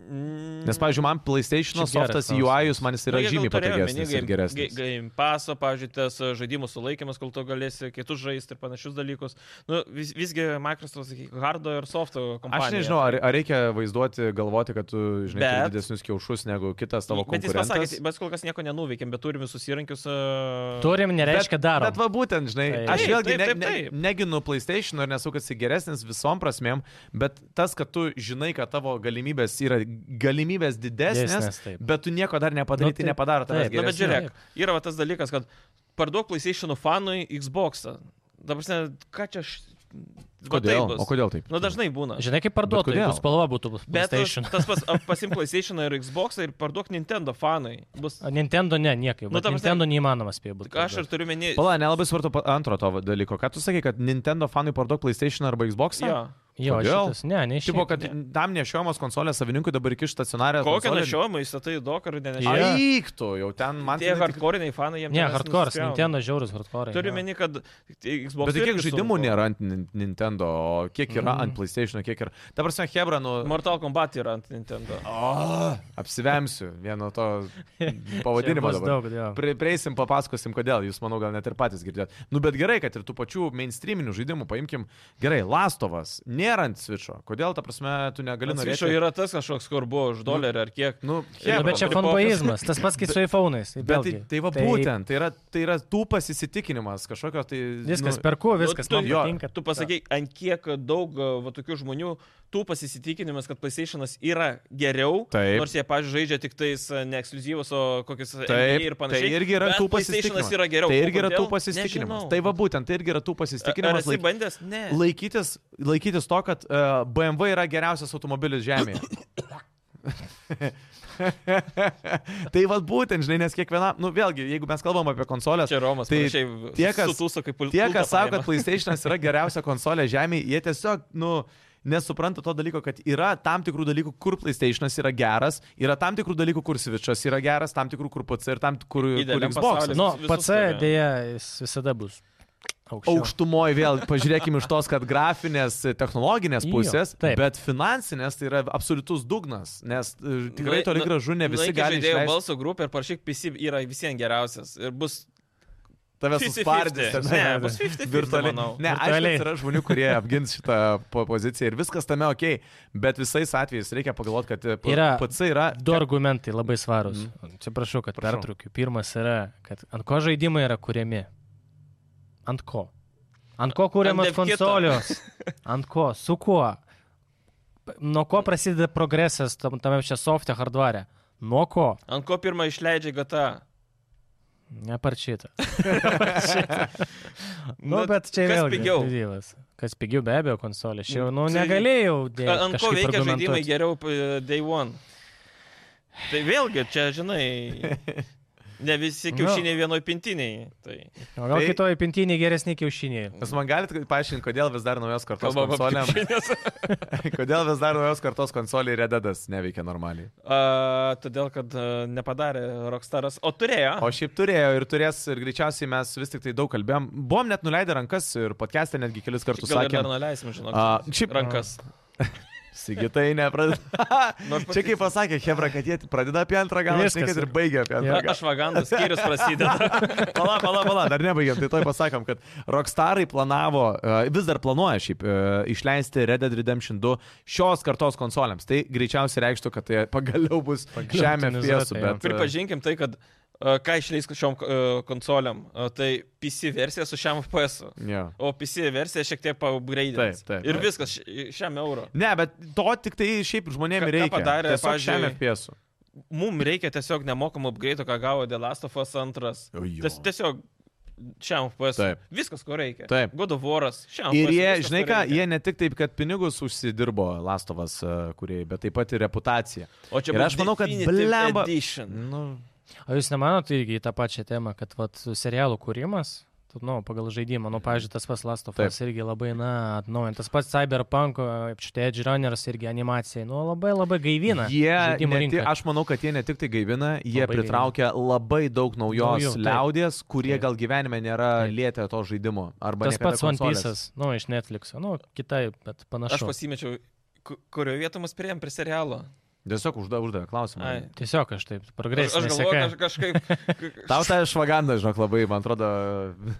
Speaker 2: Mm,
Speaker 1: Nes, pavyzdžiui, man PlayStation
Speaker 3: Čia geras
Speaker 1: softas UI man jis
Speaker 2: nu,
Speaker 1: yra
Speaker 2: jie gal
Speaker 1: žymiai
Speaker 2: turėjo
Speaker 1: patogesnis
Speaker 2: omeny
Speaker 1: ir
Speaker 2: game-
Speaker 1: geresnis.
Speaker 2: ga- Game paso, pavyzdžiui, tas e, žaidimų sulaikimas, kol tu galėsi kitus žaisti ir panašius dalykus. Nu, vis, visgi Microsoft, sakyk, hardo ir softo kompanija.
Speaker 1: Aš nežinau, ar, ar reikia vaizduoti, galvoti, kad tu, žinai, bet...
Speaker 2: Bet-
Speaker 1: didesnius kiaušus negu kitas tavo
Speaker 2: Bet jis pasakė,
Speaker 1: konkurentas.
Speaker 2: mes kol kas nieko nenuveikėm, bet turim visus įrankius. e,
Speaker 3: turim, nereiškia darom.
Speaker 1: Bet va būtent, žinai,
Speaker 3: Taip.
Speaker 1: aš
Speaker 2: Taip,
Speaker 1: vėlgi
Speaker 2: taip,
Speaker 1: ne,
Speaker 2: taip,
Speaker 1: ne,
Speaker 2: taip.
Speaker 1: neginu PlayStation ir nesu, kad jis geresnis visom prasmėm, bet tas, kad tu žinai, kad tavo galimybės yra galimybės didesnės,
Speaker 3: Didesnės, taip.
Speaker 1: bet tu nieko dar nepadarai,
Speaker 3: Nu,
Speaker 1: tai
Speaker 3: taip,
Speaker 1: nepadaro tavęs
Speaker 3: taip.
Speaker 2: Na, bet
Speaker 1: geresniu.
Speaker 2: žiūrėk, yra va tas dalykas, kad parduok PlayStation fanui Xbox'ą. Dabar, ne, ką čia aš. va taip
Speaker 1: Kodėl?
Speaker 2: bus.
Speaker 1: O kodėl taip?
Speaker 2: Nu, dažnai būna.
Speaker 3: Žinai,
Speaker 1: Bet
Speaker 3: kaip parduotų,
Speaker 1: kodėl?
Speaker 3: jeigu spalva būtų bus
Speaker 2: Bet
Speaker 3: PlayStation.
Speaker 2: tas pats a, pasimk PlayStation ir Xbox ir parduok Nintendo fanai. Bus.
Speaker 3: O Nintendo ne, niekaip.
Speaker 2: Nu,
Speaker 3: Nu,
Speaker 2: ta prasme-
Speaker 3: Nintendo neįmanoma spėjo būti.
Speaker 2: Aš ir turiu meni.
Speaker 1: Pala, nelabai svarbu pa- antro to dalyko. Ką tu sakai, kad Nintendo fanui parduok PlayStation arba Xbox?
Speaker 2: Jo.
Speaker 3: Jo,
Speaker 1: Kodėl?
Speaker 3: šitas, ne, ne
Speaker 1: Tipo,
Speaker 3: išėjo.
Speaker 1: kad tam nešiojamos konsolės savininkui dabar iki stacionarę.
Speaker 2: Kokią nešiojimą įstatai tai daug ar
Speaker 3: Jo.
Speaker 2: nenešiojimą.
Speaker 3: Yeah.
Speaker 1: Eiktų, jau ten man tai
Speaker 2: Tie
Speaker 1: ten tik-
Speaker 2: hardcore'iniai fanai jiems.
Speaker 3: Ne, hardcore, Nintendo žiaurus hardcore.
Speaker 2: Turiu meni, kad Xbox.
Speaker 1: tai Bet tai kiek
Speaker 2: irgi
Speaker 1: žaidimų
Speaker 2: sunku.
Speaker 1: nėra ant Nin- Nintendo, o kiek yra
Speaker 3: Mhm.
Speaker 1: ant PlayStation, kiek yra. Ta prasme, Hebra, nu...
Speaker 2: Mortal Kombat yra ant Nintendo.
Speaker 1: Oh, apsivemsiu vieno to pavadinimo
Speaker 3: Pavadinimas
Speaker 1: dabar.
Speaker 3: daug, jo.
Speaker 1: Pri, prieisim, papasakosim, kodėl. Jūs, manau, gal net ir patys girdėt. Nu, bet gerai, kad ir tų pačių mainstreaminių žaidimų, paimkim, gerai, Lastovas, nėra ant Switch'o. Kodėl, ta prasme, tu negali
Speaker 2: Galinu, reiškia,
Speaker 1: norėti...
Speaker 2: yra tas kažkoks, kur buvo už dolerį ar kiek.
Speaker 1: Nu,
Speaker 3: Nu,
Speaker 1: Hebra,
Speaker 3: bet čia
Speaker 2: Pripokas.
Speaker 3: fanboizmas, tas pats kaip su iPhone'ais.
Speaker 1: Bet tai, tai va būtent, tai yra, tai yra tų pasistikinimas, kažkokio tai...
Speaker 3: Viskas
Speaker 1: nu,
Speaker 3: perku, viskas
Speaker 2: tu-
Speaker 3: man
Speaker 1: jo,
Speaker 3: patinka.
Speaker 2: Tu pasakai, ant kiek daug e, va, tokių žmonių tų pasisitikinimas, kad PlayStation'as yra geriau,
Speaker 1: Taip.
Speaker 2: nors jie, pažiūrėjau, žaidžia tik tais e, ne ekskluzyvus, o kokius e,
Speaker 1: Taip,
Speaker 2: NBA ir panašiai.
Speaker 1: Tai irgi yra
Speaker 2: bet
Speaker 1: tų
Speaker 2: PlayStation'as
Speaker 1: pasitikinimas.
Speaker 2: yra geriau.
Speaker 1: Tai
Speaker 2: O
Speaker 1: irgi yra tų
Speaker 2: kodėl?
Speaker 1: pasitikinimas.
Speaker 2: Nežinau. E,
Speaker 1: Tai va būtent, tai irgi yra tų
Speaker 2: Ar
Speaker 1: pasitikinimas.
Speaker 2: esi
Speaker 1: Laik,
Speaker 2: bandęs? Ne.
Speaker 1: laikytis, laikytis to, kad uh, BMW yra geriausias automobilis Žemėje. tai vad būtent, žinai, nes kiekviena, nu vėlgi, jeigu mes kalbam apie konsolės,
Speaker 2: Čia Romas,
Speaker 1: Tai
Speaker 2: tai
Speaker 1: tie, kas-
Speaker 2: sutūso kaip
Speaker 1: tie, kas sako, kad PlayStation yra geriausia konsolė Žemėje, jie tiesiog, nu, nesupranta to dalyko, kad yra tam tikrų dalykų, kur PlayStation'as yra geras, yra tam tikrų dalykų, kur Switch'as yra geras, tam tikrų, kur PC ir tam tikrų, kur
Speaker 2: Idealiam
Speaker 1: Xbox.
Speaker 2: pasauly.
Speaker 3: Nu,
Speaker 2: visus
Speaker 3: pats
Speaker 2: turi.
Speaker 3: dėja, jis visada bus aukščiau.
Speaker 1: Aukštumoje vėl pažiūrėkime iš tos, kad grafinės, e, technologinės
Speaker 3: Jo,
Speaker 1: pusės,
Speaker 3: taip.
Speaker 1: bet finansinės tai yra absoliutus dugnas, nes e, tikrai
Speaker 2: Nuei-
Speaker 1: toli
Speaker 2: nu-
Speaker 1: gražu ne visi
Speaker 2: Nueik į
Speaker 1: gali
Speaker 2: žaidėjų
Speaker 1: išleisti.
Speaker 2: balso grupę ir parašyk, PC yra visiems geriausias. Ir bus
Speaker 1: Tave
Speaker 2: 50-50.
Speaker 1: suspardys. tenai.
Speaker 2: Ne, bus 50-50.
Speaker 1: virtualiai.
Speaker 2: manau.
Speaker 1: Ne,
Speaker 3: Virtualiai.
Speaker 1: aišku, yra žmonių, kurie apgins šitą po- poziciją ir viskas tame ok, bet visais atvejais reikia pagalvoti, kad e, p-
Speaker 3: Yra
Speaker 1: PC yra...
Speaker 3: Du argumentai labai svarūs. Atsiprašau, kad
Speaker 1: Mhm. Prašau.
Speaker 3: pertraukiu. Pirmas yra, kad ant ko žaidimai yra kuriami? Ant ko? Ant ko
Speaker 2: Ant
Speaker 3: kuriamas
Speaker 2: devkito.
Speaker 3: konsolios? Ant ko? Su kuo? P- Nuo ko prasideda progresas tam, tame čia softe, hardvare? Nuo ko?
Speaker 2: Ant ko pirmą išleidžia GTA?
Speaker 3: Neparčyta. nu,
Speaker 2: Nu,
Speaker 3: bet čia
Speaker 2: kas
Speaker 3: vėlgi
Speaker 2: pigiau?
Speaker 3: Dylas. Kas pigiau, be abejo, konsolė. Aš jau nu,
Speaker 2: Tai-
Speaker 3: negalėjau. dėt
Speaker 2: Ant ko
Speaker 3: kažkaip
Speaker 2: veikia žaidimai
Speaker 3: argumentuot.
Speaker 2: geriau p- Day One? Tai vėlgi, čia, žinai, ne
Speaker 1: Nu.
Speaker 2: visi kiaušiniai vienoj pintiniai. Tai
Speaker 3: O gal
Speaker 1: Tai-
Speaker 3: kitoje pintinėje geresni kiaušiniai.
Speaker 1: Jūs man galite paaiškinti, kodėl vis dar naujos kartos
Speaker 2: kalbam apie
Speaker 1: konsolėm,
Speaker 2: kiaušinius.
Speaker 1: kodėl vis dar naujos kartos konsoliai Redadas neveikia normaliai.
Speaker 2: A, Todėl, kad a, nepadarė Rockstaras, o turėjo.
Speaker 1: O šiaip turėjo ir turės, ir greičiausiai mes vis tik tai daug kalbėjom. Buvom net nuleidę rankas ir podcast'e netgi kelis kartus
Speaker 2: Gal ir dar
Speaker 1: sakėm.
Speaker 2: nuleisim, žinok.
Speaker 1: A, šiaip-
Speaker 2: rankas.
Speaker 1: Sigitai nepradeda.
Speaker 2: Nu, aš
Speaker 1: Čia kaip pasakė Hebra, kad jie pradeda apie antrą galą,
Speaker 3: Viskas.
Speaker 1: šnekėt ir baigia apie antrą
Speaker 3: Jo.
Speaker 1: galą.
Speaker 2: Aš vagandas, skyrius prasideda.
Speaker 1: Pala, pala, pala, dar nebaigiam, tai toj pasakom, kad Rockstarai planavo, e, vis dar planuoja šiaip e, išleisti Red Dead Redemption 2 šios kartos konsoliams. Tai greičiausiai reikštų, kad tai pagaliau bus
Speaker 3: Pagaliau
Speaker 1: žemė
Speaker 3: optimizuota,
Speaker 1: fiesų,
Speaker 3: jo.
Speaker 1: bet... e,
Speaker 2: Pripažinkim tai, kad a, ką išleis šiom a, konsoliam, a, tai PC versija su šiam FPS. -u.
Speaker 1: jo.
Speaker 2: O PC versija šiek tiek paupgraidinta.
Speaker 1: Taip, taip,
Speaker 2: Ir
Speaker 1: taip.
Speaker 2: viskas ši- šiam euro.
Speaker 1: Ne, bet to tik tai šiaip
Speaker 2: Ką-
Speaker 1: žmonėms
Speaker 2: ką
Speaker 1: reikia.
Speaker 2: padarė,
Speaker 1: Tiesiog
Speaker 2: pavyzdžiui,
Speaker 1: žemė fiesų.
Speaker 2: Mums reikia tiesiog nemokamų upgraidų, ką gavo The Last of Us 2. Ties, tiesiog šiam FPS.
Speaker 1: Taip.
Speaker 2: Viskas, ko reikia.
Speaker 1: Taip.
Speaker 2: God of War'as. Šiam
Speaker 1: Ir
Speaker 2: FPS,
Speaker 1: jie,
Speaker 2: viskas,
Speaker 1: žinai
Speaker 2: ko
Speaker 1: ką,
Speaker 2: reikia.
Speaker 1: jie ne tik taip, kad pinigus užsidirbo Lastovas kuriai, e, bet taip pat ir reputaciją.
Speaker 2: O čia
Speaker 1: ir
Speaker 2: bus
Speaker 1: aš manau, kad
Speaker 2: Definitive
Speaker 1: blemba-
Speaker 2: Edition.
Speaker 1: Nu,
Speaker 3: O jūs nemanot irgi į tą pačią temą, kad vat, serialų kūrimas, tu, nu, pagal žaidimą, nu, pavyzdžiui, tas pats Last of
Speaker 1: Taip.
Speaker 3: Us irgi labai, na, atnaujant, tas pats Cyberpunk, apčiutė Edge Runners irgi animacijai, nu, labai labai gaivina.
Speaker 1: jie,
Speaker 3: žaidimų
Speaker 1: ne ti,
Speaker 3: rinką.
Speaker 1: aš manau, kad jie ne tik tai gaivina, jie
Speaker 3: Labai
Speaker 1: labai pritraukia gaivina. labai daug naujos
Speaker 3: Naujų,
Speaker 1: Naujų,
Speaker 3: taip.
Speaker 1: liaudės, kurie
Speaker 3: Taip.
Speaker 1: taip. gal gyvenime nėra
Speaker 3: Taip.
Speaker 1: taip. lietę to žaidimo. arba
Speaker 3: Tas
Speaker 1: niekada
Speaker 3: pats One
Speaker 1: konsolės.
Speaker 3: Piece'as, nu, iš Netflix'o, nu, kitaip, bet
Speaker 2: Aš
Speaker 3: panašu.
Speaker 2: pasimečiau, ku- kurio vietą mus prieėm prie serialo.
Speaker 1: Tiesiog užda- uždavė klausimą.
Speaker 2: Ai.
Speaker 3: Tiesiog aš taip,
Speaker 2: Aš, aš
Speaker 3: progresinė
Speaker 2: galvoju, kaž,
Speaker 3: seka.
Speaker 2: kažkaip.
Speaker 1: Tau ta švaganda, žinok, labai, man atrodo,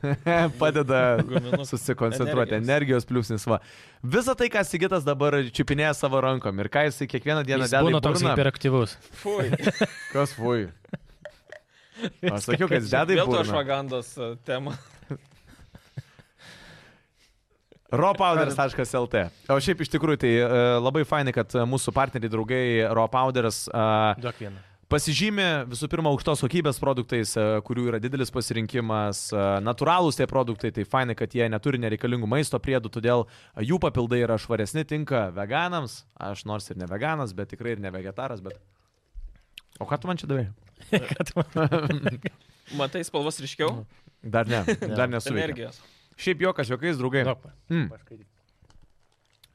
Speaker 1: padeda
Speaker 2: Gaminu.
Speaker 1: susikoncentruoti.
Speaker 2: Nu, Energijos.
Speaker 1: Energijos pliusnis va. Visą tai, ką Sigitas dabar čiupinėja savo rankom ir ką jisai kiekvieną dieną
Speaker 3: Jis
Speaker 1: deda į
Speaker 3: būna toks
Speaker 1: burną.
Speaker 3: hiperaktyvus.
Speaker 2: Fui.
Speaker 1: Kas fui? Aš sakiau, kad dedai
Speaker 2: Vėl to
Speaker 1: buvo.
Speaker 2: švagandos a, tema.
Speaker 1: Ropowders.lt. O šiaip iš tikrųjų tai e, labai fainai, kad e, mūsų partneriai, draugai Ropowders e,
Speaker 3: Duok vieną.
Speaker 1: pasižymi visų pirma aukštos kokybės produktais, e, kurių yra didelis pasirinkimas, e, natūralūs tie produktai, tai fainai, kad jie neturi nereikalingų maisto priedų, todėl jų papildai yra švaresni, tinka veganams. Aš nors ir ne veganas, bet tikrai ir ne vegetaras, bet... O ką tu man čia davai?
Speaker 2: Matai spalvas
Speaker 1: Nu,
Speaker 2: ryškiau?
Speaker 1: Dar ne, dar nesu.
Speaker 2: Energijos.
Speaker 1: Šiaip juokas, juokais, draugai.
Speaker 3: Duok man.
Speaker 1: Mm.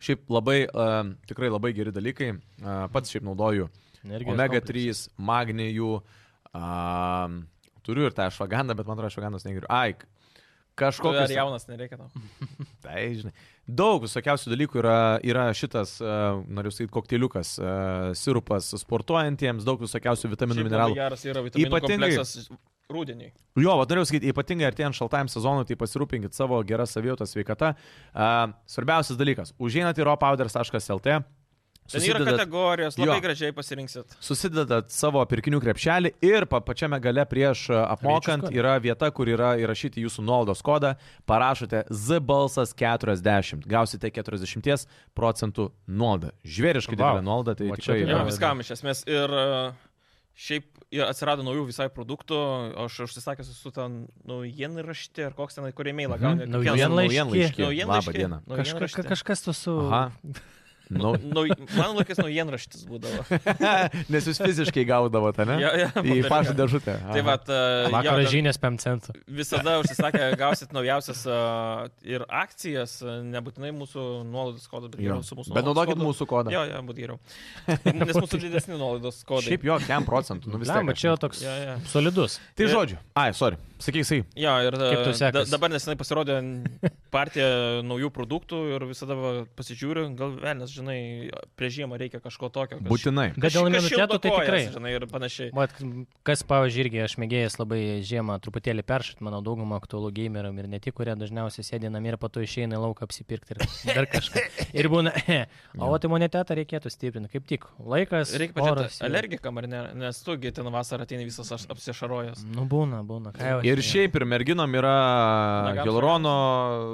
Speaker 1: Šiaip labai, uh, tikrai labai geri dalykai. Uh, pats šiaip naudoju
Speaker 3: Energijos
Speaker 1: omega
Speaker 3: kompleksas.
Speaker 1: 3, magnijų. Uh, turiu ir tą švagandą, bet man atrodo, švagandos negeriu. Ai,
Speaker 2: Kokios... Ar
Speaker 1: kažkokios.
Speaker 2: jaunas nereikia tau?
Speaker 1: Tai, žinai. Daug visokiausių dalykų yra, yra šitas, uh, noriu sakyti, kokteiliukas, uh, sirupas sportuojantiems, daug visokiausių
Speaker 2: Šiaip
Speaker 1: vitaminų,
Speaker 2: labai
Speaker 1: mineralų.
Speaker 2: Geras yra vitaminų
Speaker 1: Ypatingai-
Speaker 2: kompleksas rūdienį.
Speaker 1: Jo, va, norėjau sakyti, ypatingai artėjant šaltajam sezonui, tai pasirūpinkit savo gerą savijautą, sveikatą. Uh, svarbiausias dalykas - užeinat į ropauders.lt.
Speaker 2: Ten yra
Speaker 1: susidedat-
Speaker 2: kategorijos,
Speaker 1: Jo.
Speaker 2: labai gražiai pasirinksit.
Speaker 1: Susidedat savo pirkinių krepšelį ir pa pačiame gale prieš a, apmokant
Speaker 3: Reičius kodą.
Speaker 1: yra vieta, kur yra įrašyti jūsų nuolaidos kodą, parašote ZBalsas 40, gausite 40 procentų nuolaidą. Žvėriškai
Speaker 3: Vau.
Speaker 1: didelė nuolaida, tai
Speaker 3: Va čia
Speaker 1: tikrai
Speaker 3: tai
Speaker 2: Jo,
Speaker 1: yra.
Speaker 3: labai
Speaker 2: viskam iš esmės. Ir a, šiaip ir atsirado naujų visai produktų, aš užsisakęs su ten naujienraštį ar koks ten, kur e-mailą gauni.
Speaker 3: Naujienlaiškį.
Speaker 1: Naujienlaiškį. Mhm. Labą
Speaker 2: Naujienlaiškį.
Speaker 1: dieną.
Speaker 3: Kažka,
Speaker 2: Naujienraštį.
Speaker 3: kažkas tu su...
Speaker 1: nu, Aha. Nu,
Speaker 2: Nau, man laikas naujienraštis būdavo.
Speaker 1: nes jūs fiziškai gaudavote, ne?
Speaker 2: Jo, jo,
Speaker 1: Į
Speaker 2: popierį.
Speaker 1: pašto dėžutę.
Speaker 2: Tai
Speaker 1: Aha.
Speaker 2: va,
Speaker 3: Vakar žinias 5 centų.
Speaker 2: visada užsisakė, gausit naujausias a, ir akcijas, a, nebūtinai mūsų nuolaidos kodą, bet
Speaker 1: Jo.
Speaker 2: geriau su mūsų
Speaker 1: Bet naudokit
Speaker 2: nuolaidos
Speaker 1: mūsų kodą.
Speaker 2: kodu. Jo, jo, būtų geriau. Nes mūsų didesni nuolaidos kodai.
Speaker 1: Šiaip jo, 10 procentų. Nu, vis
Speaker 3: Lemba,
Speaker 1: tiek.
Speaker 3: čia toks
Speaker 2: Jo, jo.
Speaker 3: solidus.
Speaker 1: Tai žodžiu. Ai, sorry. Sakyk, jisai.
Speaker 2: Jo, ir
Speaker 3: Kaip
Speaker 2: a,
Speaker 3: tau
Speaker 2: da,
Speaker 3: sekasi?
Speaker 2: dabar nesenai pasirodė partija naujų produktų ir visada va, pasižiūriu, gal velnės, žinai, prieš žiemą reikia kažko tokio. Kas,
Speaker 1: Būtinai.
Speaker 3: Bet
Speaker 2: kas-
Speaker 3: dėl
Speaker 2: kas šildo
Speaker 3: imuniteto tai
Speaker 2: kojas,
Speaker 3: tikrai.
Speaker 2: Žinai, ir panašiai.
Speaker 3: Vat, kas, pavyzdžiui, irgi aš mėgėjęs labai žiemą truputėlį peršit, manau, daugumą aktualų gameram ir ne tik, kurie dažniausiai sėdi namie ir po to išeina į lauką apsipirkti ir dar kažką. Ir būna, o vat imunitetą reikėtų stiprinti, kaip tik. Laikas,
Speaker 2: Reikia
Speaker 3: oras.
Speaker 2: pažiūrėti alergikam ar ne, nes tu gi ten vasarą ateini visas aš- apsišarojęs.
Speaker 3: Nu, būna, būna. Ką jau.
Speaker 1: Ir šiaip ir merginom yra
Speaker 2: Nagams
Speaker 1: hialurono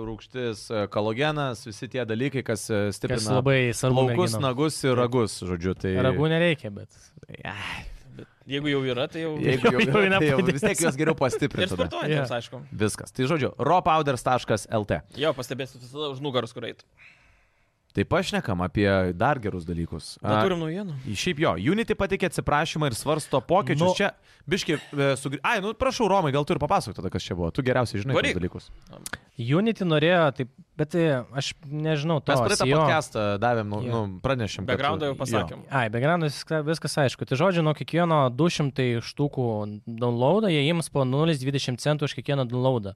Speaker 1: rūgštis, e, kalogenas, visi tie dalykai, kas e,
Speaker 3: Kas
Speaker 1: stiprina
Speaker 3: labai svarbu.
Speaker 1: plaukus,
Speaker 3: merginom.
Speaker 1: nagus ir ragus, žodžiu. Tai...
Speaker 3: Ragų nereikia, bet.
Speaker 2: Bet jeigu jau yra, tai jau...
Speaker 1: Jeigu jau,
Speaker 3: Jau
Speaker 1: jau, jau,
Speaker 3: nepadės.
Speaker 1: vis tiek juos geriau
Speaker 2: Ir
Speaker 1: pastiprinti. tada.
Speaker 2: sportuojantiems,
Speaker 3: Jo.
Speaker 2: yeah. aišku.
Speaker 1: Viskas. Tai žodžiu, ropowders.lt.
Speaker 2: Jo, pastebėsit visada už nugaros, kur eit.
Speaker 1: Tai pašnekam apie dar gerus dalykus.
Speaker 2: Na,
Speaker 1: A,
Speaker 2: turim naujienų.
Speaker 1: Šiaip jo, Unity patikė atsiprašymą ir svarsto pokyčius.
Speaker 3: Nu.
Speaker 1: Nu, čia, biški, sugrį... Ai, nu prašau, Romai, gal tu ir papasakok tada, kas čia buvo. Tu geriausiai žinai
Speaker 2: Varyk.
Speaker 1: tuos dalykus.
Speaker 3: Unity norėjo, taip, bet e, aš nežinau, to
Speaker 1: Mes praeitą
Speaker 3: SEO.
Speaker 1: podcastą davėm, nu,
Speaker 3: Jo.
Speaker 1: nu, pranešėm. kad-
Speaker 2: Backgroundą jau pasakėm.
Speaker 3: Ai, be grandus viskas aišku. Tai žodžiu, nuo kiekvieno 200 štukų downloadą jie jiems po 0,20 centų už kiekvieną downloadą.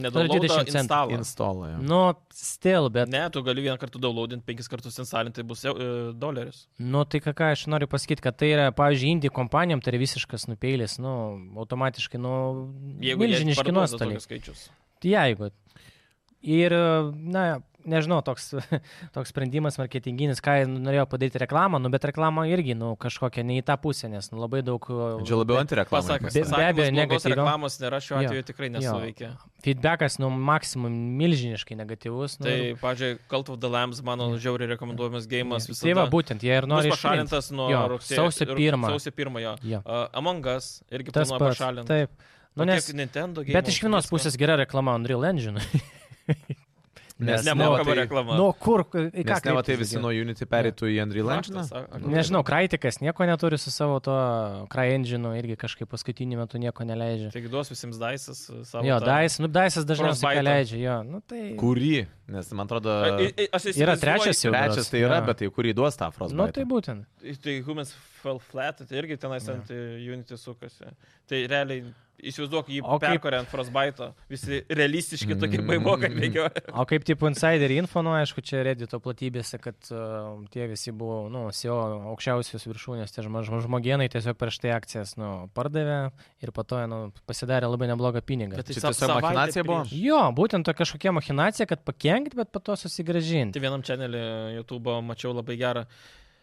Speaker 2: Nedaug
Speaker 3: 20
Speaker 1: Jo.
Speaker 3: centų.
Speaker 2: centų.
Speaker 1: Installą. jo.
Speaker 3: Nu, still, bet...
Speaker 2: Ne, tu gali vieną kartą daulaudinti, penkis kartus instalinti, tai bus jau, e, doleris.
Speaker 3: Nu, tai ką, ką aš noriu pasakyti, kad tai yra, pavyzdžiui, indie kompanijom tai yra visiškas nupeilis, nu, automatiškai, nu,
Speaker 2: Jeigu jie
Speaker 3: milžiniški
Speaker 2: parduoda
Speaker 3: nuostoliai.
Speaker 2: tokius skaičius.
Speaker 3: Tai Jeigu. Ir, na, nežinau, toks, toks sprendimas marketinginis, ką jie norėjo padaryti reklamą, nu, bet reklama irgi, nu, kažkokia ne į tą pusę, nes nu, labai daug...
Speaker 1: Čia labiau antireklama.
Speaker 2: Pasakas,
Speaker 3: Be- be
Speaker 2: pasakymas
Speaker 3: abejo,
Speaker 2: blogos
Speaker 3: negatyvio.
Speaker 2: reklamos nėra šiuo
Speaker 3: Jo.
Speaker 2: atveju tikrai nesuveikia.
Speaker 3: Feedbackas, nu, maksimum milžiniškai negatyvus. Nu,
Speaker 2: Tai, pažiūrėjau, Cult of the Lambs, mano žiauriai rekomenduojamas gėjimas visą
Speaker 3: Tai va, būtent, jie ir nori
Speaker 2: Nors pašalintas nuo
Speaker 3: Jo,
Speaker 2: rugsėjo.
Speaker 3: sausio
Speaker 2: ir-
Speaker 3: pirmą.
Speaker 2: Sausio pirmojo.
Speaker 3: Jo.
Speaker 2: Uh, Among Us irgi
Speaker 3: Tas
Speaker 2: planuoja
Speaker 3: pats.
Speaker 2: pašalinti.
Speaker 3: Taip. Nu, nes,
Speaker 2: Nintendo
Speaker 3: bet iš vienos
Speaker 2: visko.
Speaker 3: pusės gera reklama Unreal Engine.
Speaker 1: Nes
Speaker 2: Nemokama
Speaker 1: neva tai-
Speaker 2: reklama.
Speaker 3: Nu, kur, į ką
Speaker 1: Nes ne, va, tai
Speaker 3: kreiptis
Speaker 1: visi
Speaker 3: daugiau?
Speaker 1: nuo Unity perėtų į Andrei Lančiną.
Speaker 2: Faktas, a- a-
Speaker 3: Nu, Nežinau, Kraitikas nieko neturi su savo to CryEngine, irgi kažkaip paskutiniu metu nieko neleidžia.
Speaker 2: Taigi duos visiems Daisas
Speaker 1: Tai
Speaker 2: savo.
Speaker 3: Jo,
Speaker 2: tą-
Speaker 3: Daisas, nu, Daisas dažniausiai ką
Speaker 2: Frostbite'ą.
Speaker 3: leidžia, jo. Nu, tai...
Speaker 1: Kurį? Nes man atrodo,
Speaker 2: A, i- i- Aš
Speaker 3: e, Yra
Speaker 2: įsivaizduoju-
Speaker 3: trečias jau.
Speaker 1: trečias
Speaker 3: berods,
Speaker 1: tai yra,
Speaker 3: jo.
Speaker 1: bet tai kurį duos tą frozą.
Speaker 3: Nu, tai būtent.
Speaker 2: Tai Humans Fell Flat, tai irgi tenais ant e, Unity sukasi. Tai realiai, įsivaizduok, jį
Speaker 3: O kaip-
Speaker 2: perkorė ant Frostbite, visi realistiški tokie baigokai bėgioja.
Speaker 3: O kaip tipo insider info, nu, aišku, čia redito platybėse, kad uh, tie visi buvo, nu, SEO aukščiausios viršūnės, tie žmo- žmo- žmogienai tiesiog prieš tai akcijas, nu, pardavė ir po to, nu, pasidarė labai neblogą
Speaker 2: tai
Speaker 3: pinigą.
Speaker 1: Čia tiesiog machinacija buvo?
Speaker 3: Jo, būtent to kažkokia machinacija, kad pakenkti, bet po to susigražinti.
Speaker 2: Tai vienam čanelį YouTube mačiau labai gerą.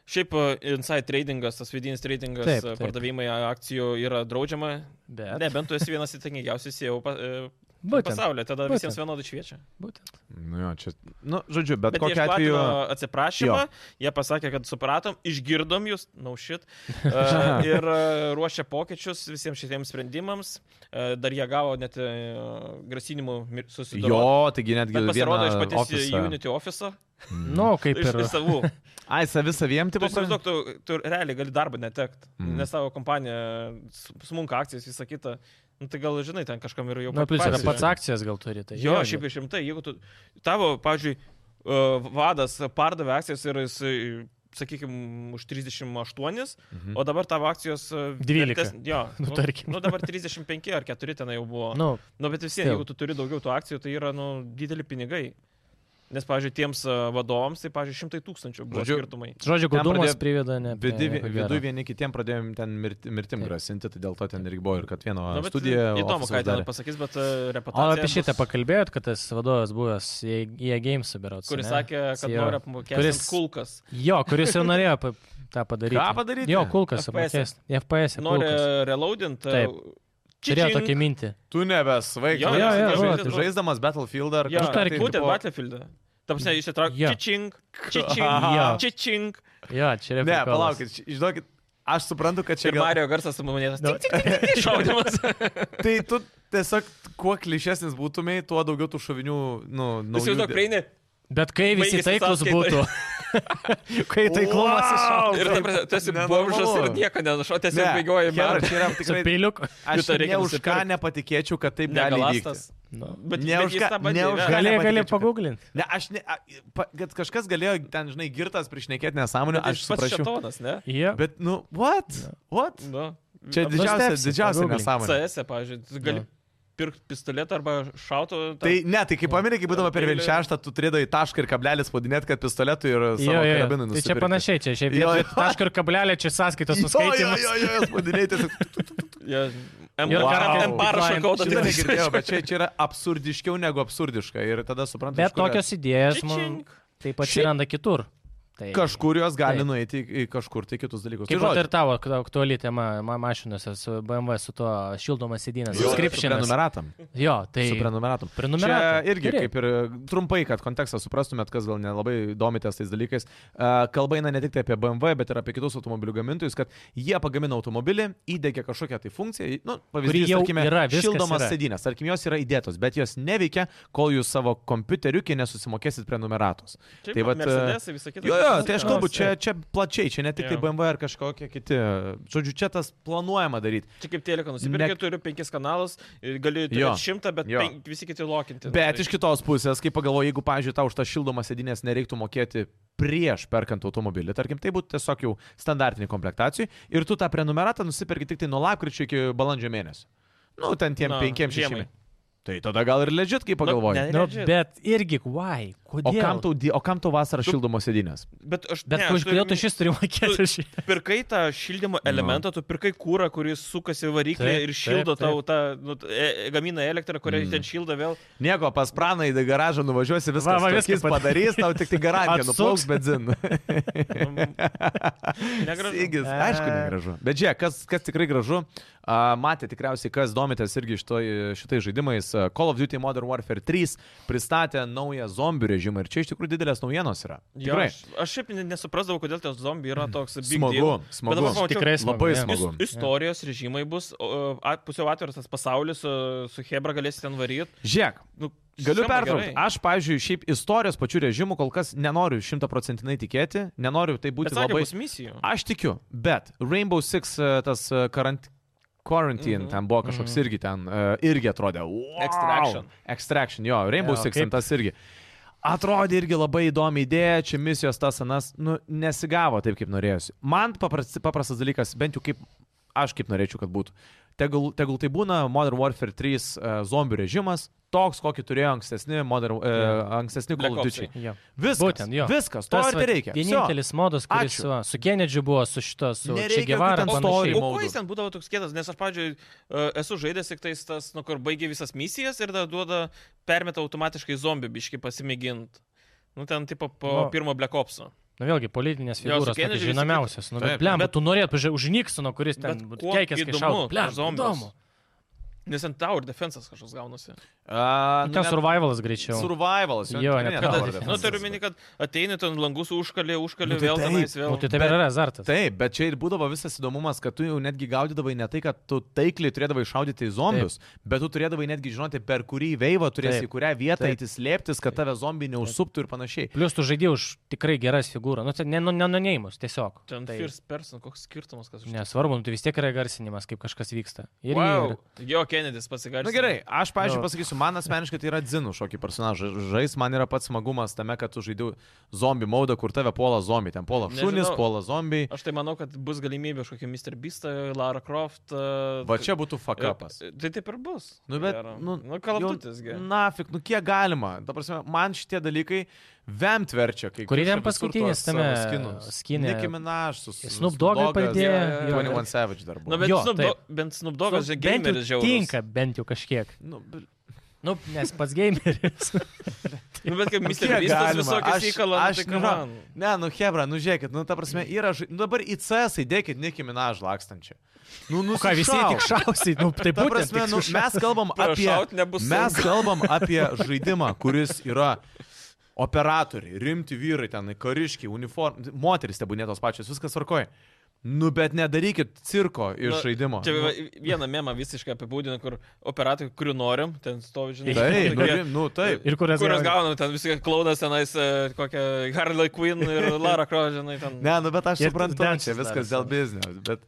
Speaker 2: Šiaip e, inside tradingas, tas vidinis tradingas,
Speaker 3: Taip,
Speaker 2: e,
Speaker 3: taip.
Speaker 2: pardavimai akcijų yra draudžiama.
Speaker 3: Bet,
Speaker 2: Ne, bent tu esi vienas įtakingiausias jau pa, e,
Speaker 3: būtent,
Speaker 2: pasaulyje, tada
Speaker 3: Būtent.
Speaker 2: visiems vienodai šviečia.
Speaker 3: būtent.
Speaker 1: Nu, jo, čia... nu, žodžiu, bet,
Speaker 2: Bet
Speaker 1: bet
Speaker 2: jie
Speaker 1: kokiu
Speaker 2: atveju...
Speaker 1: atveju.
Speaker 2: atsiprašymą, jie pasakė, kad supratom, išgirdom jūs, naušit, no uh, ir uh, ruošia pokyčius visiems šitiems sprendimams. Uh, dar jie gavo net uh, grasinimų susidūrimą.
Speaker 1: Jo, taigi netgi
Speaker 2: Pasirodo iš
Speaker 1: vieną
Speaker 2: paties office.
Speaker 1: ofisą.
Speaker 2: Unity office,
Speaker 1: Mm.
Speaker 3: Nu, kaip
Speaker 2: iš,
Speaker 3: ir.
Speaker 2: iš savų.
Speaker 1: Ai, savi saviem, tai
Speaker 2: Tu įsivaizduok, tu, tu realiai gali darbą netekt, mm.
Speaker 1: Mhm.
Speaker 2: nes tavo kompanija s- smunka akcijas, visą kitą. Nu, tai gal žinai, ten kažkam ir jau
Speaker 3: Nu, plus yra
Speaker 2: pavyzdžiui.
Speaker 3: pats akcijas gal turi. Tai
Speaker 2: Jo,
Speaker 3: irgi.
Speaker 2: šiaip iš rimtai, jeigu tu, tavo, pavyzdžiui, uh, vadas pardavė akcijas ir jis, sakykime, už 38,
Speaker 1: Mhm.
Speaker 2: o dabar tavo akcijos... uh,
Speaker 3: 12.
Speaker 2: vertės- Jo,
Speaker 3: Nu, tarkim.
Speaker 2: Nu, dabar 35 ar 4 ten jau buvo. Nu,
Speaker 3: Nu,
Speaker 2: nu bet vis tiek,
Speaker 3: still.
Speaker 2: jeigu tu turi daugiau tų akcijų, tai yra, nu, dideli pinigai. Nes, pavyzdžiui, tiems uh, vadovams, tai, pavyzdžiui, šimtai tūkstančių buvo
Speaker 1: Žodžiu,
Speaker 2: skirtumai.
Speaker 3: žodžiu,
Speaker 1: Ten
Speaker 3: godumas
Speaker 1: pradėjo-
Speaker 3: priveda ne. prie
Speaker 1: Vidu,
Speaker 3: nieko
Speaker 1: vidu
Speaker 3: gero.
Speaker 1: vieni kitiem pradėjom ten mirti, mirtim
Speaker 3: Taip.
Speaker 1: grasinti, tai dėl to ten ir buvo ir kad vieno
Speaker 2: Nu, bet
Speaker 1: studija.
Speaker 2: įdomu, ką ten
Speaker 1: darė.
Speaker 2: pasakys, bet
Speaker 3: O
Speaker 2: reputacija.
Speaker 3: apie šitą
Speaker 2: bus-
Speaker 3: pakalbėjot, kad tas vadovas buvęs į EA Games berots.
Speaker 2: Kuris sakė, kad
Speaker 3: Jo.
Speaker 2: nori apmokestinti
Speaker 3: Kuris-
Speaker 2: kulkas.
Speaker 3: Jo, kuris jau norėjo pa, tą padaryti.
Speaker 1: Ką padaryti?
Speaker 3: Jo, kulkas
Speaker 2: FPS.
Speaker 3: apmokės. FPS.
Speaker 1: uh,
Speaker 2: Nori e,
Speaker 3: kulkas.
Speaker 2: reloadinti.
Speaker 3: Taip. Turėjo tokį mintį.
Speaker 1: Tu nebesvaik.
Speaker 2: Jo,
Speaker 3: jo, jo,
Speaker 1: žaidžiamas,
Speaker 3: žodžiu.
Speaker 1: žaisdamas Battlefield ar
Speaker 2: Ja,
Speaker 3: Aš tą
Speaker 1: kažką.
Speaker 3: irgi
Speaker 1: tai
Speaker 2: būtent
Speaker 1: tipo-
Speaker 2: Battlefield. Tapsne, jūs įtraukėte.
Speaker 3: Jo.
Speaker 2: Ja. Čičing,
Speaker 3: Jo.
Speaker 2: čičing, čičing.
Speaker 3: Jo, čia yra.
Speaker 1: Ne, palaukit, š- žinokit, aš suprantu, kad čia
Speaker 2: Ir
Speaker 1: gal...
Speaker 2: Mario garsas numanėtas.
Speaker 3: Nu.
Speaker 2: Šaudimas.
Speaker 1: Tai tu tiesiog kuo klišesnis būtumai, tuo daugiau tų šovinių, nu,
Speaker 2: Jūs
Speaker 1: naujų...
Speaker 2: jau daug prieini.
Speaker 3: Bet kai visi
Speaker 2: Baigėsi
Speaker 3: taiklus būtų.
Speaker 2: sąskaita.
Speaker 3: Kai taiklumas
Speaker 1: Wow!
Speaker 3: iš...
Speaker 2: Ir ta prasme, tu esi
Speaker 1: Nenormalu.
Speaker 2: bomžas ir nieko nenušo, tiesiog
Speaker 1: Ne,
Speaker 2: bėgioji
Speaker 1: Hera,
Speaker 2: man.
Speaker 1: čia yra
Speaker 3: Su
Speaker 1: tikrai...
Speaker 3: piliuku.
Speaker 1: Aš
Speaker 2: Vitą reikia
Speaker 1: ne už ką
Speaker 2: nusipirkt.
Speaker 1: nepatikėčiau, kad taip gali įvykti.
Speaker 2: Negalastas.
Speaker 3: Nu.
Speaker 2: Bet,
Speaker 1: Ne
Speaker 2: bet
Speaker 1: už
Speaker 2: jis
Speaker 1: ką-
Speaker 2: tą bandė
Speaker 1: ne už
Speaker 2: įvežti.
Speaker 1: ką-
Speaker 3: Gali, gali
Speaker 1: nepatikėčiau, kad-
Speaker 3: paguglinti.
Speaker 1: Ne, aš ne, a, pa- kad kažkas galėjo ten, žinai, girtas priešnekėti
Speaker 3: Nu,
Speaker 1: nesąmonę,
Speaker 3: tai
Speaker 2: Bet
Speaker 1: aš
Speaker 2: jis pats
Speaker 1: suprasčiau.
Speaker 2: šetonas, ne?
Speaker 3: Jie.
Speaker 1: Bet, nu, what? What?
Speaker 2: Nu,
Speaker 1: Čia
Speaker 2: Apsi-
Speaker 1: didžiausia,
Speaker 3: nustebsi,
Speaker 1: didžiausia
Speaker 3: pagooglink.
Speaker 1: nesąmonė.
Speaker 2: CS, pavyzdžiui, tu gali
Speaker 3: Jo.
Speaker 2: pirkti pistoletą arba šautų.
Speaker 1: Tai ne, tai kaip pameni, kai būdavo per
Speaker 2: Peilį.
Speaker 1: 1.6, tu turėdavai tašką ir kablelį spaudinėti, kad pistoletų ir
Speaker 3: Jo, jo,
Speaker 1: savo
Speaker 3: jo.
Speaker 1: karabinų
Speaker 3: Tai
Speaker 1: nusipirkti.
Speaker 3: čia panašiai, čia šiaip
Speaker 1: Jo,
Speaker 3: jau
Speaker 1: jo.
Speaker 3: taško ir kablelio čia sąskaitos
Speaker 1: Jo, jo,
Speaker 3: nuskaitimas.
Speaker 1: jo, jo, spaudiniai tiesiog
Speaker 2: Ja, M,
Speaker 3: Ir
Speaker 2: wow.
Speaker 1: karate
Speaker 2: M parašo
Speaker 3: tikrai-
Speaker 2: kodą
Speaker 1: Šitą
Speaker 2: tik tai
Speaker 1: negirdėjau, bet čia, čia yra absurdiškiau negu absurdiška. Ir tada suprantu,
Speaker 3: Bet
Speaker 1: iš kur-
Speaker 3: tokios idėjos man
Speaker 2: Čičink.
Speaker 3: taip
Speaker 1: Šiaip-
Speaker 3: atsiranda kitur. Tai
Speaker 1: Kažkur jos gali
Speaker 3: Taip.
Speaker 1: nueiti į- į kažkur tai kitus dalykus.
Speaker 3: Kaip
Speaker 1: Tai
Speaker 3: pat ir
Speaker 1: žodžiu,
Speaker 3: tavo ak- aktuali tema ma mašinose su BMW, su tuo šildomas sėdynės,
Speaker 1: su
Speaker 3: subscriptionas.
Speaker 1: Prenumeratam.
Speaker 3: Jo, tai
Speaker 1: Su prenumeratom.
Speaker 3: Prenumeratai,
Speaker 1: Čia irgi
Speaker 3: gerai.
Speaker 1: kaip ir e, trumpai, kad kontekstą suprastumėt, kas gal nelabai domitės tais dalykais. E, Kalba eina ne tik tai apie BMW, bet ir apie kitus automobilių gamintojus, kad jie pagamina automobilį, įdėgia kažkokią tai funkciją, nu, pavyzdžiui,
Speaker 3: jau
Speaker 1: tarkime,
Speaker 3: yra, viskas
Speaker 1: šildomas
Speaker 3: yra.
Speaker 1: sėdynės, tarkim, jos yra įdėtos, bet jos neveikia, kol jūs savo kompiuteriukį nesusimokėsit prenumeratos.
Speaker 2: Čia
Speaker 1: Tai vat, e,
Speaker 2: Mercedesai, visa kita.
Speaker 1: Jo, jo, tai aš
Speaker 3: Jo,
Speaker 1: kalbu,
Speaker 3: taip.
Speaker 1: čia, čia plačiai, čia ne tik tai
Speaker 2: Jo.
Speaker 1: BMW ar kažkokie kiti. Žodžiu, čia tas planuojama daryti.
Speaker 2: Čia kaip teleką
Speaker 1: Ne-
Speaker 2: nusipirkai, ne... turiu penkis kanalus, ir galiu
Speaker 1: Jo.
Speaker 2: turėti šimtą, bet
Speaker 1: Jo.
Speaker 2: penk, visi kiti lokinti.
Speaker 1: Bet iš kitos pusės, kai pagalvoju, jeigu, pavyzdžiui, tau už tą šildomą sėdinės nereiktų mokėti prieš perkant automobilį, tarkim, tai būtų tiesiog jau standartiniai komplektacijai ir tu tą prenumeratą nusipirki tik tai nuo lapkričio iki balandžio mėnesio. Nu, ten tiem
Speaker 2: Na,
Speaker 1: penkiem šešiem.
Speaker 2: žiemai.
Speaker 1: Tai tada gal ir legit, kai pagalvoju.
Speaker 2: ne.
Speaker 3: Nu,
Speaker 2: Legit.
Speaker 3: bet irgi, why?
Speaker 1: O
Speaker 3: Kodėl?
Speaker 1: kam tau, di- o kam tau vasarą
Speaker 2: Tu-
Speaker 1: šildomos sėdinės?
Speaker 2: Bet aš...
Speaker 3: Bet
Speaker 2: ne,
Speaker 3: už
Speaker 2: aš turiu
Speaker 3: kodėl tu
Speaker 2: omeny-
Speaker 3: šis turi mokėti už šį?
Speaker 2: pirkai tą
Speaker 1: Nu.
Speaker 2: šildymo elementą, tu pirkai kūrą, kuris sukasi variklį
Speaker 3: Taip,
Speaker 2: ir šildo
Speaker 3: taip,
Speaker 2: tau tą, nu, t- e, gamina elektrą, kurią
Speaker 1: Mm.
Speaker 2: mm. ten šildo vėl.
Speaker 1: Nieko, pas praną į garažą nuvažiuosi, viską,
Speaker 3: va, viską
Speaker 1: viską
Speaker 3: pad-
Speaker 1: padarys, tau tik tai garantiją
Speaker 3: Atsuks.
Speaker 1: nuplauks benzinu.
Speaker 2: Mm. Negražu.
Speaker 1: Sygis, aišku, negražu. Bet čia, kas, kas tikrai gražu, a, matė tikriausiai, kas domitės irgi šitoj- šitais žaidimais, a, Call of Duty Modern Warfare 3 pristatė naują zombių režimą ir čia iš tikrųjų didelės naujienos yra.
Speaker 2: Jo,
Speaker 1: Tikrai.
Speaker 2: aš, aš šiaip ne- nesuprasdavau, kodėl tie zombiai yra toks big
Speaker 1: Smagu,
Speaker 2: deal. Bet dabar
Speaker 1: smagu.
Speaker 2: pamačiau,
Speaker 3: Tikrai smagu.
Speaker 1: Labai
Speaker 3: jo.
Speaker 1: smagu.
Speaker 2: is- Istorijos režimai bus, o, a- pusiau atviras tas pasaulis, su, su Hebra galėsi ten varyti.
Speaker 1: Žiūrėk,
Speaker 2: Nu,
Speaker 1: Galiu
Speaker 2: skamba
Speaker 1: pertraukti.
Speaker 2: gerai.
Speaker 1: Aš, pavyzdžiui, šiaip istorijos pačių režimų kol kas nenoriu šimtaprocentinai tikėti, nenoriu tai būti
Speaker 2: Bet sakė,
Speaker 1: labai...
Speaker 2: bus misijų.
Speaker 1: Aš tikiu, bet Rainbow Six e, tas e, karant... Quarantine, mm
Speaker 2: Mhm.
Speaker 1: -hmm. ten buvo kažkoks mm -hmm. irgi ten, e, irgi atrodė. Wow.
Speaker 2: Extraction.
Speaker 1: Extraction, jo, Rainbow
Speaker 3: Jo,
Speaker 1: Six,
Speaker 3: kaip-
Speaker 1: kaip... tas irgi. Atrodė irgi labai įdomi idėja, čia misijos tas anas, nu, nesigavo taip, kaip norėjusi. Man paprastas, paprastas dalykas, bent jau kaip aš kaip norėčiau, kad būtų. Tegul, tegul tai būna Modern Warfare 3 uh, zombių režimas, toks, kokį turėjo ankstesni, modern, uh, ankstesni Call of
Speaker 2: Black
Speaker 1: Duty.
Speaker 2: Opsai.
Speaker 3: Jo.
Speaker 1: Viskas,
Speaker 3: Būtent, jo.
Speaker 1: viskas, to
Speaker 3: Tas
Speaker 1: ir
Speaker 3: vat
Speaker 1: tereikia.
Speaker 3: Vienintelis modas, kuris
Speaker 1: Ačiū.
Speaker 3: su, su Kenedžiu buvo, su šito, su
Speaker 1: Nereikia jokių
Speaker 3: Čegevara.
Speaker 1: ten
Speaker 2: O
Speaker 1: istorijų.
Speaker 2: kuo
Speaker 1: Maudų.
Speaker 2: jis ten būdavo toks kietas, nes aš, pavyzdžiui, e, esu žaidęs tik tais tas, nu, kur baigė visas misijas ir tada duoda, permeta automatiškai zombį biški pasimėgint. Nu, ten, tipo, po
Speaker 3: Nu,
Speaker 2: no. pirmo Black Ops'o.
Speaker 3: Na Nu, vėlgi,
Speaker 2: Jo,
Speaker 3: politinės
Speaker 2: su
Speaker 3: figūros, tokios
Speaker 2: Kenedžiu visi
Speaker 3: žinomiausios. Nu, bet,
Speaker 1: Taip,
Speaker 3: blem,
Speaker 2: bet-
Speaker 3: bet tu norėtum, pažiūrėjau, už Niksono, kuris ten
Speaker 2: Bet kuo
Speaker 3: keikės
Speaker 2: įdomu
Speaker 3: kažką. Blem,
Speaker 2: tas zombis?
Speaker 3: įdomu.
Speaker 2: Nes ant Tower Defense'as kažkoks gaunasi.
Speaker 1: Uh,
Speaker 3: Ten survivalas greičiau.
Speaker 1: Survivalas.
Speaker 3: Jo,
Speaker 1: tikrai
Speaker 3: ne
Speaker 1: ne
Speaker 3: Tower
Speaker 1: Tower
Speaker 3: Defense.
Speaker 2: Nu,
Speaker 1: Defense.
Speaker 2: turiu mini, kad ateini ten langus užkalį, užkalį,
Speaker 1: Nu,
Speaker 2: nu,
Speaker 1: tai
Speaker 2: vėl
Speaker 1: taip.
Speaker 2: tenais, vėl.
Speaker 3: O tai taip ir yra azartas.
Speaker 1: Taip, bet čia ir būdavo visas įdomumas, kad tu jau netgi gaudydavai ne tai, kad tu taikliai turėdavai šaudyti į zombius, taip. bet tu turėdavai netgi žinoti, per kurį veivą turėsi,
Speaker 3: Taip.
Speaker 1: į kurią vietą
Speaker 3: Taip.
Speaker 1: eiti slėptis, kad tave zombiai neužsuptų ir panašiai.
Speaker 3: Plius tu žaidėjai už tikrai geras figūras. Nu, ten nenunėjimus, tiesiog.
Speaker 2: Ten
Speaker 3: Tai-
Speaker 2: First Person, koks skirtumas, kas už tai.
Speaker 3: Nesvarbu, nu, tai vis tiek yra garsinimas, kaip kažkas vyksta. Ir
Speaker 2: Wow. Jo, Kennedys
Speaker 1: Na
Speaker 2: pasigarė.
Speaker 1: nu, gerai, aš, pažiūrėjau,
Speaker 3: Nu.
Speaker 1: pasakysiu, man asmeniškai tai yra dzinų šokį personažą. Žais, man yra pats smagumas tame, kad tu žaidži zombių maudą, kur tave puola zombiai. Ten puola šunis,
Speaker 2: Nežinau.
Speaker 1: puola zombiai.
Speaker 2: Aš tai manau, kad bus galimybė kažkokį Mr. Beastą, Lara Croft. e,
Speaker 1: Va čia būtų fakapas.
Speaker 2: Tai taip ir bus.
Speaker 1: Nu, bet,
Speaker 2: Gero.
Speaker 1: nu, jau-
Speaker 2: nu kalatutis, gerai.
Speaker 1: Na, fik, nu kiek galima. Ta prasme, man šitie dalykai vemt verčia, kai
Speaker 3: Kurį
Speaker 1: kiša
Speaker 3: ten
Speaker 1: visur
Speaker 3: paskutinį
Speaker 1: tuos savo
Speaker 3: tame
Speaker 1: skinus.
Speaker 3: skine?
Speaker 1: Nicki Minaj su su-
Speaker 3: Snoop Doggą
Speaker 1: Snoop Doggas,
Speaker 2: Jo, jo,
Speaker 3: pridėjo.
Speaker 2: jo.
Speaker 1: 21 Savage dar
Speaker 2: Na,
Speaker 1: buvo.
Speaker 2: Nu, bet
Speaker 3: Jo,
Speaker 2: Snoop
Speaker 3: taip.
Speaker 2: Dogg- bent Snoop
Speaker 3: Nu,
Speaker 2: Doggas, žinai,
Speaker 3: bent jau
Speaker 2: gameris žiauriai.
Speaker 3: Tinka bent jau kažkiek.
Speaker 1: Nu, bet-
Speaker 3: Nu, nes pats gameris.
Speaker 2: Nu, bet kaip Mr.
Speaker 1: Kiek
Speaker 2: Beastas
Speaker 1: galima? Aš-
Speaker 2: visokius įkalas,
Speaker 1: aš
Speaker 2: tai
Speaker 1: nu
Speaker 2: kam
Speaker 1: va,
Speaker 2: man.
Speaker 1: Ne, nu Hebra, nu žiūrėkit, nu ta prasme yra... Ži... Nu, dabar į CS įdėkit Nicki Minaj lakstančią. Nu, nu,
Speaker 3: Nu ką, visi tik šausiai. Nu, tai
Speaker 1: Ta
Speaker 3: būtent,
Speaker 1: prasme,
Speaker 3: tik
Speaker 1: nu,
Speaker 3: sušau-
Speaker 1: mes kalbam apie...
Speaker 2: Prašaut nebus
Speaker 1: Mes
Speaker 2: sunku.
Speaker 1: kalbam apie žaidimą, kuris yra operatoriai, rimti vyrai, ten kariškiai, uniform, moteris tebūnė tos pačios, viskas varkoja. Nu, bet nedarykit cirko iš
Speaker 2: Nu,
Speaker 1: žaidimo.
Speaker 2: Čia va, vieną memą visiškai apibūdina, kur operatorių, kurių norim, ten stovi, žinai.
Speaker 1: Taip, nu,
Speaker 2: tokie-
Speaker 1: rim- nu, taip.
Speaker 3: Ir kurias,
Speaker 2: Kurios gaunam, ten visi klaudas tenais, e, kokią Harley Quinn ir Lara Croft, žinai, ten.
Speaker 1: Ne, nu, bet aš
Speaker 3: Ir
Speaker 1: suprantu, čia
Speaker 3: dančius
Speaker 1: viskas dėl
Speaker 3: darosi.
Speaker 1: biznio. Bet...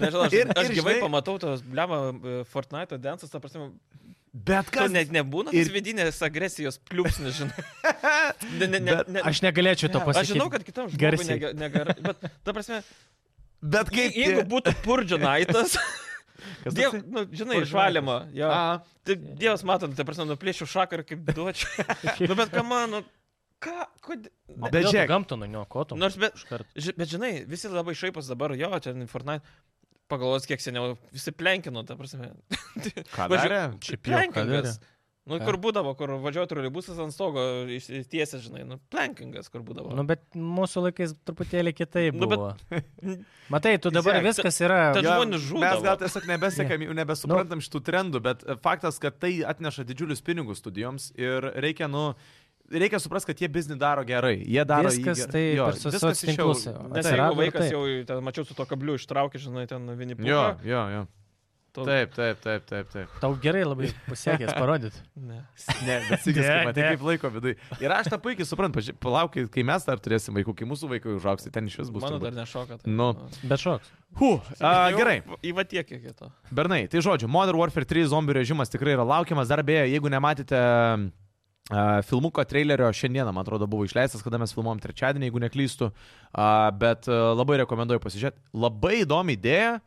Speaker 2: Nežinau, aš,
Speaker 1: Ir-
Speaker 2: ir, aš
Speaker 1: ir,
Speaker 2: gyvai
Speaker 1: žinai-
Speaker 2: žinai, pamatau tos, blema, Fortnite'o dancas, ta prasme,
Speaker 1: Bet
Speaker 2: to
Speaker 1: kas?
Speaker 2: net nebūna,
Speaker 1: ir-
Speaker 2: ir vidinės agresijos pliūpsnis, žinai. Ne, ne, ne,
Speaker 1: Bet
Speaker 2: ne,
Speaker 3: Aš negalėčiau to
Speaker 2: aš
Speaker 3: pasakyti.
Speaker 2: žinau, kad kitam žmogui
Speaker 3: garsiai.
Speaker 2: nega- negerai, bet, ta prasme,
Speaker 1: Bet
Speaker 2: je-
Speaker 1: kaip...
Speaker 2: jeigu
Speaker 1: tie-
Speaker 2: būtų Purdžonaitas,
Speaker 1: Kas
Speaker 2: diev,
Speaker 1: toksai?
Speaker 2: nu, žinai,
Speaker 1: Purdžonaitas.
Speaker 2: išvalymo, jo.
Speaker 1: A,
Speaker 2: Tai Dievas matant, ta prasme, nuplėšiu šaką ir kaip duočiau. nu, bet ką man, nu, ką, kodėl.
Speaker 1: Bet
Speaker 3: Bet čia
Speaker 1: žiūrėk.
Speaker 3: gamto nuniokotum.
Speaker 2: Nors, bet,
Speaker 3: iškart.
Speaker 2: Ži- Bet žinai, visi labai šaipas dabar, jo, čia Fortnite, pagalvos, kiek seniau visi plenkino, ta prasme.
Speaker 1: ką
Speaker 2: Važiu-
Speaker 1: darė?
Speaker 3: Šiaip jau ką darė.
Speaker 2: Plenkingas. Nu,
Speaker 3: Ką?
Speaker 2: kur būdavo, kur važiuoja troleibusas ant stogo ištiesęs, žinai, nu, plenkingas, kur būdavo.
Speaker 3: Nu, bet mūsų laikais truputėlį kitaip
Speaker 2: Nu, bet-
Speaker 3: buvo. Matai, tu dabar
Speaker 2: Žiūrėk,
Speaker 3: viskas yra...
Speaker 2: ta-
Speaker 1: Jo,
Speaker 2: žmonių žūdavo.
Speaker 1: Mes gal tiesiog nebesekam, jau nebesuprantam
Speaker 3: Nu.
Speaker 1: šitų trendų, bet e, faktas, kad tai atneša didžiulius pinigus studijoms ir reikia, nu, reikia suprasti, kad jie biznį daro gerai. Jie daro jį
Speaker 3: Viskas
Speaker 1: ger-
Speaker 3: tai
Speaker 1: jo,
Speaker 3: per so-
Speaker 1: viskas iš
Speaker 3: soctinklus
Speaker 1: jau-
Speaker 3: jau.
Speaker 2: Nes
Speaker 3: Atsirado
Speaker 2: jeigu
Speaker 3: ir
Speaker 2: vaikas
Speaker 3: taip.
Speaker 2: jau, ten, mačiau, su to kabliu ištraukė, žinai, ten
Speaker 1: Jo,
Speaker 2: vieni pūkai.
Speaker 1: jo, jo.
Speaker 2: To-
Speaker 1: Taip, taip, taip, taip, taip.
Speaker 3: Tau gerai labai pasiekęs parodyti.
Speaker 2: Ne.
Speaker 1: Ne, bet sikis,
Speaker 3: Ne,
Speaker 1: kaip matai,
Speaker 3: ne.
Speaker 1: kaip laiko vidai. Ir aš tą puikiai suprantu, paži- palaukit, kai mes dar turėsim vaikų, kai mūsų vaikai užaugs, tai ten iš vis bus.
Speaker 2: Mano dar
Speaker 1: turbūt.
Speaker 2: nešoka. Tai.
Speaker 1: Nu.
Speaker 3: Bet šoks.
Speaker 1: Huh, a, gerai.
Speaker 2: Įvatiek iki to.
Speaker 1: Bernai, tai žodžiu, Modern Warfare 3 zombių režimas tikrai yra laukiamas. Dar beje, jeigu nematėte uh, filmuko trailerio, šiandieną, man atrodo, buvo išleistas, kada mes filmuom trečiadienį, jeigu neklystu. Uh, bet uh, labai rekomenduoju pasižiūrėti. Labai įdomi idėja.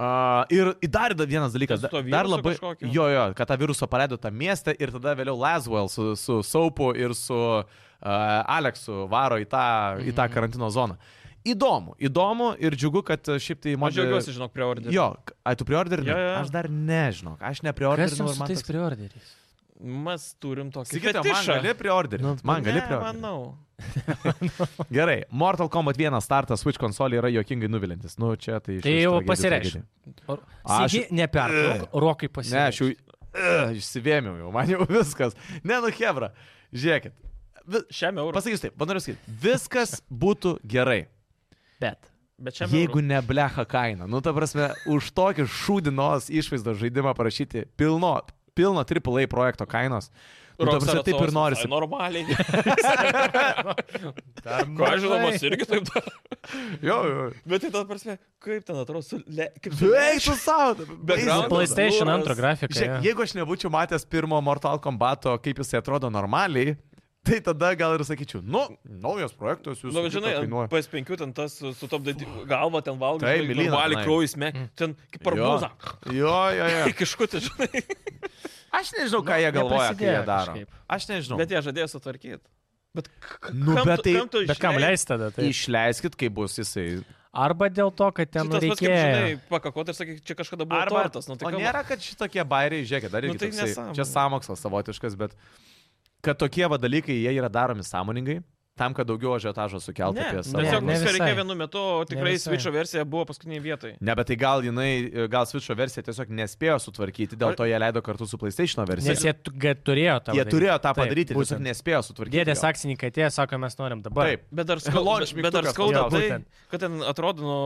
Speaker 1: Uh, ir ir dar da- vienas dalykas,
Speaker 2: Tai su
Speaker 1: da-
Speaker 2: tuo
Speaker 1: dar
Speaker 2: virusu
Speaker 1: labai...
Speaker 2: kažkokiu?
Speaker 1: Jo, jo, kad tą virusą paleido tą miestą ir tada vėliau Laswell su, su Saupu ir su uh, Aleksu varo į tą, mm. į
Speaker 2: Mhm.
Speaker 1: tą karantino zoną. Įdomu, įdomu ir džiugu, kad uh, šiaip tai...
Speaker 2: Aš
Speaker 1: mod-
Speaker 2: džiaugiuosi, žinok, prie ordinų.
Speaker 1: Jo, ai tu priorderinai?
Speaker 2: Jo, jo, jo.
Speaker 1: Aš dar nežinau, aš
Speaker 3: Kas
Speaker 1: nepriorderinau
Speaker 3: jums tai
Speaker 1: ir
Speaker 3: su
Speaker 1: man
Speaker 3: tais
Speaker 1: toks...
Speaker 3: priorderiais?
Speaker 2: Mes turim tokį.
Speaker 1: Sakykite, man
Speaker 2: fetišą.
Speaker 1: gali
Speaker 3: Nu,
Speaker 1: priorderinti. Man gali
Speaker 2: Ne,
Speaker 1: priorderinti.
Speaker 2: Manau.
Speaker 1: Gerai, Mortal Kombat 1 startas Switch konsolė yra juokingai nuvilintis. Nu, čia tai iš
Speaker 3: Tai
Speaker 1: iš
Speaker 3: jau
Speaker 1: tragedijų
Speaker 3: pasireišk.
Speaker 1: tragedija.
Speaker 3: Ar...
Speaker 1: Aš-
Speaker 3: Aš... Sėdi, nepertrauk, rokai
Speaker 1: Ne, aš jau
Speaker 3: pasiekęs.
Speaker 1: Ugh, išsivėmiau, jau, man jau viskas. Ne, nu, Hebra, žiūrėkit. Vi...
Speaker 2: Šiame eurų.
Speaker 1: Pasakysiu taip, man noriu sakyti, viskas būtų gerai,
Speaker 3: Bet.
Speaker 2: Bet šiame
Speaker 1: jeigu ne blecha kaina. Nu, ta prasme, už tokį šūdinos išvaizdos žaidimą parašyti pilno, pilno AAA projekto kainos. Nu, ta prasme, taip ir norisi.
Speaker 2: Normaliai.
Speaker 1: Dar
Speaker 2: Ko aš žinomas irgi taip daro.
Speaker 1: Jo, jo.
Speaker 2: Bet tai ta prasme, kaip ten atrodo, su le... kaip su
Speaker 1: Eik su savo.
Speaker 2: Background.
Speaker 3: PlayStation
Speaker 2: Nuras.
Speaker 3: 2 grafika.
Speaker 1: Žiūrėk,
Speaker 3: jo.
Speaker 1: jeigu aš nebūčiau matęs pirmo Mortal Kombato, kaip jisai atrodo normaliai, tai tada gal ir sakyčiau, nu, naujas projektas, jūs
Speaker 2: Na, nu, bet žinai, ant
Speaker 1: kainuoja.
Speaker 2: PS5 ten tas su, su top dadi galva ten valgo.
Speaker 1: Taip, mėlyna,
Speaker 2: Valį
Speaker 1: tenai.
Speaker 2: kraujus, me. Ten kaip arbūzą.
Speaker 1: Jo, jo, jo.
Speaker 2: Kiškutė, tai, žinai.
Speaker 1: Aš nežinau, ką jie galvoja, kai jie
Speaker 3: neprasidėjo
Speaker 1: daro.
Speaker 3: kažkaip.
Speaker 1: Aš nežinau.
Speaker 2: Bet jie žadėjo sutvarkyti. Bet, k-
Speaker 1: Nu,
Speaker 2: kam
Speaker 1: bet
Speaker 2: tu-
Speaker 1: tai-
Speaker 2: kam tu
Speaker 3: Bet kam
Speaker 2: išleidi?
Speaker 3: leisti tada? Tai...
Speaker 1: Išleiskit, kai bus jisai.
Speaker 3: Arba dėl to, kad
Speaker 2: Čia
Speaker 3: ten
Speaker 2: Tas pats, kaip žinai,
Speaker 3: reikėjo.
Speaker 2: pakakot ir sakai, čia kažkada buvo tortas. Nu, tai
Speaker 1: o
Speaker 2: kam-
Speaker 1: nėra, kad šitokie bairiai, žiūrėkit, dar
Speaker 2: Nu,
Speaker 1: irgi
Speaker 2: tai
Speaker 1: toksai-
Speaker 2: nesąmonė.
Speaker 1: Čia samokslas savotiškas, bet kad tokie va dalykai, jie yra daromi sąmoningai, tam, kad daugiau ažiotažo sukeltų
Speaker 2: Ne, nu,
Speaker 1: apie savo.
Speaker 2: tiesiog
Speaker 3: Ne
Speaker 2: viską
Speaker 3: visai.
Speaker 2: reikėjo vienu metu, o tikrai
Speaker 3: visai.
Speaker 2: Switch'o versija buvo paskutiniai vietai.
Speaker 1: Ne, bet tai gal jinai, gal Switch'o versija tiesiog nespėjo sutvarkyti, dėl
Speaker 2: Ar-
Speaker 1: to jie leido kartu su PlayStation versija.
Speaker 3: Nes jie tu- ga- turėjo tą.
Speaker 1: jie
Speaker 3: padaryti.
Speaker 1: turėjo tą
Speaker 3: Taip,
Speaker 1: padaryti,
Speaker 3: būtent.
Speaker 1: tiesiog nespėjo sutvarkyti.
Speaker 3: Dėdės
Speaker 1: jo.
Speaker 3: akcininkai atėjo, sako, mes norim dabar.
Speaker 1: Taip.
Speaker 2: Bet dar, skau...
Speaker 1: Launch
Speaker 2: bet dar
Speaker 1: mygtukas
Speaker 2: skauda
Speaker 3: paspaudžiau.
Speaker 2: tai,
Speaker 3: Būtent.
Speaker 2: kad ten atrodo nuo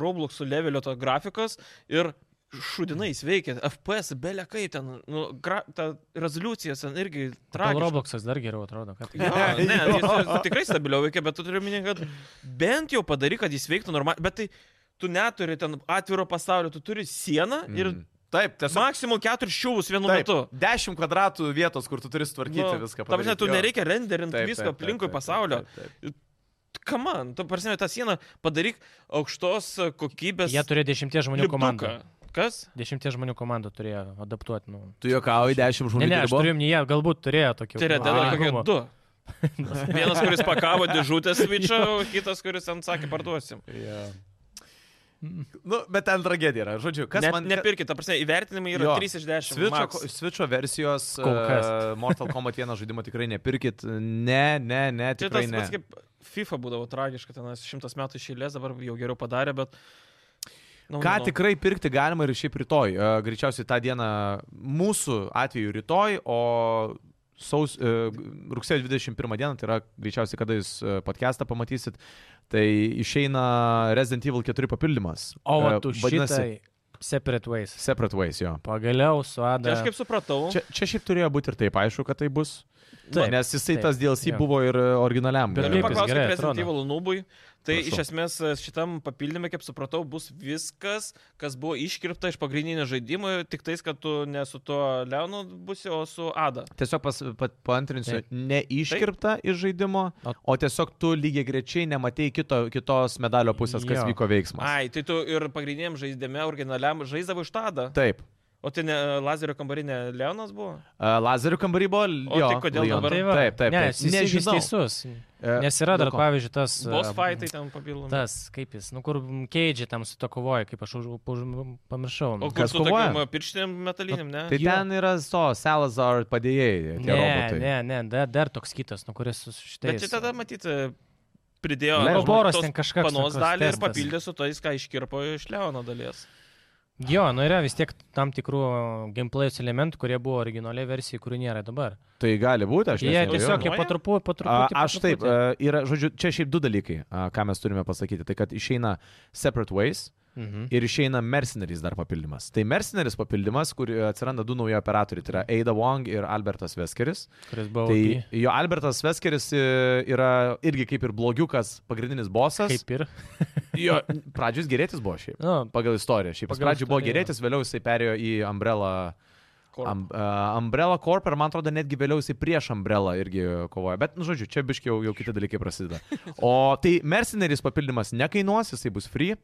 Speaker 2: Robloxų levelio to grafikos ir šudinais veikia FPS, belia kaip ten, nu, gra... ta rezoliucija ten irgi
Speaker 3: Gal
Speaker 2: tragiška.
Speaker 3: Robloxas dar geriau atrodo. Kad...
Speaker 2: Jo, ne, jis jis tikrai stabiliau veikia, bet tu turi minėti, kad bent jau padaryk, kad jis veiktų normaliai, bet tai tu neturi ten atviro pasaulio, tu turi sieną ir
Speaker 1: Mm. Taip,
Speaker 2: mm.
Speaker 1: tiesiog.
Speaker 2: maksimum keturis šiuvus vienu
Speaker 1: Taip,
Speaker 2: metu.
Speaker 1: 10 kvadratų vietos, kur tu turi sutvarkyti
Speaker 2: Nu,
Speaker 1: viską.
Speaker 2: ta prasme,
Speaker 1: padaryti,
Speaker 2: tu
Speaker 1: jo.
Speaker 2: nereikia renderinti
Speaker 1: Taip,
Speaker 2: visko
Speaker 1: taip, taip,
Speaker 2: aplinkui
Speaker 1: taip, taip,
Speaker 2: pasaulio.
Speaker 1: taip, taip.
Speaker 2: Kaman, tu prasme, tą sieną padaryk aukštos e, kokybės.
Speaker 3: Jie turėjo dešimties žmonių
Speaker 2: lipduką.
Speaker 3: komandą.
Speaker 2: Kas?
Speaker 3: Dešimties žmonių komandą turėjo adaptuoti. Nu.
Speaker 1: Tu juokauji, 10 žmonių.
Speaker 3: Ne, ne, aš
Speaker 1: dirbo?
Speaker 3: turiu, ne, jie galbūt turėjo tokių.
Speaker 2: Tai yra ten
Speaker 1: Ai,
Speaker 2: yra kokie
Speaker 3: humo.
Speaker 2: du. Vienas, kuris pakavo dėžutę svičio, kitas, kuris ant sakė, parduosim.
Speaker 1: Jo. Nu, bet ten tragedija yra. Žodžiu, kas
Speaker 2: Net,
Speaker 1: man...
Speaker 2: Nepirkit, ta prasme, įvertinimai yra
Speaker 1: Jo.
Speaker 2: 3 iš 10.
Speaker 1: Switch'o, Switch'o versijos
Speaker 3: Kol kas.
Speaker 1: uh, Mortal Kombat 1 žaidimo tikrai nepirkit. Ne, ne, ne,
Speaker 2: Čia
Speaker 1: tikrai
Speaker 2: tas
Speaker 1: ne.
Speaker 2: pats kaip FIFA būdavo tragiška, ten šimtas metų išėlės, dabar jau geriau padarė, bet... Nu,
Speaker 1: Ką
Speaker 2: nu,
Speaker 1: tikrai pirkti galima ir šiaip rytoj. E, Greičiausiai tą dieną mūsų atveju rytoj, o saus, e, rugsėjo 21 dieną, tai yra greičiausiai, kada jūs e, podcastą pamatysit, tai išeina Resident Evil 4 papildymas.
Speaker 3: O,
Speaker 1: E,
Speaker 3: va, tu
Speaker 1: vadinasi
Speaker 3: šitai separate ways.
Speaker 1: Separate Ways, jo.
Speaker 3: Pagaliau su
Speaker 2: Tai
Speaker 3: Ada.
Speaker 2: aš kaip supratau. nu,
Speaker 1: Čia, čia šiaip turėjo būti ir taip aišku, kad tai bus.
Speaker 3: Taip,
Speaker 1: nes jisai
Speaker 3: taip,
Speaker 1: tas DLC
Speaker 3: jo.
Speaker 1: buvo ir e, originaliam.
Speaker 3: Bet
Speaker 1: galiausiai.
Speaker 2: Galiu
Speaker 3: kaip jis
Speaker 2: paklausti
Speaker 3: gerai
Speaker 2: Resident
Speaker 3: atrodo.
Speaker 2: Evil Nubui. Tai
Speaker 1: Prašau.
Speaker 2: iš esmės e, šitam papildyme, kaip supratau, bus viskas, kas buvo iškirpta iš pagrindinio žaidimo, tik tais, kad tu ne su tuo Leonu busi, o su Ada.
Speaker 1: Tiesiog pas, pa, paantrinsiu,
Speaker 3: Taip.
Speaker 1: neiškirpta iš žaidimo,
Speaker 3: O-
Speaker 1: o tiesiog tu lygiai grečiai nematei kito, kitos medalio pusės, kas
Speaker 3: Jo.
Speaker 1: vyko veiksmas.
Speaker 2: Ai, tai tu ir pagrindiniam žaidime, originaliam žaisdavo iš Ada.
Speaker 1: Taip.
Speaker 2: O tai ne e, lazerio kambarinė Leonas buvo?
Speaker 1: Uh, lazerių kambarį buvo.
Speaker 2: O
Speaker 1: jo,
Speaker 2: tai kodėl
Speaker 1: Leon.
Speaker 2: dabar-
Speaker 3: Tai va.
Speaker 1: Taip, taip.
Speaker 3: Ne,
Speaker 1: taip.
Speaker 3: jis jis teisus.
Speaker 1: E,
Speaker 3: Nes
Speaker 1: dėl
Speaker 3: yra dar,
Speaker 1: ko?
Speaker 3: pavyzdžiui, tas... e,
Speaker 2: Boss fightai tai- ten papildomi.
Speaker 3: Tas, kaip jis, nu kur keidžiai tam su to kovoja, kaip aš už, už, pamiršau.
Speaker 2: O kur
Speaker 1: Kas
Speaker 2: su
Speaker 1: kovoja?
Speaker 2: tokiam e, pirštiniam metaliniam, ne?
Speaker 1: Tai
Speaker 3: Jo.
Speaker 1: ten yra to, Salazar padėjėjai, tie
Speaker 3: ne,
Speaker 1: robotai.
Speaker 3: ne, ne, dar, dar toks kitas, nu kuris su
Speaker 2: Bet
Speaker 3: šitais.
Speaker 2: čia tada matyti pridėjo
Speaker 1: Ne,
Speaker 3: Roboras
Speaker 2: tos
Speaker 3: ten kažkas
Speaker 2: panos
Speaker 3: toks
Speaker 2: dalį ir
Speaker 3: testas.
Speaker 2: papildė su tais, ką iškirpo iš Leono dalies.
Speaker 3: Jo, nu yra vis tiek tam tikrų gameplay'us elementų, kurie buvo originaliai versijai, kurių nėra dabar.
Speaker 1: Tai gali būti, aš
Speaker 3: Jie
Speaker 1: nežinau.
Speaker 3: tiesiog jie
Speaker 2: Planuoja?
Speaker 3: patrupu, patrupu.
Speaker 1: A, Aš taip, e, a,
Speaker 3: tai.
Speaker 1: yra, žodžiu, čia šiaip du dalykai, a, ką mes turime pasakyti. Tai kad išeina Separate Ways
Speaker 3: Mhm.
Speaker 1: ir išeina Mercenaries dar papildymas. Tai Mercenaries papildymas, kur e, atsiranda du nauji operatoriai, tai yra Ada Wong ir Albertas Veskeris.
Speaker 3: Kuris buvo.
Speaker 1: Tai
Speaker 3: Tai...
Speaker 1: jo Albertas Veskeris e, yra irgi kaip ir blogiukas, pagrindinis bosas.
Speaker 3: Kaip ir.
Speaker 1: Jo, pradžius gerėtis buvo šiaip.
Speaker 3: Nu,
Speaker 1: Pagal istoriją. Šiaip jis
Speaker 3: Pagal
Speaker 1: pradžioje buvo
Speaker 3: istoriją,
Speaker 1: gerėtis, vėliau jisai perėjo į Umbrella,
Speaker 2: Corp.
Speaker 1: um, uh, Umbrella Corp ir man atrodo netgi vėliau jisai prieš Umbrella irgi kovoja. Bet, nu, žodžiu, čia biškiau jau kiti dalykai prasideda. O tai Mercenaries papildymas nekainuos, jisai bus free,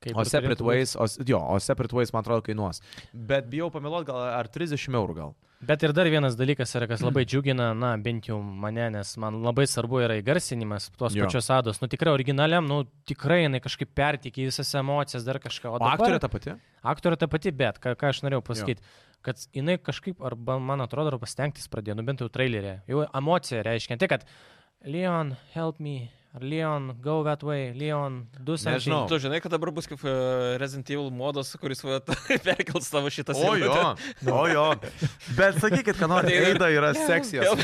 Speaker 3: kaip
Speaker 1: o
Speaker 3: ir
Speaker 1: Separate
Speaker 3: turėtų būt.
Speaker 1: Ways, o, s- jo, o Separate Ways man atrodo kainuos. Bet bijau pameluoti, gal ar 30 eurų gal.
Speaker 3: Bet ir dar vienas dalykas yra, kas labai džiugina, na, bent jau mane, nes man labai svarbu yra įgarsinimas tos
Speaker 1: Jo.
Speaker 3: jo. pačios ados. Nu, tikrai originaliam, nu, tikrai jinai kažkaip pertikė visas emocijas, dar kažką.
Speaker 1: O,
Speaker 3: O,
Speaker 1: o
Speaker 3: dabar,
Speaker 1: aktorė ta pati?
Speaker 3: Aktorė ta pati, bet ką, ką aš norėjau pasakyti, kad jinai kažkaip, arba man atrodo, arba stengtis pradėjo, nu bent jau trailerė, jau emocija reiškia, ne tai kad Leon, help me, ar Leon, go that way, Leon, do something.
Speaker 1: Nežinau.
Speaker 2: Tu žinai, kad dabar bus kaip e, Resident Evil modas, kuris va perkels tavo šitą
Speaker 1: o jo. Bet sakykit, kad
Speaker 2: Tai
Speaker 1: nori, Eida yra seksijas.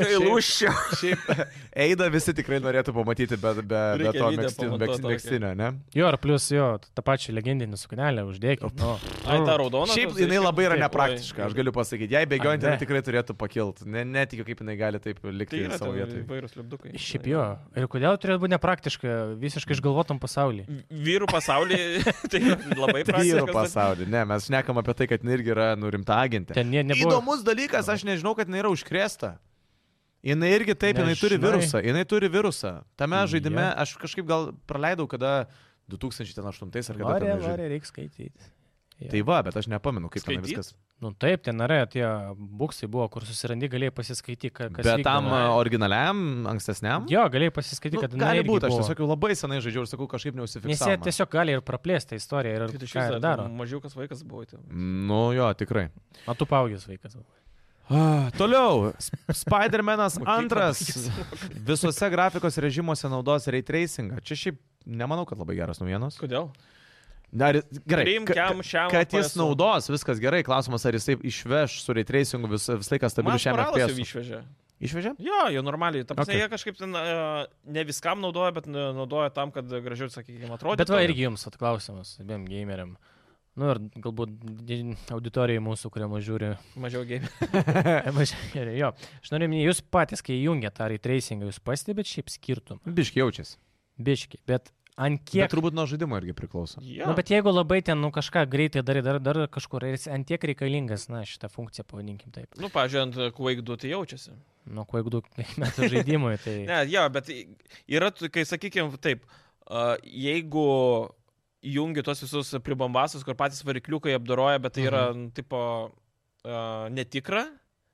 Speaker 2: Kai lūščiau.
Speaker 1: Šiaip Eida visi tikrai norėtų pamatyti be, be, be
Speaker 2: Reikia
Speaker 1: to
Speaker 2: video
Speaker 1: megztin-
Speaker 2: pamatuot
Speaker 1: megztin-
Speaker 2: tokį.
Speaker 1: megztinio, ne?
Speaker 3: Jo, ar plus jo, tą pačią legendinį suknelę uždėk. Nu,
Speaker 2: Ai, ta raudona.
Speaker 1: Šiaip
Speaker 2: tos
Speaker 1: jinai
Speaker 2: reiškia.
Speaker 1: labai yra
Speaker 2: Taip,
Speaker 1: nepraktiška,
Speaker 2: oi.
Speaker 1: aš galiu pasakyti. Jei bėgiojant,
Speaker 3: Ar ne?
Speaker 1: jinai tikrai turėtų pakilti. Ne, netikiu, kaip jinai gali taip
Speaker 2: Tai
Speaker 1: likti
Speaker 2: yra
Speaker 1: savo
Speaker 2: ten
Speaker 1: vietoje.
Speaker 2: įvairūs liubdukai.
Speaker 3: šiaip jo. Mm. Ir kodėl turėtų būti nepraktiška visiškai išgalvotam pasaulyje?
Speaker 2: Vyrų pasaulyje tai yra labai
Speaker 1: Vyrų
Speaker 2: praktiškas.
Speaker 1: pasaulį. Ne, mes šnekam apie tai, kad jinai irgi yra nurimta agentė.
Speaker 3: Ten nie, nebuvo.
Speaker 1: Įdomus dalykas, aš nežinau, kad jinai yra užkrėsta. Jis irgi taip, jinai turi
Speaker 3: Nežinai.
Speaker 1: virusą. Jinai turi virusą. Tame
Speaker 3: Jo.
Speaker 1: žaidime aš kažkaip gal praleidau, kada 2008 ar kada.
Speaker 3: Varė,
Speaker 1: ten žaidė.
Speaker 3: varė, reikia skaityti.
Speaker 1: Tai va, bet aš nepamenu, kaip ten
Speaker 2: Skaityt?
Speaker 1: viskas.
Speaker 3: Nu taip, ten yra tie buksai buvo, kur susirandi, galėjai pasiskaityti, ka- kas.
Speaker 1: Bet tam
Speaker 3: vykdavo.
Speaker 1: a, originaliam, ankstesniam?
Speaker 3: Jo, galėjai pasiskaityti,
Speaker 1: Nu,
Speaker 3: kad... jinai
Speaker 1: gali
Speaker 3: irgi
Speaker 1: būti, aš
Speaker 3: buvo.
Speaker 1: tiesiog jau labai senai žaidžiau ir sakau, kažkaip
Speaker 3: Nes jie
Speaker 1: neusifiksuoju.
Speaker 3: tiesiog gali ir praplėsti tą istoriją ir
Speaker 2: Tai tu
Speaker 3: ką
Speaker 2: šiaip
Speaker 3: ir daro.
Speaker 2: mažiaukas vaikas buvo. tai-
Speaker 1: Nu jo, tikrai.
Speaker 3: O tu paugęs vaikas.
Speaker 1: Ah, Toliau, Sp- Spider-Man'as antras visose grafikos režimuose naudos ray tracingą. Čia šiaip nemanau, kad labai geras naujienos.
Speaker 2: Kodėl?
Speaker 1: Dar, gerai,
Speaker 2: Priimk
Speaker 1: ka-
Speaker 2: jam šiam.
Speaker 1: kad jis
Speaker 2: PSO.
Speaker 1: naudos, viskas gerai. Klausimas, ar jisai išveš su ray tracingu vis, visą laiką
Speaker 2: Man
Speaker 1: stabiliu šiam
Speaker 2: moralas jau
Speaker 1: FPS.
Speaker 2: išvežė.
Speaker 1: Išvežė?
Speaker 2: Jo, jo normaliai. Tam okay.
Speaker 1: Okay.
Speaker 2: jie kažkaip ten, e, ne viskam naudoja, bet na- naudoja tam, kad gražiau, sakykime, atrodytų.
Speaker 3: Bet va irgi jums atklausimas, abiem gameriam. Nu ir galbūt di- auditorijai mūsų, kurie mus žiūri.
Speaker 2: Mažiau game.
Speaker 3: mažiau žiūri, jo. Aš noriu minėti, jūs patys, kai jungiat tą retracingą, jūs pastebėt šiaip skirtumą.
Speaker 1: Biški jaučiasi.
Speaker 3: Biški. Bet ant
Speaker 1: Kiek
Speaker 3: kiek...
Speaker 1: bet turbūt nuo žaidimo irgi priklauso.
Speaker 2: Ja.
Speaker 3: Na, nu, bet jeigu labai ten, nu, kažką greitai darai, dar, dar kažkur, ir jis ant tiek reikalingas, na, šitą funkciją, pavadinkim taip.
Speaker 2: Nu, pažiūrėjau, ant e, Quake 2 tai jaučiasi.
Speaker 3: Nu, kuo jeigu daug metų žaidimui, tai...
Speaker 2: Ne, jo, bet i- yra, tu- kai sakykime, taip, a, jeigu jungi tos visus pribombasus, kur patys varikliukai apdoroja, bet tai yra, nu, tipo, a, netikra.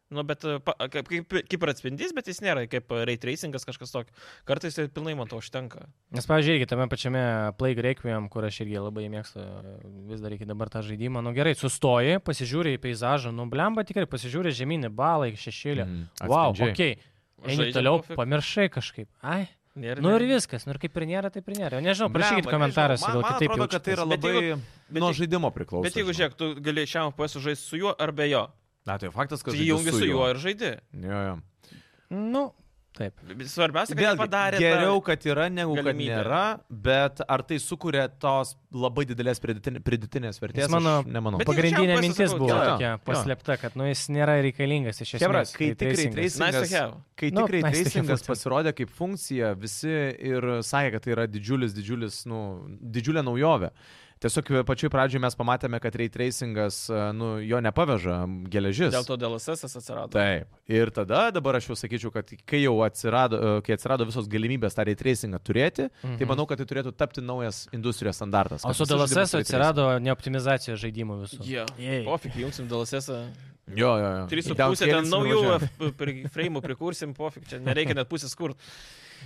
Speaker 2: Nu, bet a, pa- kaip, kaip, kaip ir atspindys, bet jis nėra kaip ray tracingas kažkas tokio. Kartais tai pilnai man to užtenka.
Speaker 3: Nes, pavyzdžiui, irgi tame pačiame Plague Requiem, kur aš irgi labai mėgstu e, vis dar iki dabar tą žaidimą, nu gerai, sustoji, pasižiūri į peizažą, nu blemba tikrai, pasižiūri žemynį balą, šešėlį.
Speaker 1: Mhm,
Speaker 3: Wow,
Speaker 1: atspindžiai.
Speaker 3: ok, eini
Speaker 2: Žaidžia
Speaker 3: toliau,
Speaker 2: pofik.
Speaker 3: pamiršai kažkaip. Ai,
Speaker 2: Nėra-
Speaker 3: nu ir viskas, nu ir kaip ir nėra, taip ir nėra. Jau Nežinau, nu, prašykit
Speaker 1: Blemba,
Speaker 3: komentaruose,
Speaker 1: nežinau, man-
Speaker 3: gal
Speaker 1: man
Speaker 3: kitaip.
Speaker 1: atrodo, kad tai yra
Speaker 2: Bet
Speaker 1: labai
Speaker 2: jeigu- bet
Speaker 1: nuo
Speaker 2: jeigu-
Speaker 1: žaidimo priklauso.
Speaker 2: Bet jeigu
Speaker 1: žinok.
Speaker 2: žiūrėk, tu gali šiam FPS sužaisti su juo ar be jo.
Speaker 1: Na, tai faktas, kad
Speaker 2: Tai
Speaker 1: žaidi
Speaker 2: jungi su juo ir žaidi.
Speaker 1: Jo, jo.
Speaker 3: Nu, taip.
Speaker 2: Svarbiausia, kad jie
Speaker 1: Vėlgi,
Speaker 2: padarė. tą-
Speaker 1: geriau, kad yra, negu
Speaker 2: galimybę.
Speaker 1: kad nėra, bet ar tai sukuria tos labai didelės pridėtin- pridėtinės vertės?
Speaker 3: Jis mano-
Speaker 1: Aš nemanau.
Speaker 2: Bet-
Speaker 3: Pagrindinė
Speaker 2: greičiausiai
Speaker 3: mintis
Speaker 2: sakau,
Speaker 3: buvo
Speaker 1: jo, jo,
Speaker 3: tokia
Speaker 1: jo.
Speaker 3: paslėpta, kad nu, jis nėra reikalingas iš esmės. Tai
Speaker 1: Chebra, kai tik
Speaker 3: tracingas.
Speaker 2: Nice to
Speaker 1: reitracingas,
Speaker 2: have.
Speaker 1: kai
Speaker 3: Nu,
Speaker 1: tik
Speaker 3: nice to have
Speaker 1: reitracingas
Speaker 3: funkcija.
Speaker 1: pasirodė kaip funkcija, visi ir sakė, kad tai yra didžiulis, didžiulis, nu, didžiulė naujovė. Tiesiog pačiu pradžiu mes pamatėme, kad reitracingas, nu, jo nepaveža geležis.
Speaker 2: Dėl to DLSS atsirado.
Speaker 1: Taip. Ir tada, dabar aš jau sakyčiau, kad kai jau atsirado, e, kai atsirado visos galimybės tą retracingą turėti, mm -hmm. tai
Speaker 3: Mhm.
Speaker 1: manau, kad tai turėtų tapti naujas industrijos standartas.
Speaker 3: O
Speaker 1: kad
Speaker 3: su
Speaker 1: visi žaidimai
Speaker 3: DLSS
Speaker 1: turi
Speaker 3: atsirado neoptimizacija žaidimų visų.
Speaker 2: Jo.
Speaker 3: Jei.
Speaker 2: Pofik, jungsim DLSS.
Speaker 1: tracing. Jo, jo,
Speaker 2: uh,
Speaker 1: jo.
Speaker 2: 3,5
Speaker 1: Downscaling
Speaker 2: ten naujų
Speaker 1: nuvažiuoja.
Speaker 2: F- pri- frame'ų prikursim, pofik, čia nereikia net pusės kur.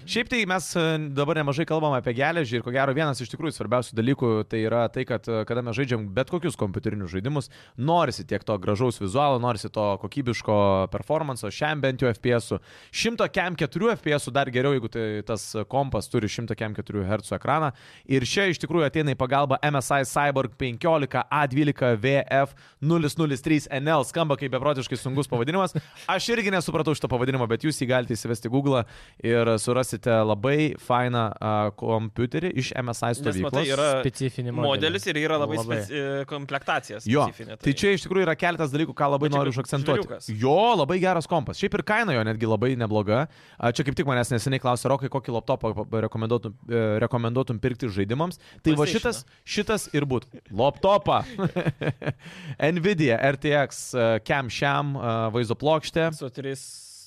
Speaker 1: Šiaip tai mes e, dabar nemažai kalbam apie geležį ir ko gero vienas iš tikrųjų svarbiausių dalykų tai yra tai, kad e, kada mes žaidžiam bet kokius kompiuterinius žaidimus, norisi tiek to gražaus vizualo, norisi to kokybiško performanso, šiam bent jau FPS. 104 FPS dar geriau, jeigu tai tas kompas turi 104 Hz ekraną. Ir čia iš tikrųjų ateina į pagalbą MSI Cyborg 15 A12 VF 003 NL. Skamba kaip beprotiškai sunkus pavadinimas. Aš irgi nesupratau šito pavadinimo, bet jūs jį galite įsivesti Google e ir surasite labai fainą a, kompiuterį iš MSI
Speaker 2: Nes matai,
Speaker 1: stovyklos.
Speaker 2: yra
Speaker 3: Specifinį
Speaker 2: modelis ir yra labai,
Speaker 3: Labai.
Speaker 2: labai. Speci... e, komplektacija
Speaker 1: Jo,
Speaker 2: specifinė.
Speaker 1: tai čia iš tikrųjų yra keletas dalykų, ką labai
Speaker 2: Bet čia
Speaker 1: noriu
Speaker 2: kaip žvėriukas.
Speaker 1: užakcentuoti. Jo, labai geras kompas. Šiaip ir kaina jo netgi labai nebloga. A, Čia kaip tik manęs neseniai klausė, Rokai, kokį laptopą pa- rekomenduotum, e, rekomenduotum pirkti žaidimams. Tai va šitas,
Speaker 2: PlayStation'ą.
Speaker 1: šitas ir būtų. Laptopą. Nvidia RTX e, Cam Sham e, vaizdo plokštė
Speaker 2: su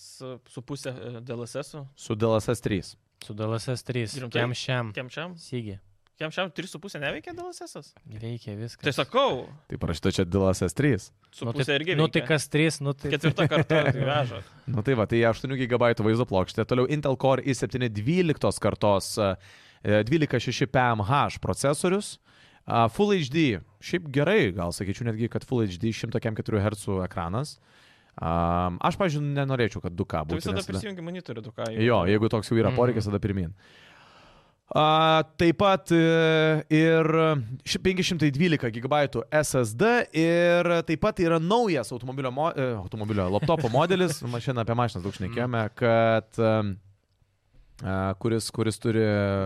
Speaker 2: 3,5 DLSS. -u.
Speaker 1: su DLSS 3.
Speaker 3: Su DLSS 3.
Speaker 2: Rimtai?
Speaker 3: Kiam šiam.
Speaker 2: Kiam šiam?
Speaker 3: Sigi.
Speaker 2: Kiam šiam 3,5 neveikia DLSS? -as?
Speaker 3: Veikia viskas.
Speaker 2: Tai sakau,
Speaker 1: Tai parašyta čia DLSS 3.
Speaker 2: su
Speaker 3: Nu,
Speaker 2: pusė
Speaker 3: tai,
Speaker 2: irgi.
Speaker 3: nu, tai
Speaker 2: veikia.
Speaker 3: kas 3, nu tai...
Speaker 2: Ketvirtą kartą veža.
Speaker 1: Nu tai va, tai 8 GB vaizdo plokštė, toliau Intel Core i7 12 kartos e, 126 PMH procesorius, a, Full HD, šiaip gerai, gal sakyčiau netgi, kad Full HD 104 Hz ekranas. A, Aš, pažiūrėjau, nenorėčiau, kad 2K
Speaker 2: Tu
Speaker 1: būtų.
Speaker 2: visada
Speaker 1: nes tada-
Speaker 2: prisijungi monitorių, tu ką.
Speaker 1: Jo, jeigu toks jau yra
Speaker 3: Mhm.
Speaker 1: poreikis, tada pirmin. A, taip pat e, ir ši- 512 GB SSD ir taip pat yra naujas automobilio, mo, e, automobilio laptopo modelis, mes šiandien apie mašinas daug šnekėjome,
Speaker 2: Mhm.
Speaker 1: kad em, a, kuris, kuris turi...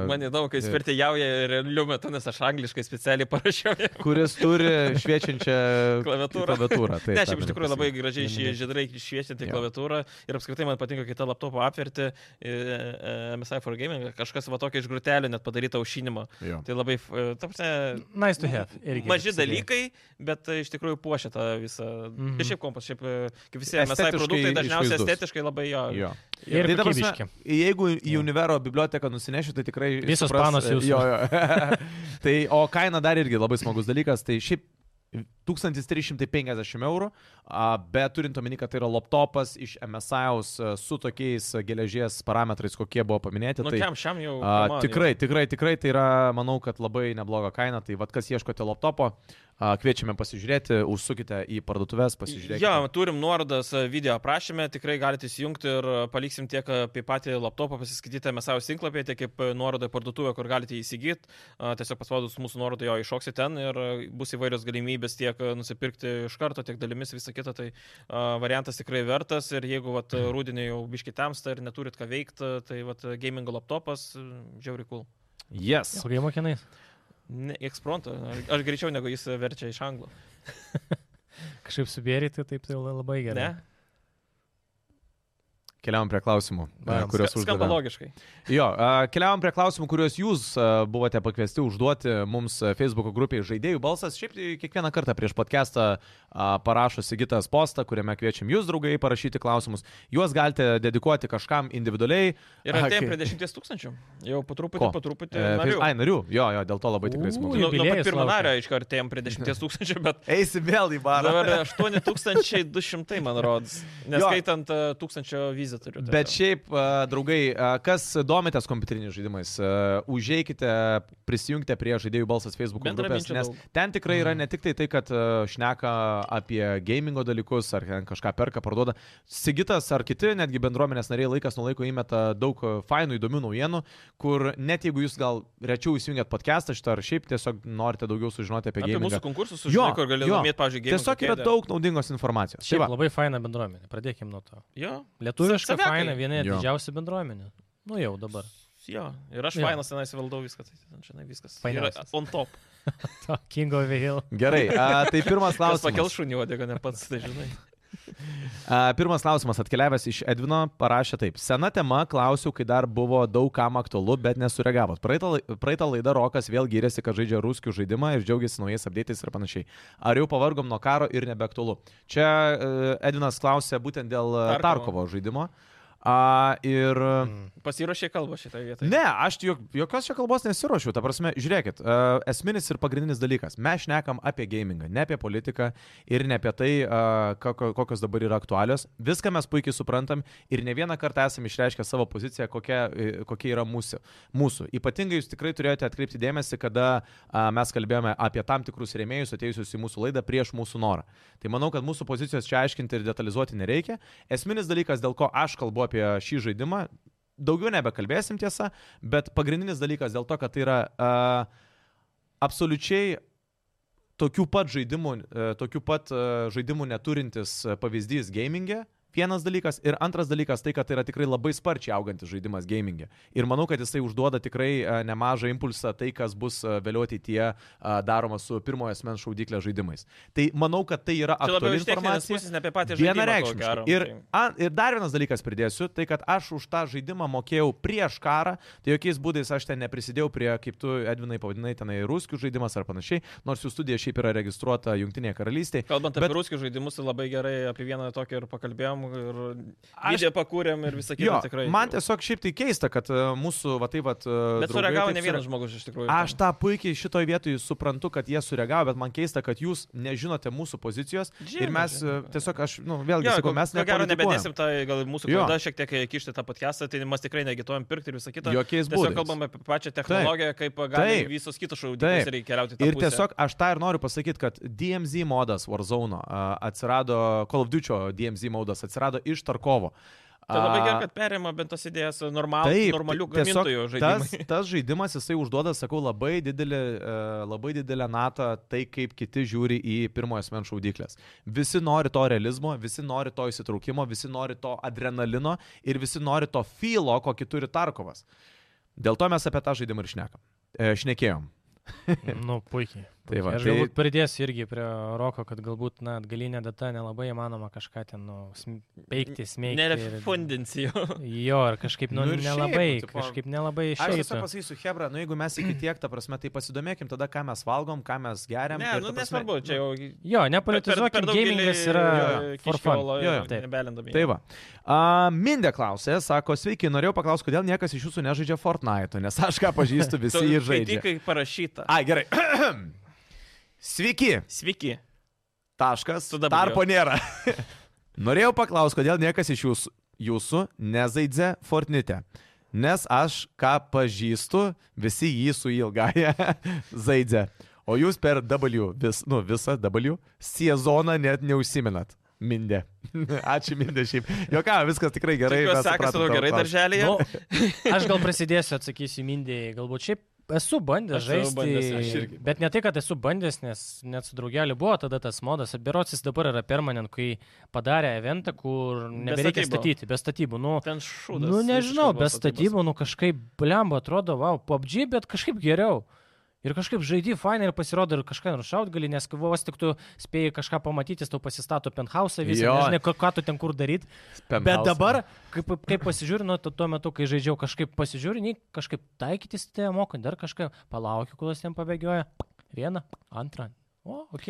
Speaker 2: Man įdomu, kai jis
Speaker 1: Ir-
Speaker 2: vertėjauja realiu metu, nes aš angliškai specialiai parašiau.
Speaker 1: kuris turi šviečiančią
Speaker 2: Klaviatūrą.
Speaker 1: klaviatūrą. Taip, tą
Speaker 2: Ne, šiaip iš
Speaker 1: galiu
Speaker 2: tikrųjų labai
Speaker 1: pasakyt.
Speaker 2: gražiai šį
Speaker 3: Neminėt.
Speaker 2: žydrai šviesinti
Speaker 1: Jo.
Speaker 2: klaviatūrą tai ir apskritai man patinka kita laptopo apverti e, e, MSI for Gaming, kažkas va tokia iš grutelio net padaryta aušinimo.
Speaker 1: Jo.
Speaker 2: Tai labai, e, ta prasme, nu,
Speaker 3: Nice to have. Irgi
Speaker 2: maži
Speaker 3: sudėjo.
Speaker 2: dalykai, bet e, iš tikrųjų puošia tą visą.
Speaker 3: Mhm.
Speaker 2: Ir šiaip kompas, šiaip e, kaip visi MSI
Speaker 1: Estetiškai
Speaker 2: produktai dažniausiai
Speaker 1: išvaizdus.
Speaker 2: estetiškai labai jo.
Speaker 1: Jo.
Speaker 3: Ir
Speaker 1: Tai ta prasme,
Speaker 3: kokybiški.
Speaker 1: Jeigu į Univero biblioteką nusinešiu, tai tikrai...
Speaker 3: Visos
Speaker 1: supras-
Speaker 3: panos jūsų.
Speaker 1: Jo, jo. tai, o kaina dar irgi labai smagus dalykas. Tai šiaip 1350 eurų, a, bet turint omeny, kad tai yra laptopas iš MSI'aus su tokiais a, geležies parametrais, kokie buvo paminėti.
Speaker 2: Nu,
Speaker 1: tai,
Speaker 2: kiam šiam jau. come
Speaker 1: A,
Speaker 2: on,
Speaker 1: tikrai, tikrai, tikrai tai yra, manau, kad labai nebloga kaina. Tai vad, kas ieškote laptopo, a, kviečiame pasižiūrėti, užsukite į parduotuvės, pasižiūrėkite.
Speaker 2: Jo, turim nuorodas e, video aprašymę, tikrai galite įsijungti ir e, paliksim tiek apie patį laptopą pasiskaityti MSAUS tinklapyje, tiek kaip e, nuorodą į parduotuvę, kur galite įsigyti. Tiesiog paspaudus mūsų nuorodą jo iššoksi ten ir e, bus įvairios galimybės tiek e, nusipirkti iš karto, tiek dalimis, visą kitą. Tai e, variantas tikrai vertas ir jeigu vat, e, rūdienį jau biški tamsta ir neturit ką veikti, tai vat, e, gamingo laptopas, e, žiauri cool.
Speaker 1: Yes.
Speaker 3: Su game kinais.
Speaker 2: Ne, ekspronto, aš greičiau negu jis e, verčia iš anglų.
Speaker 3: Kažkaip subėryti, taip tai la- labai gerai.
Speaker 2: Ne?
Speaker 1: Keliavam prie klausimų, a,
Speaker 3: Varom.
Speaker 1: kuriuos
Speaker 2: Ska- Skamba
Speaker 1: uždavėme.
Speaker 2: logiškai.
Speaker 1: Jo, a, keliavom prie klausimų, kuriuos jūs a, buvote pakviesti užduoti mums a, Facebook grupėje Žaidėjų balsas. Šiaip tai kiekvieną kartą prieš podcastą a, parašo Sigitas postą, kuriame kviečiam jūs, draugai, parašyti klausimus. Juos galite dedikuoti kažkam individualiai.
Speaker 2: Ir
Speaker 1: A,
Speaker 2: artėjom
Speaker 1: kai-
Speaker 2: prie 10 tūkstančių. Jau po truputį,
Speaker 1: Ko?
Speaker 2: po truputį.
Speaker 1: E,
Speaker 2: Tai narių.
Speaker 1: Feis- Ai, narių. Jo, jo, dėl to labai tikrai
Speaker 3: Ui.
Speaker 1: smagu.
Speaker 2: Nu, nuo pat
Speaker 3: jubiliejus
Speaker 2: pirmo
Speaker 3: laukia.
Speaker 2: nario iškart artėjom prie 10 tūkstančių, bet
Speaker 1: Eisi vėl į barą.
Speaker 2: dabar 8200, man rodos.
Speaker 1: Jo.
Speaker 2: Neskaitant e, 1000 viz krizę turiu.
Speaker 1: Bet šiaip, a, draugai, a, kas domitės kompiuteriniais žaidimais, a, užeikite, prisijungite prie žaidėjų balsas Facebook grupės,
Speaker 2: Bendraminčių
Speaker 1: nes
Speaker 2: daug.
Speaker 1: ten tikrai yra ne tik tai tai, kad a, šneka apie gamingo dalykus, ar ten kažką perka, parduoda. Sigitas ar kiti, netgi bendruomenės nariai laikas nuo laiko įmeta daug a, fainų, įdomių naujienų, kur net jeigu jūs gal rečiau įsijungiat podcastą šitą ar šiaip tiesiog norite daugiau sužinoti apie,
Speaker 2: apie
Speaker 1: gamingą.
Speaker 2: tai mūsų konkursus,
Speaker 1: Jo,
Speaker 2: žinai, kur gali
Speaker 1: jo.
Speaker 2: laimėti, pavyzdžiui, gėrimą.
Speaker 1: Tiesiog yra daug naudingos informacijos. Tai
Speaker 3: Šiaip
Speaker 1: va.
Speaker 3: labai faina bendruomenė, pradėkim nuo to.
Speaker 2: Jo,
Speaker 3: Lietuviška
Speaker 2: Savekai.
Speaker 3: faina, viena
Speaker 1: Jo.
Speaker 3: didžiausia bendruomenė. Nu jau dabar.
Speaker 2: jo. Ir aš
Speaker 3: Jo.
Speaker 2: fainas tenais valdau viską, tai ten, žinai, viskas. Yra
Speaker 3: Fainiausias.
Speaker 2: on top.
Speaker 3: To, King of the Hill.
Speaker 1: Gerai, a, tai pirmas
Speaker 2: Klaus
Speaker 1: klausimas.
Speaker 2: pakels šunį, odėga, ne pats, tai žinai.
Speaker 1: A, Pirmas klausimas atkeliavęs iš Edvino parašė taip. Sena tema, klausiau, kai dar buvo daug kam aktualu, bet nesureagavot. Praeitą, lai- praeitą laidą Rokas vėl gyrėsi, kad žaidžia ruskių žaidimą ir džiaugiasi naujais apdėtais ir panašiai. Ar jau pavargom nuo karo ir nebeaktualu? Čia e, Edvinas klausė būtent dėl Tarkovo,
Speaker 2: Tarkovo
Speaker 1: Tarkovo žaidimo. A, ir... Mm.
Speaker 2: Pasiruošė kalbą šitą vietą.
Speaker 1: Ne, aš jok, jokios čia kalbos nesiuošiu. Ta prasme, žiūrėkit, uh, esminis ir pagrindinis dalykas. Mes šnekam apie gamingą, ne apie politiką ir ne apie tai, uh, kokios dabar yra aktualios. Viską mes puikiai suprantam ir ne vieną kartą esame išreiškę savo poziciją, kokia, e, kokia yra mūsų. mūsų. Ypatingai jūs tikrai turėjote atkreipti dėmesį, kada a, mes kalbėjome apie tam tikrus rėmėjus atėjusius į mūsų laidą prieš mūsų norą. Tai manau, kad mūsų pozicijos čia aiškinti ir detalizuoti nereikia. Esminis dalykas, dėl ko aš kalbu apie šį žaidimą, daugiau nebekalbėsim tiesa, bet pagrindinis dalykas dėl to, kad tai yra uh, absoliučiai tokių pat žaidimų, uh, tokių pat uh, žaidimų neturintis a, pavyzdys gamingė. Vienas dalykas ir antras dalykas tai, kad tai yra tikrai labai sparčiai augantis žaidimas gamingė. Ir manau, kad jisai užduoda tikrai a, nemažą impulsą tai, kas bus a, vėliau ateityje a, daroma su pirmojo asmens šaudyklė žaidimais. Tai manau, kad tai yra
Speaker 2: Čia labiau
Speaker 1: aktuali
Speaker 2: iš techninės
Speaker 1: informacija.
Speaker 2: pusės, ne apie patį žaidimą. tai-
Speaker 1: Vienareikšmiškai. Ir, a, ir dar vienas dalykas pridėsiu, tai kad aš už tą žaidimą mokėjau prieš karą, tai jokiais būdais aš ten neprisidėjau prie, kaip tu, Edvinai, pavadinai tenai ruskių žaidimas ar panašiai, nors jų studija šiaip yra registruota Junktinėje karalystėje.
Speaker 2: Kalbant
Speaker 1: Bet-
Speaker 2: apie ruskių žaidimus, tai labai gerai apie vieną tokį ir pakalbėjom, ir
Speaker 1: Aš-
Speaker 2: aš... video pakūrėm ir visą kitą
Speaker 1: Jo,
Speaker 2: tikrai.
Speaker 1: man tiesiog šiaip tai keista, kad e, mūsų, va tai, va...
Speaker 2: Bet sureagavo ne vienas žmogus iš tikrųjų.
Speaker 1: Aš tą puikiai šitoj vietoj suprantu, kad jie sureagavo, bet man keista, kad jūs nežinote mūsų pozicijos
Speaker 2: Žinoma,
Speaker 1: ir mes e,
Speaker 2: žinoma.
Speaker 1: tiesiog, aš, nu, vėlgi,
Speaker 2: Jo,
Speaker 1: sakau, mes
Speaker 2: ko gero
Speaker 1: nepolitikuojam.
Speaker 2: nebedėsim, tai gal mūsų
Speaker 1: Jo.
Speaker 2: klaida šiek tiek kišti tą podcastą, tai mes tikrai negituojam pirkti ir visą kitą.
Speaker 1: Jokiais
Speaker 2: Tiesiog
Speaker 1: būdais.
Speaker 2: kalbam apie pačią technologiją, Taip. kaip gali
Speaker 1: Taip.
Speaker 2: visos kitos
Speaker 1: Taip.
Speaker 2: šaudyklės ir keliauti į tą
Speaker 1: Ir
Speaker 2: pusę.
Speaker 1: tiesiog aš tą ir noriu pasakyti, kad DMZ modas Warzone a, atsirado, Call of Duty DMZ modas atsirado iš Tarkovo.
Speaker 2: Tai labai
Speaker 1: A,
Speaker 2: gerai, kad perėmė bent tas idėjas normal,
Speaker 1: taip,
Speaker 2: normalių
Speaker 1: tai tiesiog
Speaker 2: gamintojų
Speaker 1: Tas,
Speaker 2: žaidimų.
Speaker 1: tas žaidimas, jisai užduoda, sakau, labai didelį, e, labai didelę natą tai, kaip kiti žiūri į pirmojo asmens šaudyklės. Visi nori to realizmo, visi nori to įsitraukimo, visi nori to adrenalino ir visi nori to filo, kokį turi Tarkovas. Dėl to mes apie tą žaidimą ir šnekam. E, šnekėjom.
Speaker 3: Nu, puikiai.
Speaker 1: Tai va,
Speaker 3: Aš
Speaker 1: tai-
Speaker 3: galbūt pridėsiu irgi prie Roko, kad galbūt, na, atgalinė data nelabai įmanoma kažką ten, nu, sm- peikti, smeigti. ir-
Speaker 2: Nerefundincijų.
Speaker 3: Jo, ar kažkaip, nu,
Speaker 1: Nu ir šiaip,
Speaker 3: nelabai,
Speaker 1: nu, tipo,
Speaker 3: kažkaip nelabai
Speaker 1: Aš tiesiog
Speaker 3: išėjo.
Speaker 1: pasakysiu, Hebra, nu jeigu mes iki tiek, ta prasme, tai pasidomėkim tada, ką mes valgom, ką mes geriam.
Speaker 2: Ne,
Speaker 1: ir,
Speaker 2: nu,
Speaker 1: ta prasme,
Speaker 2: nesvarbu, čia jau.
Speaker 3: Jo, nepolitizuokim, gamingas yra for fun.
Speaker 1: Jo, jo.
Speaker 2: Taip,
Speaker 3: Taip.
Speaker 2: nebelindami.
Speaker 1: Tai va. Uh, Mindė klausė, sako, sveiki, norėjau paklausti, kodėl niekas iš jūsų nežaidžia Fortnite, nes aš ką pažįstu, visi jį žaidžia.
Speaker 2: Tik parašyta.
Speaker 1: A, gerai. Sveiki.
Speaker 2: Sveiki.
Speaker 1: Taškas.
Speaker 2: Su W.
Speaker 1: Tarpo nėra. Norėjau paklausti, kodėl niekas iš jūsų, jūsų nezaidžia Fortnite. Nes aš, ką pažįstu, visi jį su ilgąją zaidžia. O jūs per W, vis, nu, visą W sezoną net neužsiminat. Mindė. Ačiū, Mindė, šiaip. Joka, viskas tikrai gerai.
Speaker 2: Tikiuosi,
Speaker 1: mes
Speaker 2: sekasi
Speaker 1: supratom
Speaker 2: tau
Speaker 1: tavo
Speaker 2: gerai
Speaker 1: klausimą.
Speaker 2: darželėje.
Speaker 3: Nu, aš gal prasidėsiu, atsakysiu Mindėjai. Galbūt šiaip esu bandęs
Speaker 2: Aš esu
Speaker 3: žaisti.
Speaker 2: bandęs, aš irgi.
Speaker 3: Bet ne tai, kad esu bandęs, nes net su draugeliu buvo tada tas modas. Birocis dabar yra permanent, kai padarė eventą, kur
Speaker 2: statybų.
Speaker 3: nebereikia statyti, be statybų. Nu,
Speaker 2: Ten šūdas.
Speaker 3: nu nežinau,
Speaker 2: visiškai
Speaker 3: be
Speaker 2: buvo statybos.
Speaker 3: statybų, nu kažkaip, blemba, atrodo, wow, PUBG, bet kažkaip geriau. Ir kažkaip žaidži fainai ir pasirodo ir kažką nušaut gali, nes kai vos tik tu spėjai kažką pamatyti, jis tau pasistato penthouse visą,
Speaker 1: Jo.
Speaker 3: nežinai, ką- ką tu ten kur daryti. Bet
Speaker 1: Penthouse.
Speaker 3: dabar, kaip, kaip pasižiūrinu, tu tuo metu, kai žaidžiau, kažkaip pasižiūrinu, kažkaip taikytis te mokant, dar kažką, palaukiu, kol jis ten pabėgioja. Vieną, antrą. O, ok.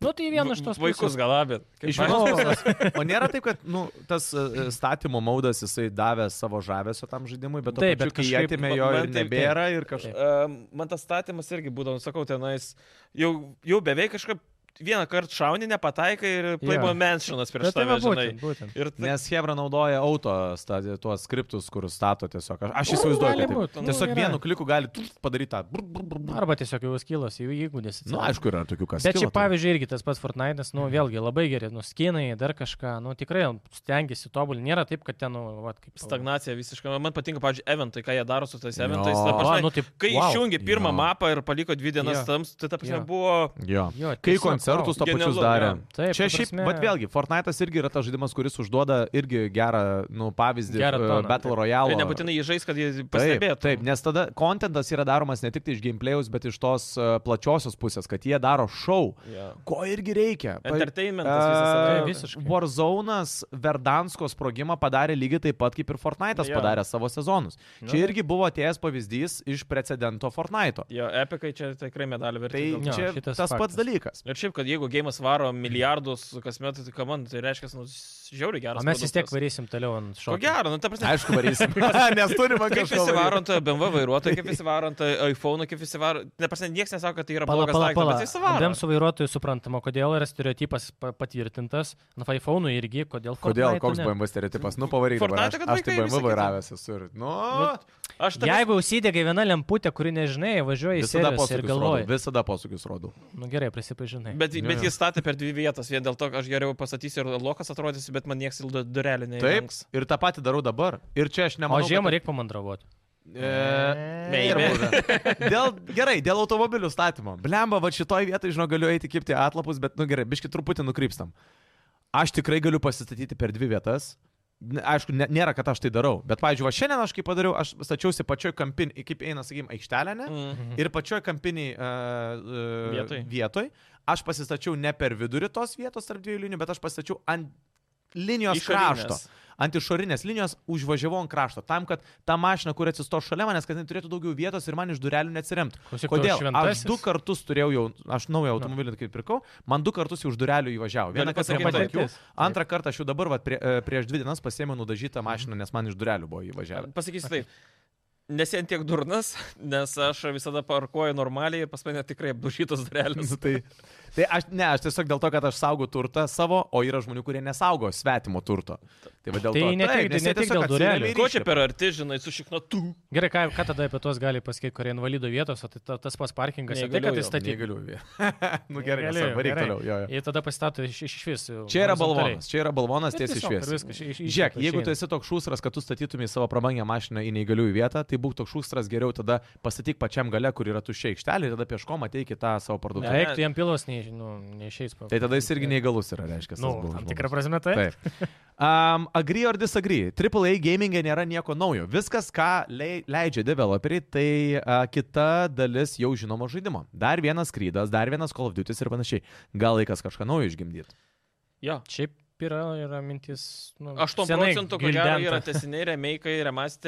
Speaker 3: Nu tai vienas iš tos
Speaker 2: Vaikus galabėt.
Speaker 1: Iš vienos pusės. O nėra taip, kad nu, tas e, e, statymo maudas jisai davė savo žavesio tam žaidimui, bet,
Speaker 3: Taip,
Speaker 1: taip,
Speaker 3: bet
Speaker 1: bet kai jie
Speaker 3: kažkaip
Speaker 1: atėmė
Speaker 2: ma-
Speaker 1: jo
Speaker 2: man
Speaker 1: ir
Speaker 2: taip-
Speaker 1: nebėra ir kažkas.
Speaker 2: nu, Uh, man tas statymas irgi būdavo, sakau, tenais jau, jau beveik kažkaip vieną kartą šauni, nepataikai ir Playboy yeah. Mansionas prieš
Speaker 3: Bet tai
Speaker 2: tave,
Speaker 3: va,
Speaker 2: žinai.
Speaker 3: būtent, būtent.
Speaker 2: Ir tai,
Speaker 1: Nes Hebra naudoja auto stadi, tuos skriptus, kur stato tiesiog. Aš- Aš įsivaizduoju,
Speaker 3: gali
Speaker 1: kad taip.
Speaker 3: būt, nu,
Speaker 1: tiesiog
Speaker 3: yra.
Speaker 1: vienu kliku gali tūp padaryti tą. brr, brr, brr, brr.
Speaker 3: Arba tiesiog jau skilos, jų įgūdis.
Speaker 1: Nu,
Speaker 3: atsirado.
Speaker 1: aišku, yra tokių, kas.
Speaker 3: Bet čia
Speaker 1: kilo, tai-
Speaker 3: pavyzdžiui irgi tas pats Fortnite'as, nu vėlgi labai geri, nu skinai, dar kažką, nu tikrai stengiasi tobulinti, nėra taip, kad ten, nu, va, kaip
Speaker 2: stagnacija visiškai. Man patinka, pavyzdžiui, eventai, ką jie daro su tais eventais.
Speaker 1: Jo.
Speaker 2: Ta
Speaker 3: Va,
Speaker 2: prasme,
Speaker 3: nu, taip,
Speaker 2: Kai wow.
Speaker 3: wow.
Speaker 2: išjungi pirmą
Speaker 1: Jo.
Speaker 2: jo. mapą ir paliko dvi dienas jo.
Speaker 3: Jo.
Speaker 2: tams, tai ta prasme
Speaker 3: Jo.
Speaker 2: jo. buvo...
Speaker 1: Jo.
Speaker 3: Jo,
Speaker 1: Kai
Speaker 3: tiesiog,
Speaker 1: koncertus tą
Speaker 2: vau,
Speaker 1: pačius
Speaker 2: genialu,
Speaker 1: darė.
Speaker 2: jo.
Speaker 3: Taip,
Speaker 1: Čia
Speaker 3: ta
Speaker 1: šiaip,
Speaker 3: prasme-
Speaker 1: bet vėlgi, Fortnite'as irgi yra tas žaidimas, kuris užduoda irgi gerą, nu, pavyzdį
Speaker 3: Gerą
Speaker 1: e,
Speaker 3: toną,
Speaker 1: Battle
Speaker 3: taip.
Speaker 1: Royale.
Speaker 2: Ir nebūtinai jį žais, kad jie
Speaker 1: Taip,
Speaker 2: pastebėtų.
Speaker 1: taip, nes tada kontentas yra daromas ne tik tai iš gameplayaus, bet iš tos uh, plačiosios pusės, kad jie daro šou,
Speaker 2: Jo.
Speaker 1: ko irgi reikia. Pa-
Speaker 2: Entertainmentas visas.
Speaker 1: e,
Speaker 2: ane?
Speaker 3: Taip, visiškai.
Speaker 1: Warzone'as Verdansko sprogimą padarė lygiai taip pat, kaip ir Fortnite'as
Speaker 2: Jo.
Speaker 1: padarė savo sezonus.
Speaker 3: Nu,
Speaker 1: Čia irgi buvo atėjęs pavyzdys iš precedento Fortnite'o.
Speaker 2: Jo, epikai čia tikrai medalį
Speaker 1: Tai
Speaker 2: verti.
Speaker 3: Jo,
Speaker 1: čia
Speaker 3: šitas
Speaker 1: tas faktas. pats
Speaker 3: faktas.
Speaker 1: dalykas.
Speaker 2: Ir šiaip, kad jeigu gėjimas varo milijardus kasmet, tai ką man, tai reiškia, nu, žiauri
Speaker 3: O
Speaker 2: geras.
Speaker 3: mes vis tiek
Speaker 2: produktas.
Speaker 3: varysim toliau ant
Speaker 2: Ko
Speaker 3: šokio.
Speaker 2: gero, nu, ta prasme. tai
Speaker 1: Aišku, varysim. Nes turime
Speaker 2: Kaip
Speaker 1: kažką.
Speaker 2: visi
Speaker 1: varyt.
Speaker 2: varant BMW vairuotojai, kaip visi varant iPhone, kaip visi varant... Ne, prasme, niekas nesako, kad tai yra
Speaker 3: Pala,
Speaker 2: blogas
Speaker 3: pala,
Speaker 2: daiktas,
Speaker 3: pala.
Speaker 2: bet visi varo.
Speaker 3: Abiem su vairuotoju suprantama, kodėl yra stereotipas pa- patvirtintas, ant iPhone'ų irgi, kodėl
Speaker 1: Kodėl,
Speaker 3: Fortnite'ų
Speaker 1: koks
Speaker 3: ne?
Speaker 1: BMW stereotipas? Nu, pavaryk. dabar,
Speaker 2: Fortnite,
Speaker 1: Aš,
Speaker 2: kad
Speaker 1: aš tai
Speaker 2: vaikai visi
Speaker 1: BMW
Speaker 2: kiti.
Speaker 1: vairavęs esu. ir, Nu,
Speaker 3: Nu,
Speaker 2: Aš tai...
Speaker 3: Jeigu užsidega viena lemputė, kuri nežinai, važiuoji į
Speaker 1: visada
Speaker 3: seriją tai ir
Speaker 1: posūkius rodau.
Speaker 3: galvoji.
Speaker 1: Visada posūkius rodau.
Speaker 3: Nu gerai, prisipažinai.
Speaker 2: Bet,
Speaker 1: Jo,
Speaker 2: bet
Speaker 1: jo.
Speaker 2: jis statė per dvi vietas, vien dėl to, kad aš geriau pastatysiu ir lokas atrodys, bet man nieks ildo durelį
Speaker 1: Taip,
Speaker 2: neįlenks.
Speaker 1: ir tą patį darau dabar. Ir čia aš
Speaker 3: O
Speaker 1: nemanau.
Speaker 3: žiemą
Speaker 1: kad-
Speaker 3: reikia pamandravoti.
Speaker 1: E,
Speaker 2: Maybe.
Speaker 1: ir būna. Dėl, gerai, dėl automobilių statymo. Blemba, va šitoj vietoj, žinau, galiu eiti kipti atlapus, bet, nu gerai, biški truputį nukrypstam. Aš tikrai galiu pasistatyti per dvi vietas. Ne- Aišku, ne- nėra, kad aš tai darau. Bet, pavyzdžiui, va šiandien aš kaip padariau, aš stačiausi pačioj kampinį, kaip eina, sakykime, aikštelė, ne?
Speaker 2: Mm.
Speaker 1: Ir pačioj kampiniai uh,
Speaker 2: Vietoj.
Speaker 1: vietoj. Aš pasistačiau ne per vidurį tos vietos tarp dviejų linijų, bet aš pasistačiau ant linijos
Speaker 2: Išorinės.
Speaker 1: krašto. Ant išorinės linijos užvažiavau ant krašto. Tam, kad ta mašina, kuri atsisto šalia manęs, kad jinai turėtų daugiau vietos ir man iš durelių neatsiremtų.
Speaker 3: Klausyk, tau
Speaker 1: Kodėl? Aš
Speaker 3: šventasis?
Speaker 1: du kartus turėjau jau, aš naują automobilį kai pirkau, man du kartus jau už durelių įvažiavo. Vieną
Speaker 2: Gali
Speaker 1: kartą prie
Speaker 2: pasakyt
Speaker 1: mano akių,
Speaker 3: patirtis.
Speaker 1: antrą kartą aš jau dabar va, prie, e, prieš dvi dienas pasėmiau nudažytą mašiną, nes man iš durelių buvo įvažiavę.
Speaker 2: Pasakysiu taip. Nesi ant tiek durnas, nes aš visada parkuoju normaliai ir pas mane tikrai apdušytos durelės.
Speaker 1: Nu, tai, tai aš ne, aš tiesiog dėl to, kad aš saugau turtą savo, o yra žmonių, kurie nesaugo svetimo turto. Tai, va dėl
Speaker 3: Tai
Speaker 1: to,
Speaker 3: ne tik-
Speaker 1: nes jie
Speaker 3: ne tik
Speaker 1: tiesiog
Speaker 3: dėl
Speaker 1: atsiremia
Speaker 3: durelių.
Speaker 1: į
Speaker 2: Ko čia
Speaker 1: ryšį.
Speaker 2: per arti, žinai, su šiknotu?
Speaker 3: Gerai, ką, ką tada apie tuos gali pasakyti, kur yra invalido vietos, o tai ta, tas pats parkingas, ne tai
Speaker 2: Neįgaliųjų.
Speaker 3: kad jis statyti.
Speaker 1: Negaliu. nu gerai, nesvarbu, varyk toliau. Jo, jo.
Speaker 3: Ir tada pastato iš, iš vis.
Speaker 1: Čia yra balvonas, čia yra balvonas tiesiai šviesiai. Žiūrėk,
Speaker 3: Žiūrėk,
Speaker 1: jeigu tu esi toks šūstras, kad tu statytumai savo prabangę mašiną į neįgaliųjų vietą, tai būk toks šūstras geriau tada pasakyk pačiam gale, kur yra tuščia aikštelė ir tada pieškom ateik į tą savo parduotuvę.
Speaker 3: Eik, tu jam pilos nei, nu, neišeis.
Speaker 1: Tai tada jis irgi neįgalus yra, reiškia.
Speaker 3: Nu, tam tikrą prasme tai.
Speaker 1: Taip. Um, agree or disagree. AAA gamingė nėra nieko naujo. Viskas, ką lei, leidžia developeriai, tai uh, kita dalis jau žinomo žaidimo. Dar vienas krydas, dar vienas Call of Duty ir panašiai. Gal laikas kažką naujo išgimdyti.
Speaker 2: Jo.
Speaker 3: Šiaip yra, yra mintis. Nu,
Speaker 2: 8
Speaker 3: senai
Speaker 2: procentų, ko gero, yra
Speaker 3: gvildenta.
Speaker 2: tesiniai remakai,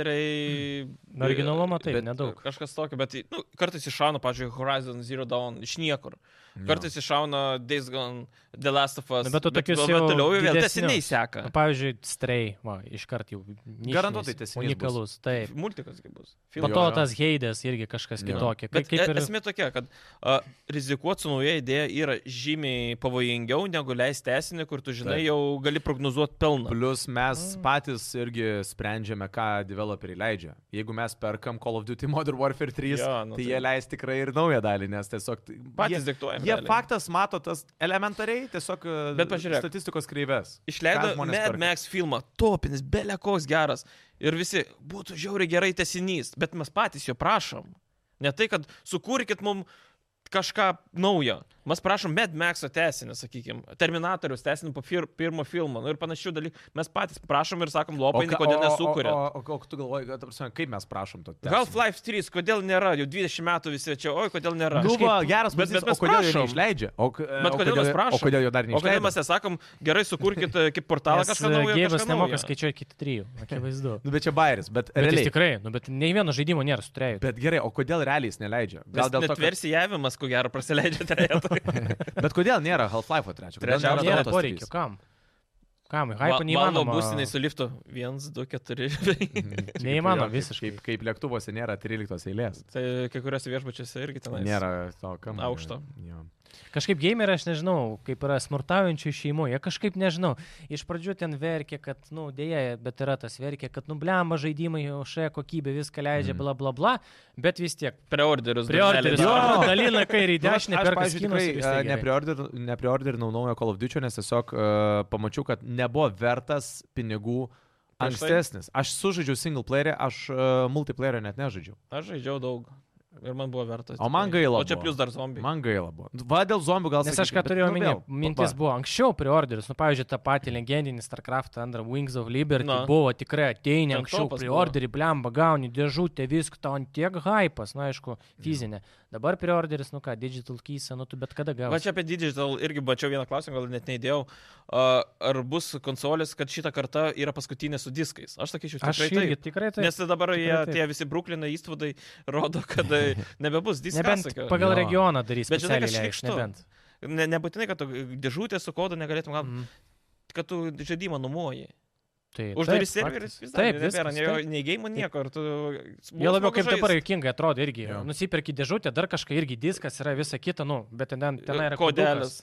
Speaker 2: remasteriai.
Speaker 3: Originalumo taip,
Speaker 2: bet
Speaker 3: nedaug.
Speaker 2: Kažkas tokio, bet nu, kartais iššauna, pavyzdžiui, Horizon Zero Dawn iš niekur. Kartais iššauna Days Gone, The Last of Us.
Speaker 3: Nu, bet tu tokius
Speaker 2: va-
Speaker 3: jau
Speaker 2: va Toliau jau vėl
Speaker 3: didesnius.
Speaker 2: tesiniai seka.
Speaker 3: Nu, pavyzdžiui, strei, va, iškart jau. nišinis,
Speaker 1: Garantuotai tęsinys
Speaker 3: Unikalus, taip.
Speaker 2: Multikas kaip bus.
Speaker 3: Po
Speaker 1: Jo,
Speaker 3: to
Speaker 1: jo.
Speaker 3: tas heidės irgi kažkas
Speaker 1: Jo.
Speaker 3: kitokio.
Speaker 2: Bet e-
Speaker 3: Kaip, kaip ir...
Speaker 2: esmė tokia, kad uh, rizikuoti su nauja idėja yra žymiai pavojingiau negu leisti tesinį, kur tu žinai,
Speaker 1: Taip.
Speaker 2: jau gali prognozuoti pelną.
Speaker 1: Plus mes
Speaker 2: Mm.
Speaker 1: patys irgi sprendžiame, ką developeriai leidžia. Jeigu mes perkam Call of Duty Modern Warfare 3, ja,
Speaker 2: Jo, nu
Speaker 1: nu, tai
Speaker 2: tai-
Speaker 1: jie leis tikrai ir naują dalį, nes tiesiog... tai-
Speaker 2: Patys
Speaker 1: jie,
Speaker 2: diktuojame.
Speaker 1: jie
Speaker 2: realiai.
Speaker 1: faktas mato tas elementariai, tiesiog e,
Speaker 2: Bet pažiūrėk.
Speaker 1: statistikos kreives.
Speaker 2: Išleido
Speaker 1: Ką žmonės
Speaker 2: Mad
Speaker 1: perka?
Speaker 2: Max filmą, topinis, belekoks geras. Ir visi, būtų žiauriai gerai tesinys, bet mes patys jo prašom. Ne tai, kad sukūrkit mums kažką naujo. Mes prašom Mad Maxo tesinį, sakykime, Terminatorius tesinį po fir pirmo filmo nu, ir panašių dalykų. Mes patys prašom ir sakom,
Speaker 1: O
Speaker 2: lopai,
Speaker 1: ką-
Speaker 2: kodėl
Speaker 1: o-
Speaker 2: nesukūrė.
Speaker 1: O, o, o, o tu galvoji, kad, ta prasme, kaip mes prašom to? tęsinio?
Speaker 2: Half-Life 3, kodėl nėra, jau 20 metų visi čia, oi, kodėl nėra.
Speaker 1: Nu, va, geras
Speaker 2: Bet-
Speaker 1: pavyzdys,
Speaker 2: bet mes
Speaker 1: o kodėl jo
Speaker 2: prašom.
Speaker 1: neišleidžia? O, k-
Speaker 2: Bet
Speaker 1: o
Speaker 2: kodėl mes prašom?
Speaker 1: O kodėl jo dar
Speaker 2: O kodėl mes
Speaker 1: neišleidžia?
Speaker 2: nesakom, gerai sukūrkit e, kaip portalą kažką naujo.
Speaker 3: Gėvas
Speaker 2: kažką
Speaker 3: nemoka
Speaker 2: naujo.
Speaker 3: skaičiuoti iki trijų, akivaizdu.
Speaker 1: Nu, bet čia bairis, bet,
Speaker 3: bet
Speaker 1: realiai.
Speaker 3: jis tikrai, nu, bet nei vieno žaidimo nėra su trejų.
Speaker 1: Bet gerai, o kodėl realiai jis neleidžia? Gal
Speaker 2: Nes
Speaker 1: dėl
Speaker 2: net
Speaker 1: to, kad...
Speaker 2: versijavimas, ko gero, tai prasileidžia trejetą.
Speaker 1: Bet kodėl nėra Half-Life 3?
Speaker 2: Trečiam
Speaker 3: Nėra
Speaker 2: Nėra
Speaker 3: poreikio, kam? Kam, hypo
Speaker 2: Valdo
Speaker 3: neįmanoma.
Speaker 2: būstinai su liftu. 1, 2, 4.
Speaker 1: Mhm.
Speaker 3: Neįmanoma
Speaker 1: Jo,
Speaker 3: visiškai.
Speaker 1: Kaip, kaip lėktuvuose nėra 13 eilės.
Speaker 2: Tai kai kuriuose viešbučiuose irgi tenai.
Speaker 1: Nėra to kambario.
Speaker 2: Aukšto.
Speaker 1: Jo.
Speaker 3: Kažkaip gameriai, aš nežinau, kaip yra smurtaujančių šeimų, jie kažkaip nežinau. Iš pradžių ten verkė, kad, nu, dėja, bet yra tas verkė, kad, nu, blema žaidimai, už kokybę viską leidžia,
Speaker 1: Mm.
Speaker 3: bla, bla, bla, bet vis tiek.
Speaker 2: Preorderius. durnelį
Speaker 3: Prioritetas.
Speaker 2: daro.
Speaker 3: Dalina kairį,
Speaker 1: Nu, aš-
Speaker 3: dešinę,
Speaker 1: aš,
Speaker 3: perka
Speaker 1: pavyzdžiui,
Speaker 3: skinus. ir vis tiek
Speaker 1: tikrai, e,
Speaker 3: gerai.
Speaker 1: nepriorder- Nepriorderinau naujo Call of Duty, nes tiesiog uh, pamačiau, kad nebuvo vertas pinigų
Speaker 2: Prieš tai?
Speaker 1: ankstesnis. Aš sužaidžiau single playerį, aš uh, multiplayerio net nežaidžiau.
Speaker 2: Aš žaidžiau daug. Ir man buvo vertas.
Speaker 1: O man
Speaker 2: tikrai.
Speaker 1: gaila
Speaker 2: O čia
Speaker 1: buvo.
Speaker 2: plus dar zombiai.
Speaker 1: Man gaila buvo. Va dėl zombių gal
Speaker 3: Nes aš
Speaker 1: sakyčiau,
Speaker 3: ką
Speaker 1: bet,
Speaker 3: turėjau
Speaker 1: nu,
Speaker 3: omeny,
Speaker 1: vėl,
Speaker 3: mintis
Speaker 1: va.
Speaker 3: buvo anksčiau preorderis, nu, pavyzdžiui, tą patį legendinį StarCraft Under Wings of Liberty
Speaker 2: Na.
Speaker 3: buvo tikrai ateinę
Speaker 2: Ten
Speaker 3: anksčiau
Speaker 2: topas
Speaker 3: preorderį, blemba, gauni dėžutę, viską, tau ant tiek hypas, na, aišku, fizinė. Dabar preorderis, nu ką, digital keysą, nu tu bet kada
Speaker 2: Va
Speaker 3: gausi.
Speaker 2: čia apie Digital irgi bačiau vieną klausimą, gal net neįdėjau. A, Ar bus konsolės, kad šitą kartą yra paskutinė su diskais? Aš sakyčiau,
Speaker 3: Aš
Speaker 2: tikrai
Speaker 3: irgi
Speaker 2: taip.
Speaker 3: tikrai tai.
Speaker 2: Nes dabar
Speaker 3: tikrai
Speaker 2: jie,
Speaker 3: taip.
Speaker 2: tie visi Bruklinai įspūdai rodo, kad e, nebebus
Speaker 3: Nebent
Speaker 2: diskas.
Speaker 3: pagal
Speaker 1: Jo.
Speaker 3: regioną darys,
Speaker 2: Bet
Speaker 3: bet
Speaker 2: žinai,
Speaker 3: žinai,
Speaker 2: kad
Speaker 3: leis,
Speaker 2: šlykštu.
Speaker 3: nebent.
Speaker 2: Ne, nebūtinai, kad tu dėžutė su kodu negalėtum gauti,
Speaker 3: Mhm.
Speaker 2: kad tu žaidimą numuoji.
Speaker 3: Tai
Speaker 2: Uždari
Speaker 3: taip,
Speaker 2: serverį,
Speaker 3: faktas.
Speaker 2: vis dar
Speaker 3: Taip,
Speaker 2: nebėra
Speaker 3: viskas,
Speaker 2: nei,
Speaker 3: taip.
Speaker 2: nei game, nieko. ir Tu,
Speaker 3: Jie labiau
Speaker 2: smagu
Speaker 3: kaip dabar
Speaker 2: žaist.
Speaker 3: juokingai atrodo irgi.
Speaker 1: Jo.
Speaker 3: Nusipirki dėžutę, dar kažką irgi diskas yra visa kita, nu, bet ten, ten ten yra
Speaker 2: Kodelis.
Speaker 3: kodukas.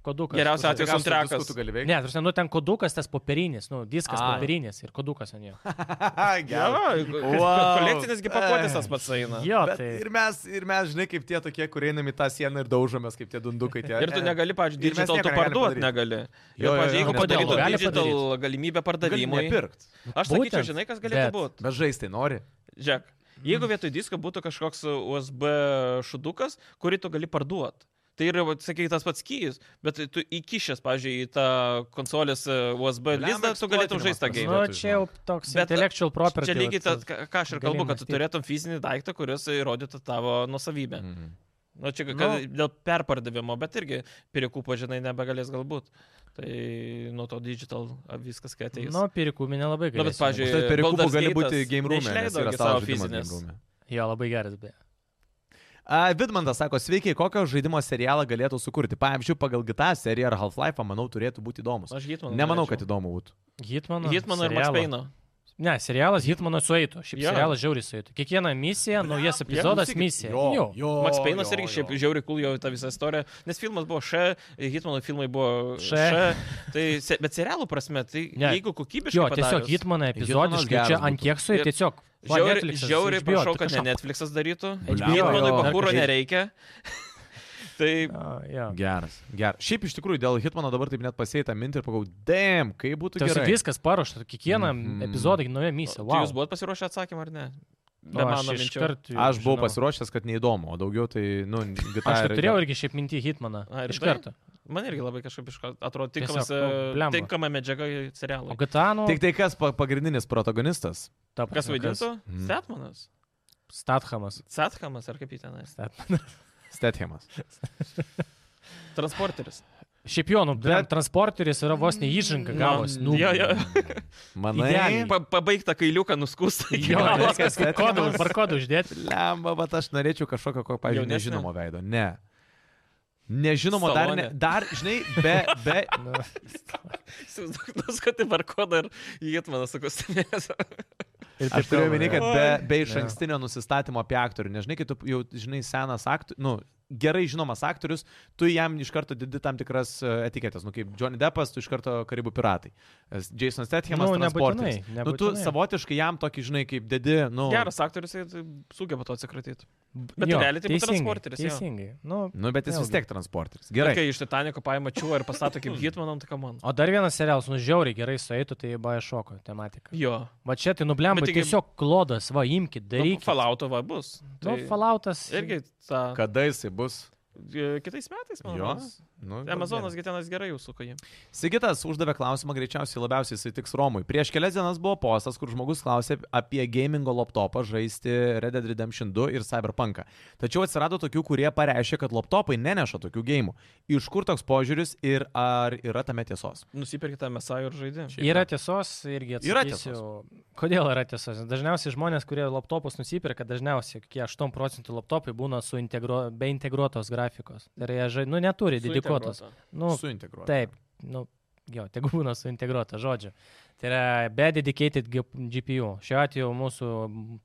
Speaker 3: Kodukas.
Speaker 2: Geriausia
Speaker 3: Tu-
Speaker 2: atveju
Speaker 1: Geriausiu
Speaker 2: soundtrackas.
Speaker 1: disku tu gali veikti.
Speaker 3: Ne, tu žinai, nu ten kodukas tas popierinis, nu, diskas
Speaker 1: Ai.
Speaker 3: popierinis ir kodukas ant jo.
Speaker 1: Gerai. Wow.
Speaker 2: Wow. Kolekcinisgi pakuotės tas pats eina.
Speaker 3: Jo,
Speaker 1: Bet
Speaker 3: tai.
Speaker 1: ir, mes, ir mes, žinai, kaip tie tokie, kurie einam į tą sieną ir daužomės, kaip tie dundukai. Tie,
Speaker 2: Ir tu negali, pavyzdžiui,
Speaker 1: Ir mes
Speaker 2: digital tu
Speaker 1: nieko negalim
Speaker 2: parduot
Speaker 1: padaryt.
Speaker 2: negali.
Speaker 1: Jo,
Speaker 2: Jo,
Speaker 1: jo, jo.
Speaker 2: pavyzdžiui, jeigu
Speaker 1: O
Speaker 3: kodėl?
Speaker 2: padarytų
Speaker 3: Gali
Speaker 2: digital galimybę
Speaker 1: Gali
Speaker 2: pardavimui.
Speaker 1: nepirkt.
Speaker 2: Aš sakyčiau,
Speaker 3: Būtent,
Speaker 2: žinai, kas
Speaker 3: bet- Mm.
Speaker 2: galėtų būti.
Speaker 1: Bet žaisti nori.
Speaker 2: Džek, jeigu vietoj disko būtų kažkoks USB šudukas, kurį tu gali parduot. Tai yra, vat, sakyk, tas pats kyjus, bet tu įkišęs, pavyzdžiui, į tą konsolės e, USB
Speaker 1: Blemba,
Speaker 2: lizdą, tu galėtum žaisti tą
Speaker 1: eksploatinimas
Speaker 2: game.
Speaker 3: Nu,
Speaker 1: vietoj,
Speaker 3: čia jau toks
Speaker 2: Bet,
Speaker 3: intellectual property.
Speaker 2: Čia lygiai
Speaker 3: vat,
Speaker 2: tas, ką ką aš ir
Speaker 3: gali
Speaker 2: kalbu, kad tu
Speaker 3: mąstyt.
Speaker 2: turėtum fizinį daiktą, kuris įrodytų tavo nusavybę.
Speaker 1: Mhm.
Speaker 2: Na, čia kad,
Speaker 3: Nu.
Speaker 2: dėl perpardavimo, bet irgi pirikų pažinai nebegalės galbūt. Tai nuo to digital viskas, kai ateis.
Speaker 3: Nu, pirikūmė nelabai
Speaker 2: Nu,
Speaker 3: gerai.
Speaker 2: bet, pavyzdžiui,
Speaker 1: Užtat perikūpų
Speaker 2: Baldur's
Speaker 1: tai gali
Speaker 2: Gate'as
Speaker 1: būti game room.
Speaker 2: neišleido
Speaker 1: Yra
Speaker 2: gi
Speaker 1: savo
Speaker 2: savo
Speaker 1: žaidimas game
Speaker 2: fizinės.
Speaker 1: room.
Speaker 3: Jo, labai geras, beje.
Speaker 1: A, Vidmantas sako, sveiki, kokio žaidimo serialą galėtų sukurti? Pavyzdžiui, pagal GTA seriją ar Half-Life, manau, turėtų būti įdomus.
Speaker 2: Nu, Aš Hitmaną. Nu,
Speaker 1: Nemanau, kad įdomu būtų.
Speaker 3: Hitmano.
Speaker 2: Hitmaną ir Max
Speaker 3: serialo.
Speaker 2: Payne'ą.
Speaker 3: Ne, serialas Hitmano suėtų. Šiaip
Speaker 2: Jo.
Speaker 3: serialas žiauriai suėtų. Kiekviena misija, naujas
Speaker 2: jo,
Speaker 3: epizodas,
Speaker 1: Klausykit,
Speaker 3: misija.
Speaker 1: jo,
Speaker 3: Jo.
Speaker 1: jo,
Speaker 2: Max Payne'as
Speaker 1: jo,
Speaker 2: irgi
Speaker 1: jo.
Speaker 2: šiaip žiauri cool jo ta visa istorija, nes filmas buvo Š, Hitmano filmai buvo
Speaker 3: Š.
Speaker 2: Š. Tai, se- bet serialų prasme, tai
Speaker 3: Ne.
Speaker 2: jeigu kokybiškai...
Speaker 3: Jo, tiesiog
Speaker 2: Hitmanas.
Speaker 3: Hitmaną epizodiškai
Speaker 1: geras
Speaker 3: čia ant
Speaker 1: būtų.
Speaker 3: kiek suėtų,
Speaker 2: Ir
Speaker 3: tiesiog. va,
Speaker 2: Žiauriai,
Speaker 3: Netflixas,
Speaker 2: žiauriai
Speaker 3: HBO,
Speaker 2: prašau,
Speaker 3: tai
Speaker 2: kad ne
Speaker 3: kažką.
Speaker 2: Netflixas darytų.
Speaker 1: Blemba.
Speaker 2: Hitmanui
Speaker 3: Jo, jo.
Speaker 1: Dar
Speaker 2: bakūro
Speaker 1: kažkaip-
Speaker 2: nereikia. Tai
Speaker 3: A, jo.
Speaker 1: Geras, geras. Šiaip iš tikrųjų dėl Hitmano dabar taip net pasėta mintį ir pagalvojau, damn, kaip būtų
Speaker 3: Tai
Speaker 1: gerai.
Speaker 3: viskas paruošta, kiekvieną
Speaker 1: Mhm.
Speaker 3: epizodą nauja
Speaker 2: tai
Speaker 3: misija. Wow.
Speaker 2: jūs buvot pasiruošę atsakymą ar ne?
Speaker 3: Nu,
Speaker 2: Be
Speaker 3: aš
Speaker 2: mano
Speaker 3: iš
Speaker 2: minčių.
Speaker 3: kart jau
Speaker 1: Aš buvau
Speaker 3: žinau.
Speaker 1: pasiruošęs, kad neįdomu, o daugiau tai, nu, GTA.
Speaker 3: Aš
Speaker 1: ir-
Speaker 3: tai turėjau irgi šiaip mintį Hitmaną.
Speaker 2: A, ir
Speaker 3: Iš
Speaker 2: tai?
Speaker 3: karto.
Speaker 2: Man irgi labai kažkaip iš karto atrodo
Speaker 3: Tiesiog,
Speaker 2: tinkamas,
Speaker 3: nu,
Speaker 2: e,
Speaker 3: blemba.
Speaker 2: tinkama medžiaga serialui.
Speaker 3: O Gatano.
Speaker 1: Tik tai kas pa- pagrindinis protagonistas?
Speaker 3: ta prasme,
Speaker 2: Kas vaidintų?
Speaker 3: Mhm.
Speaker 1: Mm.
Speaker 2: Statmanas.
Speaker 3: Stathamas.
Speaker 2: Satkamas ar kaip jį tenais.
Speaker 1: Stethemas.
Speaker 2: Transporteris.
Speaker 3: Šiaip jo, nu,
Speaker 1: Bet-
Speaker 3: bet transporteris yra vos neįžanga gavos. Nu,
Speaker 2: Mm. jo, jo.
Speaker 1: Manai.
Speaker 3: Idealiai.
Speaker 2: Pa pabaigta kailiuką nuskustą.
Speaker 3: jo viskas kaip kodų,
Speaker 1: Stathamas.
Speaker 3: barkodų uždėti.
Speaker 1: Lemba, bet aš norėčiau kažkokio, ko, pavyzdžiui,
Speaker 2: Jaunesnio?
Speaker 1: nežinomo veido. Ne. Nežinomo dar, ne,
Speaker 2: Stallone.
Speaker 1: dar, žinai, be, be,
Speaker 3: Nu,
Speaker 2: Nuskutį barkodą ir Jėtmanas sakostumės.
Speaker 1: Aš
Speaker 3: ir
Speaker 1: turiu
Speaker 3: taip toliau,
Speaker 1: omeny,
Speaker 3: jo.
Speaker 1: kad be, be iš
Speaker 3: Jo.
Speaker 1: ankstinio nusistatymo apie aktorių, nežinai, kai tu jau, žinai, senas aktorius, nu, gerai žinomas aktorius, tu jam iš karto didi tam tikras e, etiketės, nu, kaip Johnny Deppas, tu iš karto Karibų piratai. Es- Jason Stathamas,
Speaker 3: Nu,
Speaker 1: nu, transportas.
Speaker 3: nebūtinai,
Speaker 1: Nu, tu
Speaker 3: nebūtinai.
Speaker 1: savotiškai jam tokį, žinai, kaip dedi, nu,
Speaker 2: Geras aktorius jis sugeba to atsikratyti. Bet
Speaker 3: Jo,
Speaker 2: realiai tai būtų
Speaker 3: teisingai,
Speaker 2: transporteris, jo.
Speaker 3: Teisingai. Nu,
Speaker 1: nu, bet jis
Speaker 3: Vėlgi.
Speaker 1: vis tiek transporteris.
Speaker 2: Gerai.
Speaker 1: Gerai.
Speaker 2: Kai iš Titaniko paima čiūą ir pastato kaip Jėtmaną, tai ką man.
Speaker 3: o dar vienas serialas, nu žiauriai gerai suėtų, tai Baješoko tematika.
Speaker 2: Jo.
Speaker 3: Va čia tai nublemba
Speaker 2: Bet taigi-
Speaker 3: tiesiog klodas, va imkit, darykit.
Speaker 2: Reikia. Falauto va bus. Tai
Speaker 3: Nu, falautas.
Speaker 2: Irgi tą.
Speaker 1: Kada jisai bus?
Speaker 2: e, Kitais metais, man
Speaker 1: Jo.
Speaker 2: atrodo.
Speaker 1: Nu,
Speaker 2: Amazonas gitenas gerai jūsų kai.
Speaker 1: Sigitas uždavė klausimą, greičiausiai labiausiai jisai tiks Romui. Prieš kelias dienas buvo postas, kur žmogus klausė apie gamingo laptopą žaisti Red Dead Redemption 2 ir Cyberpunk. Tačiau atsirado tokių, kurie pareiškė, kad laptopai neneša tokių gėjimų. Iš kur toks požiūris ir ar yra tame tiesos?
Speaker 2: Nusipirkite mesą ir žaidė.
Speaker 3: Yra tiesos irgi atsakysiu.
Speaker 1: Yra
Speaker 3: Kodėl yra tiesos? Nes Dažniausiai žmonės, kurie laptopus nusiperka, dažniausiai kokie 8 procentų laptopai būna su integro, be Tai integruotos grafikos. Ir jie, žai- nu, neturi didikuotos. Nu,
Speaker 1: Suintegruoti.
Speaker 3: taip, nu, jo, tegu būna suintegruota, žodžiu. Tai yra be dedicated G- GPU. Šiuo atveju mūsų mm,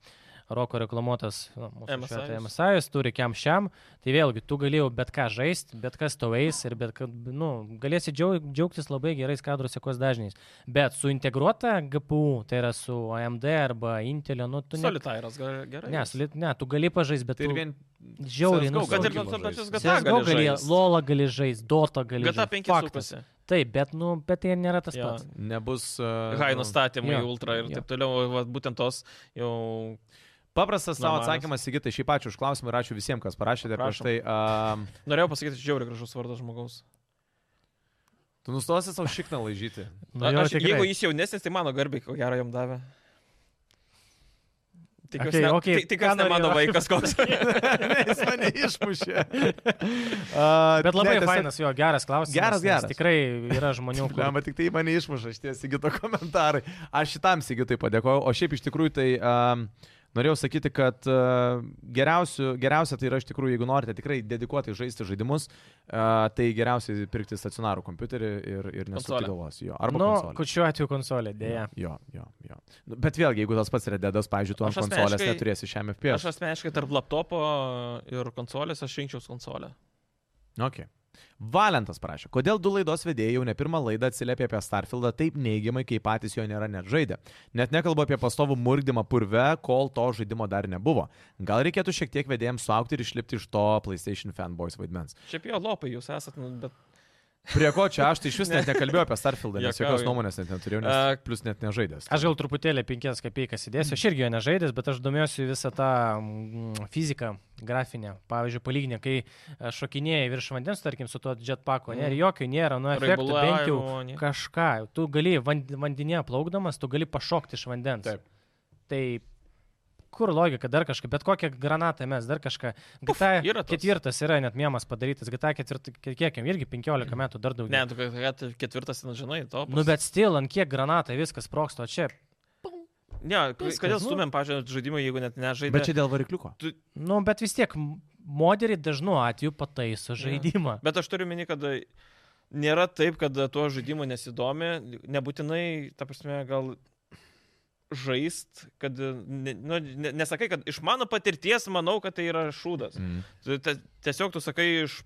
Speaker 3: Roko reklamuotas nu, mūsų šiuo atveju
Speaker 2: MSI.
Speaker 3: MSI -jus turi kiam šiam, tai vėlgi tu galėjai bet ką žaisti, bet kas tau eis ir bet, kad, nu, galėsi džiau- džiaugtis labai gerais kadrų sekos dažniais. Bet su integruota GPU, tai yra su AMD arba Intel, nu, tu ne...
Speaker 2: Solitairas gal- gerai.
Speaker 3: Ne, soli- ne, tu gali pažaisti, bet
Speaker 1: Tai
Speaker 3: tu...
Speaker 1: ir vien...
Speaker 3: žiauriai
Speaker 1: CS:GO
Speaker 2: Kad ir
Speaker 1: sunkiai
Speaker 2: tuos
Speaker 1: buvo
Speaker 2: pačius
Speaker 1: žaist.
Speaker 2: GTA
Speaker 3: CSGO gali,
Speaker 2: gali žaist.
Speaker 3: LOLą gali žaisti, DOTA gali
Speaker 2: GTA
Speaker 3: žaisti.
Speaker 2: 5 sukasi.
Speaker 3: Taip, bet, nu, bet tai nėra tas
Speaker 2: Jo.
Speaker 3: pats.
Speaker 1: Nebus... Uh,
Speaker 2: High nustatymai,
Speaker 3: jo,
Speaker 2: ultra ir
Speaker 3: jo.
Speaker 2: taip toliau, va, būtent tos jau...
Speaker 1: Paprastas tavo
Speaker 2: Normalios.
Speaker 1: atsakymas, Sigitai, šiaip ačiū už klausimą ir ačiū visiems, kas parašėte prieš
Speaker 2: Prašom.
Speaker 1: tai. Um,
Speaker 2: Norėjau pasakyti, žiauriai gražus vardas žmogaus.
Speaker 1: tu nustosi savo šikną lažyti.
Speaker 3: Nu,
Speaker 2: A,
Speaker 3: jo,
Speaker 2: aš,
Speaker 3: tikrai.
Speaker 2: jeigu jis jaunesnis, tai mano garbiai, ko gero jam davė. Tikiuosi,
Speaker 3: Okei,
Speaker 2: ne-
Speaker 3: okei,
Speaker 2: ti- tikiuosi
Speaker 3: ką
Speaker 2: ne mano
Speaker 3: norėjau
Speaker 2: vaikas
Speaker 3: aš
Speaker 2: koks.
Speaker 1: Jis mane išmušė.
Speaker 3: Bet labai ne, fainas, jo, geras klausimas.
Speaker 1: Geras,
Speaker 3: nes
Speaker 1: geras.
Speaker 3: Tikrai yra žmonių, kurie...
Speaker 1: Lemba, tik tai mane išmuša šitie Sigito komentarai. Aš šitam Sigitui padėkoju, o šiaip iš tikrųjų tai um, norėjau sakyti, kad uh, geriausia tai yra iš tikrųjų, jeigu norite tikrai dedikuoti žaisti žaidimus, uh, tai geriausiai pirkti stacionarų kompiuterį ir, ir nesukti
Speaker 2: Konsolę.
Speaker 1: galvos. Jo, arba
Speaker 3: nu,
Speaker 1: konsolę.
Speaker 3: kad šiuo atveju konsolė, dėja.
Speaker 1: Jo, jo, jo. Nu, Bet vėlgi, jeigu tas pats redėdas, pavyzdžiui, tu ant
Speaker 2: Aš
Speaker 1: konsolės
Speaker 2: asmeniškai-
Speaker 1: neturėsi šiam
Speaker 2: Aš
Speaker 1: FPS.
Speaker 2: asmeniškai tarp laptopo ir konsolės aš rinkčiau konsolę.
Speaker 1: Okay. Valentas prašė, kodėl du laidos vedėjai jau ne pirmą laidą atsiliepė apie Starfieldą taip neigiamai, kai patys jo nėra net žaidę. Net nekalbu apie pastovų murgdymą purve, kol to žaidimo dar nebuvo. Gal reikėtų šiek tiek vedėjams suaukti ir išlipti iš to PlayStation fanboys vaidmens.
Speaker 2: Šiaip jo, lopai jūs esat, nu, bet...
Speaker 1: Prie ko čia aš tai iš vis net nekalbėjau apie Starfieldą, nes
Speaker 2: Juokauju.
Speaker 1: jokios nuomonės net neturėjau,
Speaker 2: A-
Speaker 1: nes plus net nežaidęs.
Speaker 3: Aš gal truputėlį penkias kapeikas įdėsiu, aš irgi jo nežaidęs, bet aš domiuosi visą tą mm, fiziką grafinę. Pavyzdžiui, palyginė, kai e, šokinėjai virš vandens, tarkim, su tuo jetpaku, ne, ir jokio nėra, nu, efektų bent jau
Speaker 2: raibulavimo, nie-
Speaker 3: kažką. Tu gali vand- vandenyje plaukdamas, tu gali pašokti iš vandens.
Speaker 1: Taip.
Speaker 3: Tai kur logika, dar kažką, bet kokią granatą mes, dar kažką. GTA
Speaker 2: yra tas.
Speaker 3: ketvirtas yra net mėmas padarytas, GTA ketvirtas, kiek jam irgi 15 metų dar daugiau.
Speaker 2: Mm. Ne, tu kad- kad ketvirtas, na, žinai, to.
Speaker 3: Nu bet stil, ant kiek granatą viskas proksto, o čia,
Speaker 2: Ne, k-
Speaker 3: viskas,
Speaker 2: kodėl
Speaker 3: nu.
Speaker 2: stumėm, pažiūrėjau, žaidimą, jeigu net nežaidžiam.
Speaker 1: Bet čia dėl varikliuko.
Speaker 3: nu bet vis tiek m- moterį dažnu atveju pataiso žaidimą.
Speaker 2: Bet aš turiu meni, kad nėra taip, kad tuo žaidimu nesidomi, nebūtinai, ta prasme, gal žaist, kad, ne, nu, ne, nesakai, kad iš mano patirties manau, kad tai yra šūdas.
Speaker 1: Mm.
Speaker 2: Tu te- Tiesiog tu sakai iš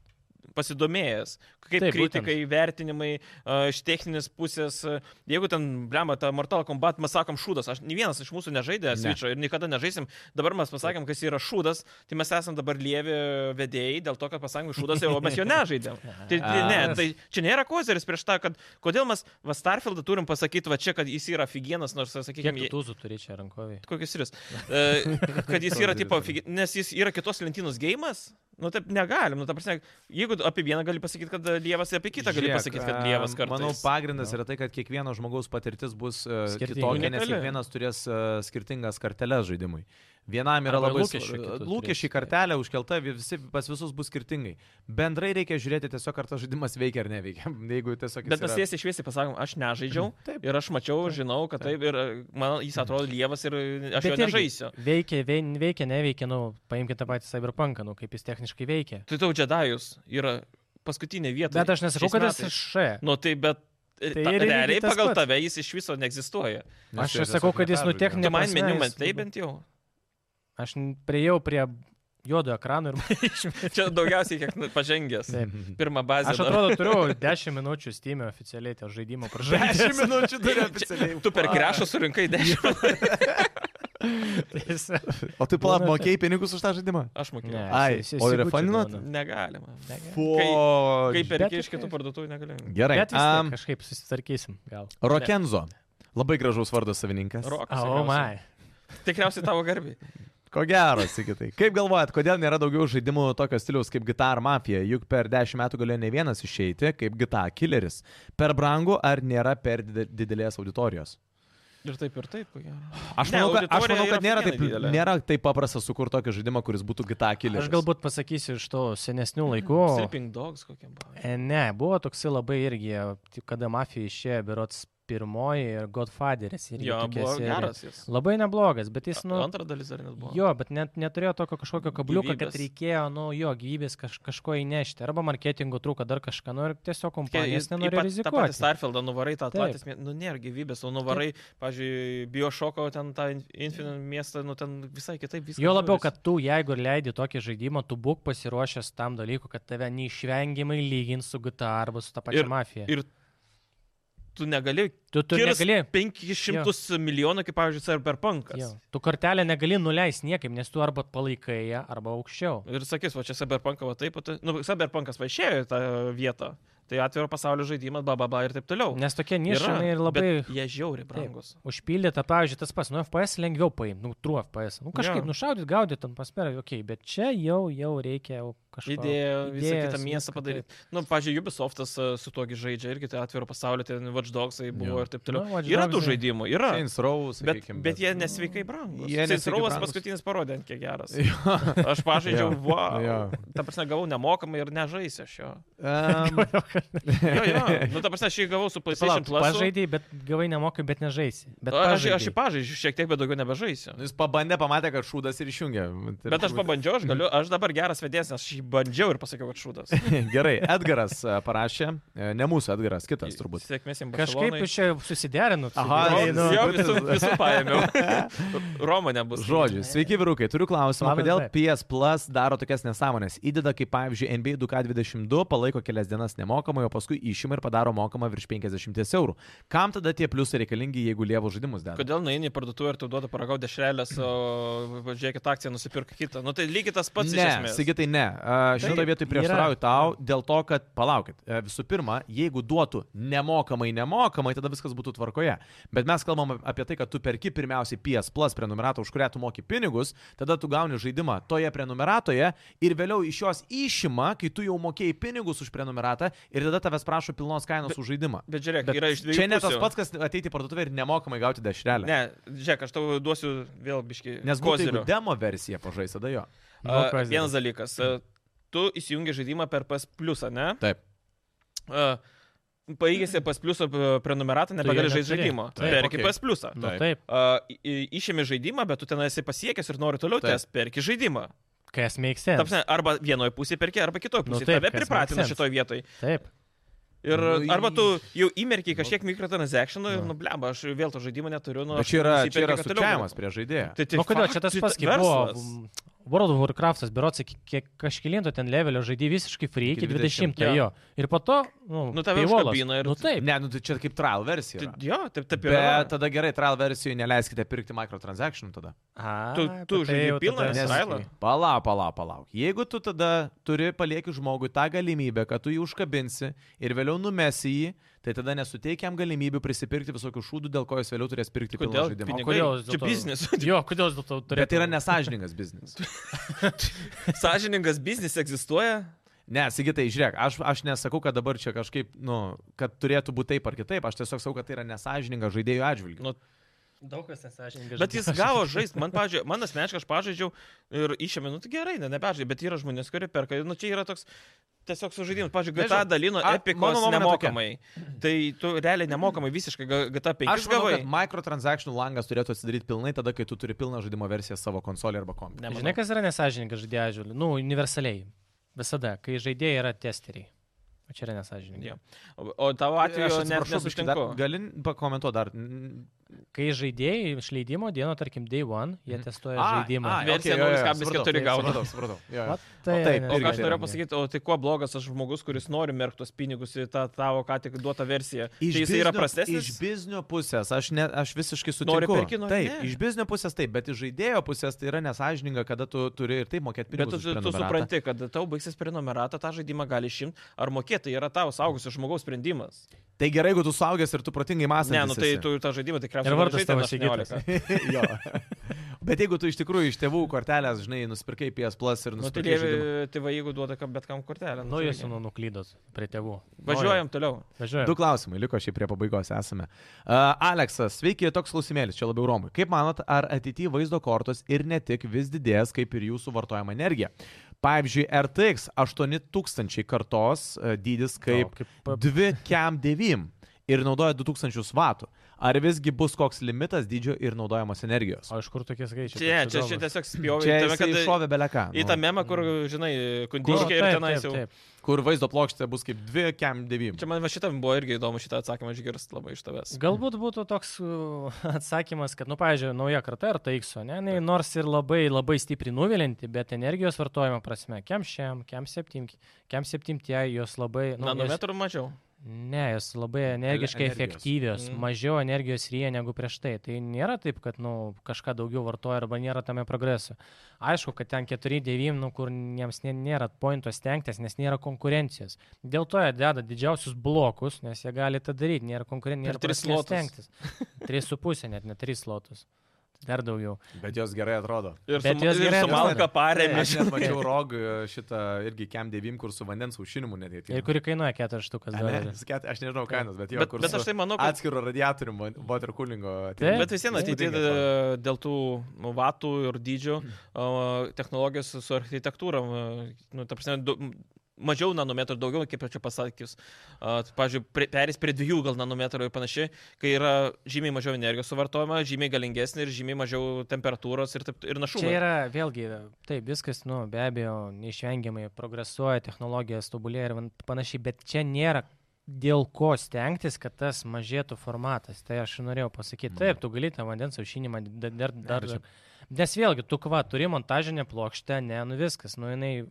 Speaker 2: pasidomėjęs, kaip
Speaker 3: Taip,
Speaker 2: Taip, kritikai, būtent. vertinimai a, iš techninės pusės. a, Jeigu ten, blemba, ta Mortal Kombat, mes sakom šūdas, aš, nė vienas iš mūsų nežaidė
Speaker 1: Ne.
Speaker 2: Switch'o ir niekada nežaisim, dabar mes pasakėm, kas yra šūdas, tai mes esam dabar lievi vedėjai dėl to, kad pasakėm šūdas, o mes jo nežaidėm. Tai, tai, ne,
Speaker 1: A.
Speaker 2: tai čia nėra kozeris prieš tą, kad kodėl mes Vastarfieldą turim pasakyti va čia, kad jis yra figienas, nors,
Speaker 3: Kiek
Speaker 2: sakykime,
Speaker 3: tu tūzų turi čia rankoviai?
Speaker 2: Kokius tris. E, Kad jis yra
Speaker 1: Atrodo,
Speaker 2: tipo,
Speaker 1: žinai.
Speaker 2: figi- nes jis yra kitos lentynos gėjimas. Nu taip negalim, nu ta prasme, jeigu apie vieną gali pasakyti, kad Dievas, apie kitą gali
Speaker 1: Žiūrėk,
Speaker 2: pasakyti, kad
Speaker 1: em,
Speaker 2: Dievas kartu.
Speaker 1: Manau, pagrindas yra tai, kad kiekvieno žmogaus patirtis bus e,
Speaker 3: Skirtinga.
Speaker 1: kitokia, nes
Speaker 2: Unikali.
Speaker 1: kiekvienas turės e, skirtingas karteles žaidimui. Vienam yra
Speaker 3: Arba
Speaker 1: labai
Speaker 3: lūkesčių
Speaker 1: svar-
Speaker 3: kitų
Speaker 1: lūkesčiai
Speaker 3: turės.
Speaker 1: kartelė užkelta, vi- visi, pas visus bus skirtingai. Bendrai reikia žiūrėti tiesiog, ar tas žaidimas veikia ar neveikia. Jeigu tiesiog... jis
Speaker 2: Bet mes
Speaker 1: yra-
Speaker 2: tiesiai šviesiai pasakom, aš nežaidžiau
Speaker 1: Taip.
Speaker 2: ir aš mačiau, žinau, kad taip ir e, man jis atrodo Dievas ir e, aš
Speaker 3: Bet
Speaker 2: jo
Speaker 3: irgi
Speaker 2: nežaisiu.
Speaker 3: Veikia, vei- veikia, neveikia, nu, paimkite tą patį Cyberpunk, nu, kaip jis techniškai veikia.
Speaker 2: Tai tau Džedajus yra paskutinė vieta.
Speaker 3: Bet aš nesakau,
Speaker 2: Tai šiais
Speaker 3: kad jis
Speaker 2: metais.
Speaker 3: š.
Speaker 2: Nu tai bet... Tai
Speaker 3: Tai
Speaker 2: ta,
Speaker 3: ir lygiai
Speaker 2: realiai
Speaker 3: tas
Speaker 2: pagal
Speaker 3: pats.
Speaker 2: tave jis iš viso neegzistuoja.
Speaker 1: Nes
Speaker 3: Aš
Speaker 1: tai
Speaker 3: ir sakau,
Speaker 1: tiesiog
Speaker 3: kad jis nu
Speaker 1: kartelė žaidimas.
Speaker 2: Tu
Speaker 3: techninė-
Speaker 2: man
Speaker 3: prasme,
Speaker 2: meniu
Speaker 3: jis-
Speaker 2: matai bent jau.
Speaker 3: Aš n- priėjau prie juodo ekrano ir
Speaker 2: Čia daugiausiai kiek nu, pažengęs.
Speaker 3: Taip.
Speaker 2: Pirmą bazę.
Speaker 3: Aš
Speaker 2: dar.
Speaker 3: atrodo turiu 10 minučių Steam oficialiai tą žaidimą pražaidžiu.
Speaker 1: 10 minučių turi oficialiai.
Speaker 2: Tu per krešą surinkai 10.
Speaker 3: Tai
Speaker 1: O tu plat,
Speaker 3: Būna taip.
Speaker 1: mokėjai pinigus už tą žaidimą?
Speaker 2: Aš mokėjau. Nu,
Speaker 3: Ne.
Speaker 1: Ai,
Speaker 3: si- si-
Speaker 1: o
Speaker 3: sigučių
Speaker 1: refaninot?
Speaker 3: duoda.
Speaker 2: Negalima.
Speaker 1: Po...
Speaker 2: tai Kai
Speaker 3: bet
Speaker 2: perki iš
Speaker 3: tikrai.
Speaker 2: kitų parduotuvių negalima.
Speaker 1: Gerai.
Speaker 3: Bet vis tiek
Speaker 1: am,
Speaker 3: kažkaip susitvarkysim. Gal.
Speaker 1: Rokenzo. Labai gražus vardas savininkas.
Speaker 2: Rokas.
Speaker 3: O, oh,
Speaker 2: tikriausiai.
Speaker 3: my.
Speaker 2: Tikriausiai tavo garbiai.
Speaker 1: Ko gero, sakytai. Kaip galvojat, kodėl nėra daugiau žaidimų tokio stiliaus kaip Guitar Mafia? Juk per dešimt metų galėjo ne vienas išeiti kaip Guitar Killeris. Per brangu ar nėra per dide- didelės auditorijos?
Speaker 2: Ir taip, ir taip, ko gero.
Speaker 1: Aš
Speaker 2: Ne,
Speaker 1: manau, kad, aš
Speaker 2: auditorija
Speaker 1: manau, kad
Speaker 2: yra
Speaker 1: nėra, taip,
Speaker 2: afigienai didelė.
Speaker 1: nėra taip paprasta sukurti tokį žaidimą, kuris būtų Guitar Killeris.
Speaker 3: Aš galbūt pasakysiu iš to senesnių laikų.
Speaker 2: Sleeping Dogs kokiam buvo.
Speaker 3: E, Ne, buvo toksai labai irgi, tik kada mafija išėjo, berots pirmoji ir Godfatheris. irgi
Speaker 2: Jo,
Speaker 3: tokia
Speaker 2: buvo
Speaker 3: serija.
Speaker 2: geras jis.
Speaker 3: Labai neblogas, bet jis, nu,
Speaker 2: Antra dalis dar net buvo.
Speaker 3: Jo, bet net neturėjo tokio kažkokio kabliuko, kad
Speaker 2: Gyvybės.
Speaker 3: reikėjo, nu, jo, gyvybės kaž, kažko įnešti. Arba marketingo trūko dar kažką, nu, ir tiesiog
Speaker 2: Kai
Speaker 3: kompanijos
Speaker 2: į- į pat-
Speaker 3: nenori
Speaker 2: Tą patį
Speaker 3: rizikuoti.
Speaker 2: Starfieldą nuvarai, tą
Speaker 3: Taip.
Speaker 2: patį, nu nėra gyvybės, o nuvarai, pavyzdžiui, Biošoko, ten tą In- Infinite miestą, nu ten visai kitaip viskas.
Speaker 3: Jo labiau,
Speaker 2: žiūrisi.
Speaker 3: kad tu, jeigu ir leidi tokį žaidimą, tu būk pasiruošęs tam dalykui, kad tave neišvengiamai lygins su GTA arba su ta pačia mafija.
Speaker 2: ir tu negali
Speaker 3: tu tu
Speaker 2: kirst
Speaker 3: negali.
Speaker 2: 500 milijonų, kaip pavyzdžiui, Cyberpunkas.
Speaker 3: Jo, tu kortelę negali nuleisti niekaip, nes tu arba palaikai ją, arba aukščiau.
Speaker 2: Ir sakys, va čia Cyberpunkas, va taip, o tai- nu, Cyberpunkas va išėjo į tą vietą. Tai atviro pasaulio žaidimas, bla bla bla ir taip toliau.
Speaker 3: Nes tokie
Speaker 2: Yra,
Speaker 3: nišai ir labai
Speaker 2: bet Jie žiauri brangus.
Speaker 3: Užpildyta, pavyzdžiui, tas pats, nu FPS lengviau paimti, nu, true FPS. Nu,
Speaker 2: Jo.
Speaker 3: kažkaip ja. nušaudyt, gaudyt, ant pasmerai, okei, okay, bet čia jau, jau reikia jau kažko.
Speaker 2: Idėja, visą
Speaker 3: idėjas,
Speaker 2: kitą miestą
Speaker 3: viską,
Speaker 2: padaryti. Na, nu, pažiūrėjau, Ubisoftas e, su togi žaidžia irgi, tai atviro pasaulio, ten Watch Dogsai buvo
Speaker 1: Jo.
Speaker 2: ir taip toliau.
Speaker 3: Nu, Watch
Speaker 2: yra tų
Speaker 3: Dogsai.
Speaker 2: žaidimų, yra.
Speaker 1: Saints Row,
Speaker 2: Bet,
Speaker 1: sakykim,
Speaker 2: bet jie nesveikai brangus.
Speaker 1: Jie
Speaker 2: Jis
Speaker 1: nesveikai
Speaker 2: rauvas
Speaker 1: brangūs.
Speaker 2: paskutinis parodė, ant kiek geras.
Speaker 1: Jo.
Speaker 2: Aš pažaidžiau,
Speaker 1: Jo.
Speaker 2: wow.
Speaker 1: Jo.
Speaker 2: Ta prasme, gavau nemokamai ir nežaisiu aš jo.
Speaker 1: Em,
Speaker 2: Jo, jo. Nu, ta prasme, aš jį gavau su PlayStation
Speaker 3: Palauk,
Speaker 2: Plus.
Speaker 3: pažaidai, bet gavai nemokai, bet nežaisi. Bet
Speaker 2: Nu, Aš, aš jį
Speaker 3: pažaidei.
Speaker 2: pažaidžiu šiek tiek, bet daugiau nebežaisiu.
Speaker 1: nu, Jis pabandė, pamatė, kad šūdas ir išjungė. Tai
Speaker 2: Bet aš
Speaker 1: turbūt-
Speaker 2: pabandžiau, aš galiu, aš dabar geras vedėjas, nes aš jį bandžiau ir pasakiau, kad šūdas.
Speaker 1: Gerai, Edgaras e, parašė, e, ne mūsų Edgaras, kitas turbūt.
Speaker 2: Sėkmės jums.
Speaker 3: Kažkaip jūs čia susiderinot. su
Speaker 1: Aha,
Speaker 3: Giedriu.
Speaker 1: tai, nu,
Speaker 2: jau
Speaker 1: bet-
Speaker 2: visų, visų paėmiau. Romo nebus.
Speaker 1: Žodžiu, sveiki vyrukai, turiu klausimą,
Speaker 3: Labas,
Speaker 1: kodėl
Speaker 3: taip.
Speaker 1: PS Plus daro tokias nesąmonės. Įdeda, kaip pavyzdžiui, NBA 2K22, palaiko kelias dienas nemokamai, o paskui išima ir padaro mokamą virš 50 eurų. Kam tada tie pliusai reikalingi, jeigu lievų žaidimus daro?
Speaker 2: Kodėl nueini į parduotuvę ir tu duoda paragau dešrelės, o va, žiūrėkit akciją, nusipirk kitą. Nu tai lygiai tas pats iš
Speaker 1: Ne,
Speaker 2: esmės.
Speaker 1: Sigitai, ne. Šitoje
Speaker 3: Taip,
Speaker 1: vietoje
Speaker 3: yra.
Speaker 1: prieštarauju tau dėl to, kad palaukit. e, Visų pirma, jeigu duotų nemokamai, nemokamai, tada viskas būtų tvarkoje. Bet mes kalbam ap- apie tai, kad tu perki pirmiausiai PS Plus prenumeratą, už kurią tu moki pinigus, tada tu gauni žaidimą toje prenumeratoje ir vėliau iš jos išima, kai tu jau mokėjai pinigus už prenumeratą ir tada tavęs prašo pilnos kainos už žaidimą.
Speaker 2: Bet žiūrėk,
Speaker 1: Bet
Speaker 2: bet yra iš dviejų.
Speaker 1: Čia ne tas
Speaker 2: pusių.
Speaker 1: pats, kas ateiti į parduotuvę ir nemokamai gauti dešrelę.
Speaker 2: Ne, žiūrėk, aš tau duosiu vėl biški.
Speaker 1: Nes būtų jeigu
Speaker 2: kozirių.
Speaker 1: demo versija pažais, tada jo.
Speaker 3: Nu,
Speaker 2: A,
Speaker 3: kozirių.
Speaker 2: Vienas dalykas. a, Tu įsijungi žaidimą per PS Plus, ne?
Speaker 1: Taip.
Speaker 2: A, Paigėsi PS Plus prenumeratą, nebegali
Speaker 3: jo
Speaker 2: žaisti
Speaker 3: neturi.
Speaker 2: žaidimo.
Speaker 1: Taip,
Speaker 2: Perki
Speaker 1: okei.
Speaker 2: PS Plus.
Speaker 3: Nu,
Speaker 1: Taip.
Speaker 3: taip,
Speaker 2: Išėmė žaidimą, bet tu ten esi pasiekęs ir nori toliau,
Speaker 1: Taip.
Speaker 2: nes perki žaidimą.
Speaker 3: kas makes sense.
Speaker 2: Ta prasme, Arba vienoje pusėje perki, arba kitoje
Speaker 3: Nu
Speaker 2: pusėje.
Speaker 3: taip,
Speaker 2: Tave
Speaker 3: kas
Speaker 2: pripratina
Speaker 3: makes sense.
Speaker 2: šitoje vietoje.
Speaker 3: Taip.
Speaker 2: Ir
Speaker 1: Nu, į-
Speaker 2: arba tu jau įmerkiai kažkiek mikrotransactionų ir
Speaker 1: Nu.
Speaker 2: nublemba, aš vėl to žaidimo neturiu. Nu,
Speaker 1: Bet
Speaker 2: aš
Speaker 1: čia yra,
Speaker 2: nusiperki,
Speaker 1: čia yra
Speaker 2: kad toliau
Speaker 1: sukčiavimas
Speaker 2: būtų.
Speaker 1: prie žaidėjo.
Speaker 2: Tai, tai
Speaker 3: Nu, kodėl
Speaker 2: fakt,
Speaker 3: čia tas
Speaker 2: tai
Speaker 3: pats,
Speaker 2: ta-
Speaker 3: kaip buvo
Speaker 2: verslas.
Speaker 3: mm, World of Warcraft'as, berots, iki kiek kažkilinto ten levelio žaidė visiškai free iki
Speaker 1: Iki 20,
Speaker 3: 20, jo. Ir po to, nu,
Speaker 2: Nu, tave
Speaker 3: paywallas.
Speaker 2: užkabina ir-
Speaker 3: Nu, taip.
Speaker 1: Ne, nu tai čia kaip trial versija. yra.
Speaker 2: Tai- Jo, taip, taip
Speaker 1: Bet
Speaker 2: yra.
Speaker 1: tada gerai, trial versijų neleiskite pirkti microtransactionų tada.
Speaker 3: A,
Speaker 2: Tu- tu
Speaker 3: apie tai
Speaker 2: žaidi
Speaker 3: jau
Speaker 2: pilną
Speaker 3: tada-
Speaker 2: Nes- trialą?
Speaker 1: Palauk, palauk, palauk. Jeigu tu tada turi palieki žmogui tą galimybę, kad tu jį užkabinsi ir vėliau numesi jį, tai tada nesuteikia jam galimybių prisipirkti visokių šūdų, dėl ko jis vėliau turės pirkti pilną
Speaker 2: Kodėl?
Speaker 1: žaidimą.
Speaker 2: Pinigai.
Speaker 3: kodėl vis
Speaker 2: Čia
Speaker 3: dėlto-
Speaker 2: biznis.
Speaker 3: Jo, kodėl dėl to turėtų.
Speaker 1: Bet tai yra nesažiningas biznis.
Speaker 2: Sažiningas biznis egzistuoja.
Speaker 1: Ne, Sigitai, žiūrėk, aš, aš nesakau, kad dabar čia kažkaip, nu, kad turėtų būti taip ar kitaip, aš tiesiog sakau, kad tai yra nesažininga žaidėjų atžvilgiu.
Speaker 2: Nu,
Speaker 3: Daug kas nesąžininkai.
Speaker 2: Bet jis gavo žaisti. Man, pavyzdžiui, man asmeniškai aš pažaidžiau ir išėmė, nu tai gerai, ne, nebežaidžiu, bet yra žmonės, kurie perka. Nu čia yra toks tiesiog sužaidimas. Pavyzdžiui, GTA
Speaker 1: Nežinau.
Speaker 2: dalino
Speaker 1: A, mano
Speaker 2: epikos
Speaker 1: nuomonė
Speaker 2: nemokamai. Tai tu realiai nemokamai visiškai ga- GTA 5
Speaker 1: Aš manau,
Speaker 2: gavai.
Speaker 1: kad microtransactionų langas turėtų atsidaryti pilnai tada, kai tu turi pilną žaidimo versiją savo konsolį arba kompiuterį.
Speaker 2: Nemanau.
Speaker 3: Žinai, kas yra nesąžininkas žaidėjai žiūri? Nu, universaliai. Visada, kai žaidėjai yra testeriai. O čia yra nesąžininkai.
Speaker 2: Jo. O- O tavo atveju net
Speaker 1: atsiprašau, biškį dar-
Speaker 2: nesutinku.
Speaker 1: Gali pakomentuoti dar. Mm,
Speaker 3: Kai žaidėjai išleidimo dieną, tarkim, day one, jie testuoja
Speaker 1: ai,
Speaker 3: žaidimą.
Speaker 1: ai,
Speaker 2: Versija
Speaker 1: okei, jo, jo, jo,
Speaker 2: 0,4
Speaker 1: supratau,
Speaker 2: gauna.
Speaker 1: Supratau, supratau. Jo, jo.
Speaker 3: Vat
Speaker 1: O taip,
Speaker 2: O
Speaker 1: irgi
Speaker 2: ką aš
Speaker 1: tai
Speaker 2: norėjau
Speaker 1: yra.
Speaker 2: pasakyti, o tai kuo blogas tas žmogus, kuris nori merkti tos pinigus į tą tavo ką tik duotą versiją?
Speaker 1: Iš
Speaker 2: tai jis
Speaker 1: biznio-
Speaker 2: yra
Speaker 1: Iš
Speaker 2: prastesnis.
Speaker 1: biznio pusės aš, ne, aš visiškai sutinku.
Speaker 2: Nori perki, nori
Speaker 1: taip,
Speaker 2: ne.
Speaker 1: iš biznio pusės taip, bet iš žaidėjo pusės tai yra nesažininga, kada tu turi ir taip mokėti
Speaker 2: Bet tu,
Speaker 1: pinigus.
Speaker 2: tu,
Speaker 1: už
Speaker 2: tu
Speaker 1: prenumeratą.
Speaker 2: supranti, kad tau baigsis prenumerata, tą žaidimą gali išimti, ar mokėti, tai yra tavo saugusio žmogaus sprendimas.
Speaker 1: Tai gerai, jeigu tu suaugęs ir tu protingai mąstai.
Speaker 2: Ne, nu tai tu tą žaidimą tikriausiai
Speaker 3: Ir vardas
Speaker 2: nežaidi
Speaker 3: tavo
Speaker 2: ten
Speaker 3: Sigitas.
Speaker 2: 18.
Speaker 1: jo. Bet jeigu tu iš tikrųjų iš tėvų kortelės, žinai, nusipirkai PS Plus ir
Speaker 2: Nu, tai
Speaker 1: nusipirkai. žaidimą.
Speaker 2: tėvai, tėvai, jeigu duoda kam- bet kam kortelę.
Speaker 3: Nu, jūs
Speaker 2: irgi.
Speaker 3: jau nuklydot prie tėvų.
Speaker 2: Važiuojam toliau.
Speaker 1: Du
Speaker 3: Važiuojam.
Speaker 1: klausimai, liko šiaip prie pabaigos esame. Uh, Aleksas, sveiki, toks klausimėlis, čia labiau Romui. Kaip manot, ar ateityje vaizdo kortos ir ne tik vis didės, kaip ir jūsų vartojama energija? Pavyzdžiui, RTX 8000 kartos uh, dydis kaip
Speaker 3: kaip pa-
Speaker 1: 2 KM9. ir naudoja 2000 vatų. Ar visgi bus koks limitas dydžio ir naudojamos energijos?
Speaker 3: O iš kur tokie skaičiai?
Speaker 2: Čia, čia,
Speaker 3: Toks
Speaker 2: čia
Speaker 3: įdomus.
Speaker 2: tiesiog spjovė.
Speaker 1: Čia
Speaker 2: į tave,
Speaker 1: jisai
Speaker 2: kad-
Speaker 1: iššovė beleką.
Speaker 2: Į tą memą, kur, žinai,
Speaker 3: O,
Speaker 2: kundiškai ir
Speaker 3: taip,
Speaker 2: tenais jau.
Speaker 3: Nu, taip, taip.
Speaker 1: kur vaizdo plokštė bus kaip 2 kem 9.
Speaker 2: Čia man va šitam buvo irgi įdomu šitą atsakymą išgirsti labai iš tavęs.
Speaker 3: Galbūt būtų toks u, atsakymas, kad, nu, pavyzdžiui, nauja karta ar taikso, ne, jinai nors ir labai, labai stipriai nuvilinti, bet energijos vartojimo prasme, kem šiam, kem septim, kem septimtie jos labai... Nu, jos,
Speaker 2: Nanometrų mažiau.
Speaker 3: ne, jos labai energiškai
Speaker 1: energijos.
Speaker 3: efektyvios,
Speaker 2: Mm.
Speaker 3: mm. mažiau energijos ryja negu prieš tai. Tai nėra taip, kad, nu, kažką daugiau vartoja arba nėra tame progreso. Aišku, kad ten 4-9, nu, kur jiems nė- nėra pointo stengtis, nes nėra konkurencijos. Dėl to jie deda didžiausius blokus, nes jie gali tą daryti, nėra
Speaker 2: Per
Speaker 3: konkurencijos, nėra
Speaker 2: tris slotus.
Speaker 3: prasmės stengtis. 3,5 net, ne 3 lotus. Dar daugiau.
Speaker 1: Bet jos gerai atrodo.
Speaker 2: Ir
Speaker 3: Bet jos gerai
Speaker 2: su malka paremė.
Speaker 1: Aš net mačiau rogų šitą irgi kem 9, kur su vandens aušinimu netgi.
Speaker 3: Ir kuri kainuoja 4 štukas dolerių.
Speaker 1: Aš nežinau kainos, bet jo,
Speaker 2: Bet,
Speaker 1: kur
Speaker 2: bet aš tai manau, kad...
Speaker 1: atskiro radiatoriumi watercoolingo.
Speaker 3: Taip.
Speaker 2: Bet vis vien
Speaker 1: tai
Speaker 2: ateityje
Speaker 3: tai
Speaker 2: dėl tų nu, vatų ir dydžių o, technologijos su architektūra, o, nu, ta prasme, du, m, mažiau nanometrų, daugiau, kaip čia pasakius. O, Pavyzdžiui, pri- peris prie dviejų gal nanometrų ir panašiai, kai yra žymiai mažiau energijos suvartojama, žymiai galingesnė ir žymiai mažiau temperatūros ir, taip- ir našumo.
Speaker 3: Čia yra vėlgi, taip, viskas, nu, be abejo, neišvengiamai progresuoja, technologijos tobulėja ir van- panašiai, bet čia nėra dėl ko stengtis, kad tas mažėtų formatas. Tai aš ir norėjau pasakyti, taip, tu gali tą vandens aušinimą da- dar, dar, dar. Nes vėlgi, tu kva, turi montažinę plokštę, ne, nu viskas, nu jinai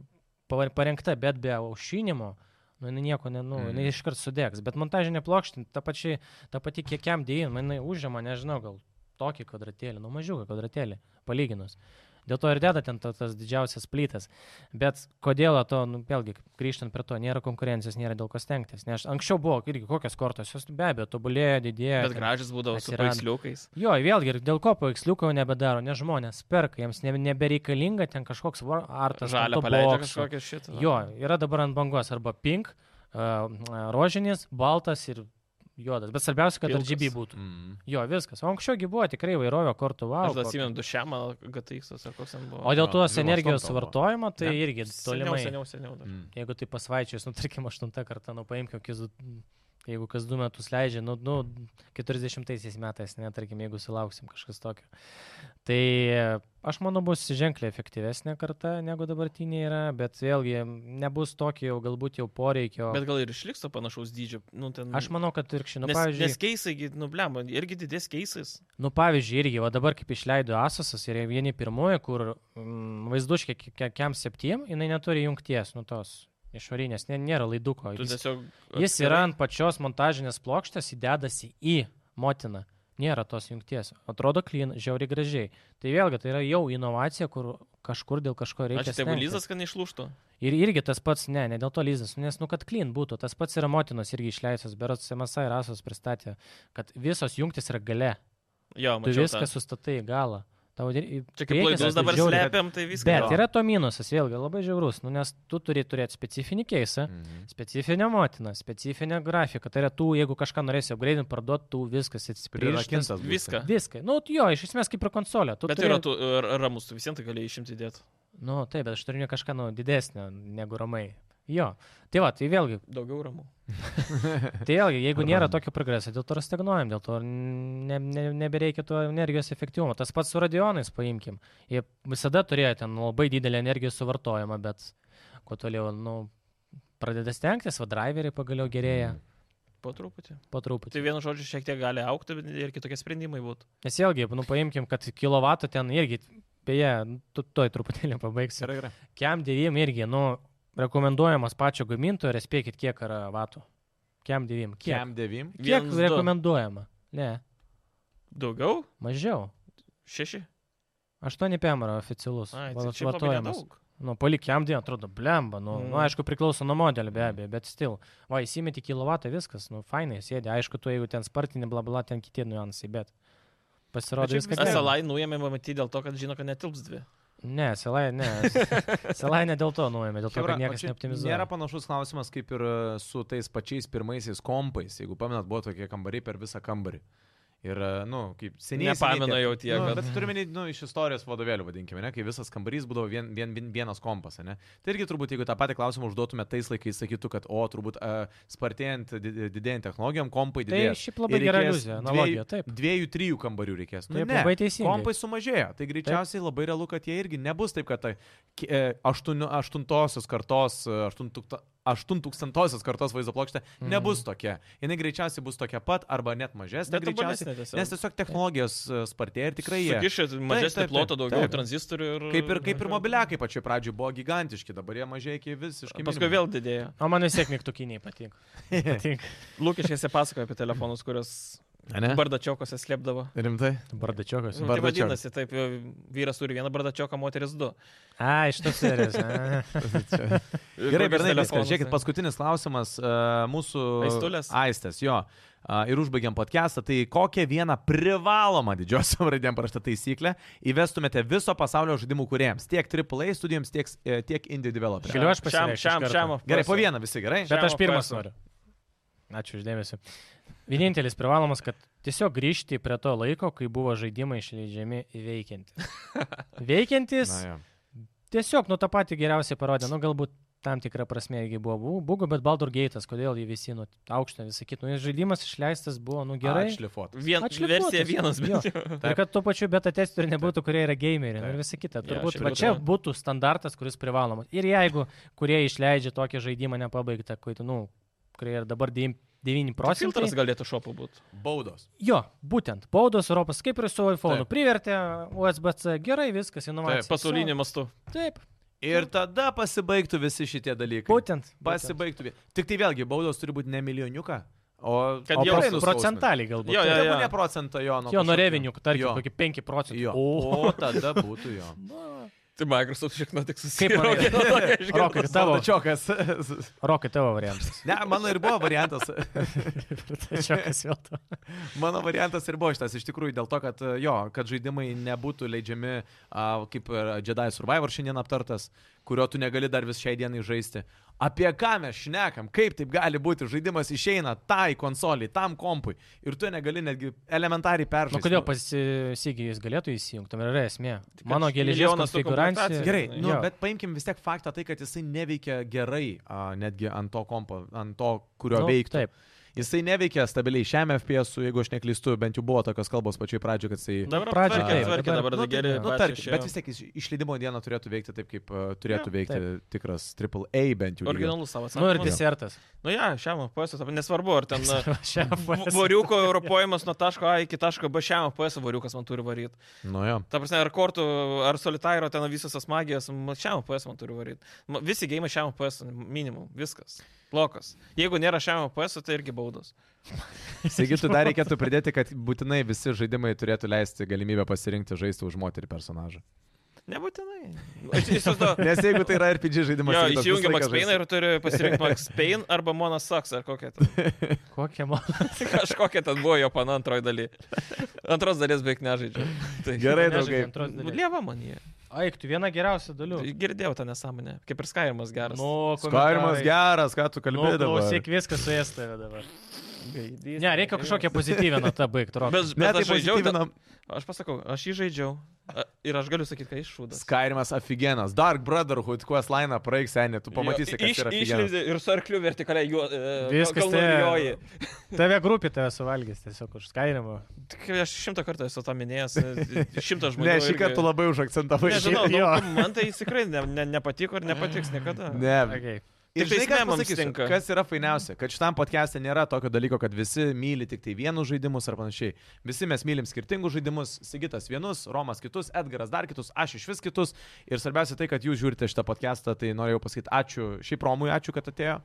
Speaker 3: pa- parengta, bet be aušinimo. Nu, jinai nieko, ne, nu,
Speaker 1: Mm.
Speaker 3: jinai iškart sudėks. Bet montažinė plokštė, ta, pačiai- ta pati kiekiam dėjim, jinai užima, nežinau, gal tokį kvadratėlį, nu mažiau kvadratėlį, palyginus. Dėl to ir deda ten to, tas didžiausias plytas. Bet kodėl to, nu, vėlgi, grįžtant prie to, nėra konkurencijos, nėra dėl ko stengtis. Nes anksčiau buvo irgi kokios kortos, jos be abejo tobulėjo, didėjo.
Speaker 2: Bet
Speaker 3: ten-
Speaker 2: gražus būdavo su
Speaker 3: atsiranda.
Speaker 2: paveiksliukais.
Speaker 3: Jo, vėlgi, ir dėl ko paveiksliuko jau nebedaro, nes žmonės perka, jiems ne, nebereikalinga ten kažkoks var- artas. ant
Speaker 2: Žalia
Speaker 3: to
Speaker 2: paleidžia tai
Speaker 3: bokso.
Speaker 2: kažkokią šitą.
Speaker 3: Jo, yra dabar ant bangos arba pink, uh, rožinis, baltas ir juodas. Bet svarbiausia, kad
Speaker 2: Pilkas.
Speaker 3: RGB būtų.
Speaker 1: Mm.
Speaker 3: Jo, viskas. O anksčiaugi buvo tikrai vairovė kortų
Speaker 2: Aš
Speaker 3: wow.
Speaker 2: dar
Speaker 3: kokia-
Speaker 2: atsimenu dušiamą gataisas ar koks ten buvo.
Speaker 3: O dėl
Speaker 1: Jo,
Speaker 3: tos
Speaker 1: Vilos
Speaker 3: energijos
Speaker 1: Tom buvo.
Speaker 3: vartojimo, tai
Speaker 2: Ne,
Speaker 3: irgi
Speaker 2: seniau,
Speaker 3: tolimai.
Speaker 2: seniau, seniau. dar.
Speaker 1: Mm.
Speaker 3: Jeigu tai pasvaičius, nu, tarkim, aštuntą kartą, nu, paimkim, kokius du- jeigu kas du metus leidžia, nu, nu 40 metais, net, tarkim, jeigu sulauksim kažkas tokio. Tai e, aš manau, bus ženkliai efektyvesnė karta negu dabartinė yra, bet vėlgi nebus tokio jau galbūt jau poreikio.
Speaker 2: Bet gal ir išliks to panašaus dydžio. Nu, ten...
Speaker 3: Aš manau, kad ir šinu,
Speaker 2: nes,
Speaker 3: Nu, pavyzdžiui.
Speaker 2: Nes keisai, gi, nu, blem, irgi didės keisais.
Speaker 3: Nu, pavyzdžiui, irgi, o dabar kaip išleido Asasas ir jie vieni pirmoji, kur mm, vaizduškė kiam septym, jinai neturi jungties, nu tos išorinės, nė, nėra laiduko.
Speaker 2: Tu
Speaker 3: Jis,
Speaker 2: tiesiog...
Speaker 3: jis yra ant pačios montažinės plokštės įdedasi į motiną. Nėra tos jungties. Atrodo klin, žiauri gražiai. Tai vėlgi, tai yra jau inovacija, kur kažkur dėl kažko reikia.
Speaker 2: Ačiū tai tėvų
Speaker 3: stengtis.
Speaker 2: Lyzas, kad neišlūštų.
Speaker 3: Ir irgi tas pats, ne, ne dėl to lyzas, nes, nu, kad klin būtų, tas pats yra motinos irgi išleistas, berots MSA ir Asos pristatė, kad visos jungtis yra gale.
Speaker 2: Jo,
Speaker 3: Tu
Speaker 2: mačiau.
Speaker 3: viską
Speaker 2: tą.
Speaker 3: sustatai į galą. Tau ir- į
Speaker 2: Čia kaip
Speaker 3: priekį
Speaker 2: laidus
Speaker 3: statai
Speaker 2: dabar
Speaker 3: žiauriai.
Speaker 2: slepiam, tai viskas.
Speaker 3: Bet yra to minusas, vėlgi labai žiaurus, nu, nes tu turi turėti specifinį keisą,
Speaker 1: Mm.
Speaker 3: specifinę motiną, specifinę grafiką. Tai yra tu, jeigu kažką norėsi upgrade'inti, parduoti, tu viskas atsipirkinsi.
Speaker 1: Prirakintas būsi.
Speaker 2: Viską.
Speaker 3: Viską. Nu, jo, iš esmės kaip ir konsolė. Tu
Speaker 2: Bet
Speaker 3: turi...
Speaker 2: yra tu, r- ramus, tu visiems tai gali išimti dėti.
Speaker 3: Nu, taip, bet aš turiu kažką nu, didesnio negu ramai. Jo. Tai va, tai vėlgi,
Speaker 2: Daugiau ramų.
Speaker 3: tai vėlgi, jeigu nėra tokio progreso, dėl to ir stagnuojam, dėl to ir ne, ne, nebereikia to energijos efektyvumo. Tas pats su radionais, paimkim. Jie visada turėjo ten labai didelį energijos suvartojimą, bet kuo toliau, nu, pradeda stengtis, va driveriai pagaliau gerėja
Speaker 1: Mm.
Speaker 2: Po truputį.
Speaker 3: po
Speaker 2: Tai
Speaker 3: truputį.
Speaker 2: vienu žodžiu šiek tiek gali aukti, bet ir kitokie sprendimai būtų.
Speaker 3: Nes vėlgi, nu, paimkim, kad kilovatų ten irgi, beje, tu toj truputėlį pabaigsiu.
Speaker 1: Gerai, gerai.
Speaker 3: Kem 9 irgi, nu, rekomenduojamas pačio gamintojo ir spėkit, kiek yra vatų. Kem 9. Kiek,
Speaker 1: Kem 9.
Speaker 3: kiek
Speaker 2: Viens, du.
Speaker 3: rekomenduojama? Ne,
Speaker 2: Daugiau?
Speaker 3: mažiau.
Speaker 2: Šeši?
Speaker 3: 8 PM yra oficialus.
Speaker 2: Ai,
Speaker 3: va-
Speaker 2: tai čia labai
Speaker 3: vartojamas.
Speaker 2: nedaug.
Speaker 3: Nu, palik kem 9, atrodo, blemba. Nu, mm.
Speaker 2: Mm.
Speaker 3: nu, aišku, priklauso nuo modelio be abejo, bet stil. Va, įsimeti kilovatą viskas, nu, fainai sėdi. Aišku, tu jeigu ten spartinį, bla bla, ten kiti niuansai, bet pasirodo
Speaker 1: Bet šiaip
Speaker 3: viskas.
Speaker 1: viskas-
Speaker 2: SLI
Speaker 3: gerai.
Speaker 2: nuėmė matyti dėl to, kad žino, kad netilps dvi.
Speaker 3: Ne, selai, ne. selai ne dėl to nuėmė, dėl to,
Speaker 1: Chebra,
Speaker 3: kad
Speaker 1: o
Speaker 3: niekas
Speaker 1: čia
Speaker 3: neoptimizuoja.
Speaker 1: Nėra panašus klausimas kaip ir e, su tais pačiais pirmaisiais kompais. Jeigu pamenat, buvo tokie kambariai per visą kambarį. Ir, na, nu, kaip seniai.
Speaker 2: Nepamenu
Speaker 1: seniai
Speaker 2: jau tiek,
Speaker 1: Nu,
Speaker 2: bet-
Speaker 1: bet turime, nu, iš istorijos vadovėlių, vadinkime, ne, kai visas kambarys būdavo vien, vien, vien, vienas kompas, ne. Tai irgi turbūt, jeigu tą patį klausimą užduotume tais laikais, sakytų, kad, o, turbūt uh, spartėjant, di- di- didėjant technologijom, kompai
Speaker 3: Tai
Speaker 1: didėja.
Speaker 3: šiaip labai gera iliuzija, analogija, taip.
Speaker 1: Dviejų, trijų kambarių reikės. Nu,
Speaker 3: Taip,
Speaker 1: ne,
Speaker 3: labai teisingai.
Speaker 1: Kompai sumažėjo. Tai greičiausiai taip. labai realu, kad jie irgi nebus taip, kad ta, ki- e, aštuoniu- aštuntosios kartos, e, aštuntukta- aštuntūkstantosios kartos vaizdo plokštė mm.
Speaker 3: Mhm.
Speaker 1: nebus tokia. Jis greičiausiai bus tokia pat arba net mažesnė.
Speaker 2: Bet
Speaker 1: Greičiausiai,
Speaker 2: tobulesnė tiesiog.
Speaker 1: nes tiesiog technologijos e, spartėja ir tikrai jie.
Speaker 2: Sukišit mažesnį
Speaker 1: taip,
Speaker 2: plotą,
Speaker 1: taip,
Speaker 2: daugiau
Speaker 1: taip.
Speaker 2: tranzistorių ir...
Speaker 1: Kaip ir, kaip ir mobiliakai pačioj pradžioje buvo gigantiški, dabar jie mažai iki visiškai.
Speaker 2: Paskui vėl didėjo.
Speaker 3: O man vis tiek mygtukiniai patinka. Patinka.
Speaker 2: Lūkiškėse pasakoja apie telefonus, kuriuos
Speaker 3: Eh?
Speaker 1: Ne?
Speaker 2: bardačiokose slėpdavo.
Speaker 1: Rimtai?
Speaker 3: Bardačiokas.
Speaker 2: Nu, Tai
Speaker 1: Bardačiokas.
Speaker 2: vadinasi, taip, vyras turi vieną bardačioką, moteris du.
Speaker 3: A, iš tos serijos. a.
Speaker 1: Gerai,
Speaker 2: Kokius
Speaker 1: Bernai, viskas.
Speaker 2: telefonus,
Speaker 1: Žiūrėkit,
Speaker 2: ne?
Speaker 1: paskutinis klausimas e, mūsų.
Speaker 2: Aistulės?
Speaker 1: Aistės, jo. E, Ir užbaigiam podcastą. Tai kokią vieną privalomą didžiosiam raidėm parašytą taisyklę įvestumėte viso pasaulio žaidimų kuriems? Tiek AAA studijoms, tiek, e, tiek indie developeriams.
Speaker 3: Galiu aš
Speaker 2: Šiam,
Speaker 3: pasireikšti
Speaker 2: šiam,
Speaker 3: iš karto?
Speaker 2: šiam.
Speaker 1: Gerai, po vieną visi gerai.
Speaker 2: Šiam
Speaker 3: Bet aš pirmas
Speaker 2: apkasam.
Speaker 3: noriu. Ačiū uždėmesi. Vienintelis privalomas, kad tiesiog grįžti prie to laiko, kai buvo žaidimai išleidžiami veikiantis. Veikiantis
Speaker 1: Na, jo.
Speaker 3: tiesiog, nu tą patį geriausiai parodė, nu galbūt tam tikrą prasme irgi buvo bu- bugų, bet Baldur Gate'as, kodėl jį visi, nu, aukštą visą kitą, nu, jis žaidimas išleistas buvo, nu, gerai.
Speaker 1: Atšlifuot.
Speaker 2: Vien,
Speaker 3: Atšlifuotas.
Speaker 2: versija vienas,
Speaker 3: Jo.
Speaker 2: bet jau.
Speaker 3: Ir kad tuo pačiu beta testerių nebūtų, kurie yra gameriai nu,
Speaker 1: Taip.
Speaker 3: ir visa kita.
Speaker 2: Jo,
Speaker 3: Turbūt
Speaker 2: šiaip
Speaker 3: va
Speaker 2: būtų,
Speaker 3: čia
Speaker 2: jo.
Speaker 3: būtų standartas, kuris privalomas. Ir jeigu kurie išleidžia tokį žaidimą nepabaigtą, kai, tu, nu, kurie ir dabar 9 procentai.
Speaker 2: Filtras galėtų šopo būti.
Speaker 1: Baudos.
Speaker 3: Jo, būtent. Baudos Europos, kaip ir su iPhone'u.
Speaker 1: Taip.
Speaker 3: Privertė USB-C, gerai viskas, inovacija.
Speaker 2: Pasauliniu mastu.
Speaker 3: Taip,
Speaker 1: Ir tada pasibaigtų visi šitie dalykai.
Speaker 3: būtent. būtent.
Speaker 1: Pasibaigtų. vi- Tik tai vėlgi, baudos turi būti ne milijoniuką, o...
Speaker 2: Kad
Speaker 3: O
Speaker 2: jau
Speaker 3: pro-
Speaker 2: nuskausmint.
Speaker 3: procentaliai galbūt.
Speaker 2: Jo,
Speaker 1: Jo,
Speaker 2: jo,
Speaker 1: jo,
Speaker 2: jo.
Speaker 1: jo. Ne procentą jo nuo
Speaker 3: jo nuo
Speaker 1: kažkokio-
Speaker 3: revinių, tarkim,
Speaker 1: Jo.
Speaker 3: kokį 5 procentų.
Speaker 1: Jo.
Speaker 3: O,
Speaker 1: O, tada būtų jo.
Speaker 2: Tai Microsoft šikna tik
Speaker 3: manai?
Speaker 2: susiraukė.
Speaker 3: Rokai, tavo,
Speaker 1: Čiokas.
Speaker 3: Rokai, tavo variantas.
Speaker 1: Ne, mano ir buvo variantas.
Speaker 3: Čia kas vėl to.
Speaker 1: Mano variantas ir buvo šitas, iš tikrųjų, dėl to, kad e, jo, kad žaidimai nebūtų leidžiami, a, kaip ir Jedi Survivor šiandien aptartas, kurio tu negali dar vis šiai dienai žaisti. Apie ką mes šnekam, kaip taip gali būti, žaidimas išeina tai konsoliai, tam kompui ir tu negali netgi elementariai
Speaker 3: Nu
Speaker 1: peržaisti.
Speaker 3: kodėl pasisygį jis galėtų įsijungti, tam ir yra esmė.
Speaker 2: kad
Speaker 3: Mano geležies
Speaker 2: milijonas tų
Speaker 3: konfiguracija.
Speaker 2: komplektacijų.
Speaker 1: Gerai,
Speaker 2: Žinai,
Speaker 1: nu,
Speaker 3: jo.
Speaker 1: bet paimkim vis tiek faktą tai, kad jisai neveikia gerai a, netgi ant to kompo, ant to, kurio nu, veiktų.
Speaker 3: Taip.
Speaker 1: Jisai neveikia stabiliai šiam FPS, u, jeigu aš neklystu, bent jau buvo tokios kalbos pačioj pradžioje, kad jisai...
Speaker 2: Dabar
Speaker 3: Pradžioj
Speaker 2: tvarkė,
Speaker 3: taip,
Speaker 2: tvarkė,
Speaker 3: dabar-
Speaker 2: dabar
Speaker 1: nu,
Speaker 2: tai geri.
Speaker 1: nu,
Speaker 2: patys
Speaker 1: tarkim,
Speaker 2: išėjo.
Speaker 1: bet vis tiek iš- išleidimo dieną turėtų veikti taip, kaip uh, turėtų ja, veikti taip. tikras AAA bent jau. lygio.
Speaker 2: Originalus savo
Speaker 3: Nu ir
Speaker 2: atsakymas.
Speaker 3: desertas.
Speaker 2: Nu ja, šiam apvaisiu, nesvarbu, ar ten na,
Speaker 3: Šiam
Speaker 2: v- voriuko europojimas nuo taško A iki taško B, šiam apvaisiu voriukas man turi varyti.
Speaker 1: Nu jo.
Speaker 2: Ta prasme, ar kortų, ar solitairo ten visos tas magijos, ma- šiam APS man turi varyti. Ma- Visi gėjimai šiam APS minimum, viskas. Blokas. Jeigu nėra šiam APS, tai irgi baudos.
Speaker 1: Sakyčiau, dar reikėtų pridėti, kad būtinai visi žaidimai turėtų leisti galimybę pasirinkti žaisti už moterį personažą.
Speaker 2: Nebūtinai. Aš įsivaizduoju.
Speaker 1: Nes jeigu tai yra RPG žaidimas, tai
Speaker 2: Jo,
Speaker 1: tas visą
Speaker 2: įsijungia
Speaker 1: laiką
Speaker 2: Max Payne
Speaker 1: žaisti.
Speaker 2: ir turi pasirinkti Max Payne arba Mona Saks ar kokią ten.
Speaker 3: Kokia mano.
Speaker 2: Kažkokia ten buvo jo pana antroji daly. Antros dalies beveik nežaidžiu. Tai
Speaker 1: Gerai, draugai.
Speaker 2: Lieva man jie.
Speaker 3: Aik, tu viena geriausia dalių.
Speaker 2: Girdėjau tą nesąmonę. Kaip ir Skyrimas geras. tai-
Speaker 1: Skarimas geras, ką tu
Speaker 3: Nu,
Speaker 1: kalbėjai dabar.
Speaker 3: klausyk, viskas su jais tave dabar.
Speaker 2: Gaidys,
Speaker 3: Ne, reikia kažkokią pozityvę natą baigti, Rokai.
Speaker 2: Bet,
Speaker 1: Ne,
Speaker 2: bet
Speaker 1: tai
Speaker 2: aš žaidžiau. da-
Speaker 1: pozityvinam.
Speaker 2: Aš pasakau, aš jį žaidžiau. A, Ir aš galiu sakyti, kad iššūdas.
Speaker 1: Skarimas aфиgenas. Dark Brotherhood, quest line praeik senė, tu pamatysi, kad
Speaker 2: iš,
Speaker 1: yra aфиgenas.
Speaker 2: išlydė ir su arkliu vertikaliai juo. e,
Speaker 3: Viskas te-
Speaker 2: tai.
Speaker 3: Tave grupė tave suvalgys tiesiog už skairimą.
Speaker 2: Aš šimtą kartų esu tą minėjęs. e, Šimtą žmonių.
Speaker 1: Ne, šį kartą labai užakcentavai.
Speaker 2: Nežinau,
Speaker 3: šiaip
Speaker 2: nu,
Speaker 3: jo.
Speaker 2: man tai jis tikrai ne, ne, nepatiko ir nepatiks niekada.
Speaker 1: Ne,
Speaker 3: Okay.
Speaker 1: Ir žinai,
Speaker 2: Tiktais
Speaker 1: ką aš
Speaker 2: memams
Speaker 1: pasakysiu,
Speaker 2: tinka.
Speaker 1: kas yra fainiausia, kad šitam podcast'e nėra tokio dalyko, kad visi myli tik tai vienus žaidimus ar panašiai. Visi mes mylim skirtingus žaidimus, Sigitas vienus, Romas kitus, Edgaras dar kitus, aš iš vis kitus. Ir svarbiausia tai, kad jūs žiūrite šitą podcast'ą, tai norėjau pasakyti ačiū šiaip Romui, ačiū, kad atėjo.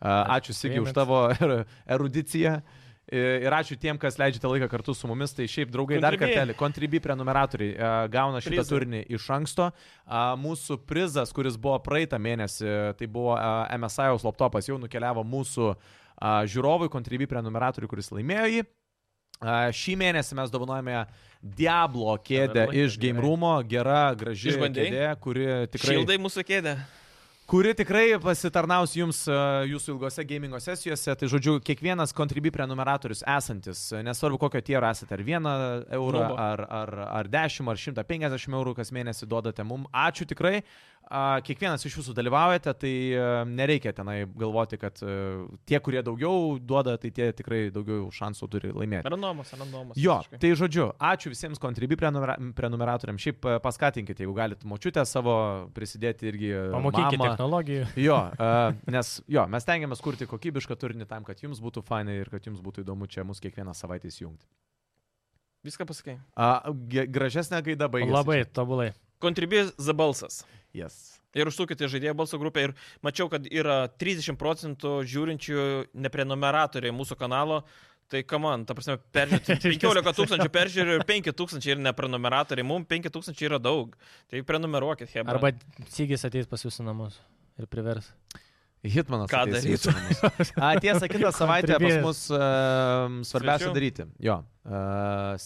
Speaker 1: A, Ačiū Sigiu už
Speaker 3: priėmėt.
Speaker 1: tavo er- erudiciją. I- Ir ačiū tiem, kas leidžiate laiką kartu su mumis. Tai šiaip, draugai, dar
Speaker 2: Contribui.
Speaker 1: kartelį, Contribui prenumeratoriai e, gauna šitą
Speaker 2: Prizą.
Speaker 1: turinį iš anksto. A, Mūsų prizas, kuris buvo praeitą mėnesį, tai buvo a, MSI -jaus laptopas, jau nukeliavo mūsų a, žiūrovui, Contribui prenumeratoriui, kuris laimėjo jį. A, Šį mėnesį mes dovanojame Diablo kėdę
Speaker 3: Diablo
Speaker 1: iš
Speaker 3: kėdę,
Speaker 1: Game
Speaker 3: gerai.
Speaker 1: Roomo, gera, graži
Speaker 2: Išbandei?
Speaker 1: kėdė, kuri tikrai...
Speaker 2: Šildai mūsų kėdė.
Speaker 1: kuri tikrai pasitarnaus jums e, jūsų ilgose gamingo sesijose. Tai žodžiu, kiekvienas kontribi prenumeratorius esantis, e, nesvarbu kokio tiero esate, ar 1 eurą,
Speaker 2: Nubo.
Speaker 1: ar, ar, ar 10, ar 150 eurų kas mėnesį duodate mums. Ačiū tikrai. A, Kiekvienas iš jūsų dalyvaujate, tai e, nereikia tenai galvoti, kad e, tie, kurie daugiau duoda, tai tie tikrai daugiau šansų turi laimėti.
Speaker 2: Randomas, randomas.
Speaker 1: Jo, tai žodžiu, ačiū visiems kontribi prenumera- prenumeratoriams. Šiaip e, paskatinkite, jeigu galite močiutę savo prisidėti irgi. e,
Speaker 3: Pamokykit
Speaker 1: mamą.
Speaker 3: technologijų.
Speaker 1: Jo, uh, nes jo, mes tengiamės kurti kokybišką turinį tam, kad jums būtų fainai ir kad jums būtų įdomu čia mus kiekvieną savaitę įsijungti.
Speaker 2: Viską pasakai.
Speaker 1: Uh, gražesnė gaida baigėsi.
Speaker 3: Labai tobulai.
Speaker 2: Kontribijas za balsas.
Speaker 1: Yes.
Speaker 2: Ir užsukite į žaidėjo balso grupę ir mačiau, kad yra 30 procentų žiūrinčių neprenumeratoriai mūsų kanalo. Tai kam man, ta prasme, peržiūrėti 15 tūkstančių peržiūrėjų ir 5 tūkstančiai yra neprenumeratoriai, mums 5 tūkstančiai yra daug. Tai prenumeruokit, Hebra.
Speaker 3: Arba Sygis ateis pas jūsų namus ir privers.
Speaker 1: Hitmanas.
Speaker 2: Ką
Speaker 1: ateis į
Speaker 2: darytų?
Speaker 1: jūsų namus. A, tiesa, kitą savaitę pas
Speaker 3: Kontribijas.
Speaker 1: mus uh, svarbiausia
Speaker 2: Svečių.
Speaker 1: daryti. Jo, uh,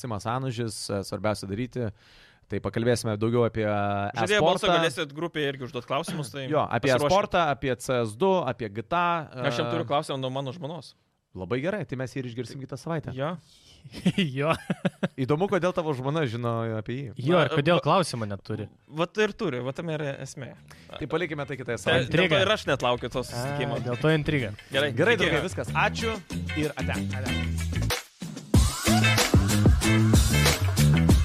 Speaker 1: Simas Anužis, uh, svarbiausia daryti. Tai pakalbėsime daugiau apie e,
Speaker 2: žaidėjo balso
Speaker 1: e-sportą.
Speaker 2: galėsit grupėje irgi užduoti klausimus. Tai
Speaker 1: Jo, apie
Speaker 2: pasiruoškit.
Speaker 1: e-sportą, apie CS2, apie GTA. e,
Speaker 2: Aš jam turiu klausimą nuo mano žmonos.
Speaker 1: Labai gerai, tai mes jį ir išgirsim kitą savaitę.
Speaker 2: Jo.
Speaker 3: jo,
Speaker 1: Įdomu, kodėl tavo žmona žino apie jį.
Speaker 3: jo,
Speaker 2: Na,
Speaker 3: ir kodėl
Speaker 2: va-
Speaker 3: klausimą neturi?
Speaker 2: Vat ir turi, vat tam yra esmė.
Speaker 1: Tai palikime tai kitai
Speaker 2: Tai,
Speaker 1: savaitei.
Speaker 2: dėl to
Speaker 3: Intriga.
Speaker 2: ir aš net laukiu tos
Speaker 3: A,
Speaker 2: susitikimo.
Speaker 3: Dėl to intriga.
Speaker 2: Gerai,
Speaker 1: Gerai,
Speaker 2: iki.
Speaker 1: draugai, viskas. Ačiū ir ate. ate.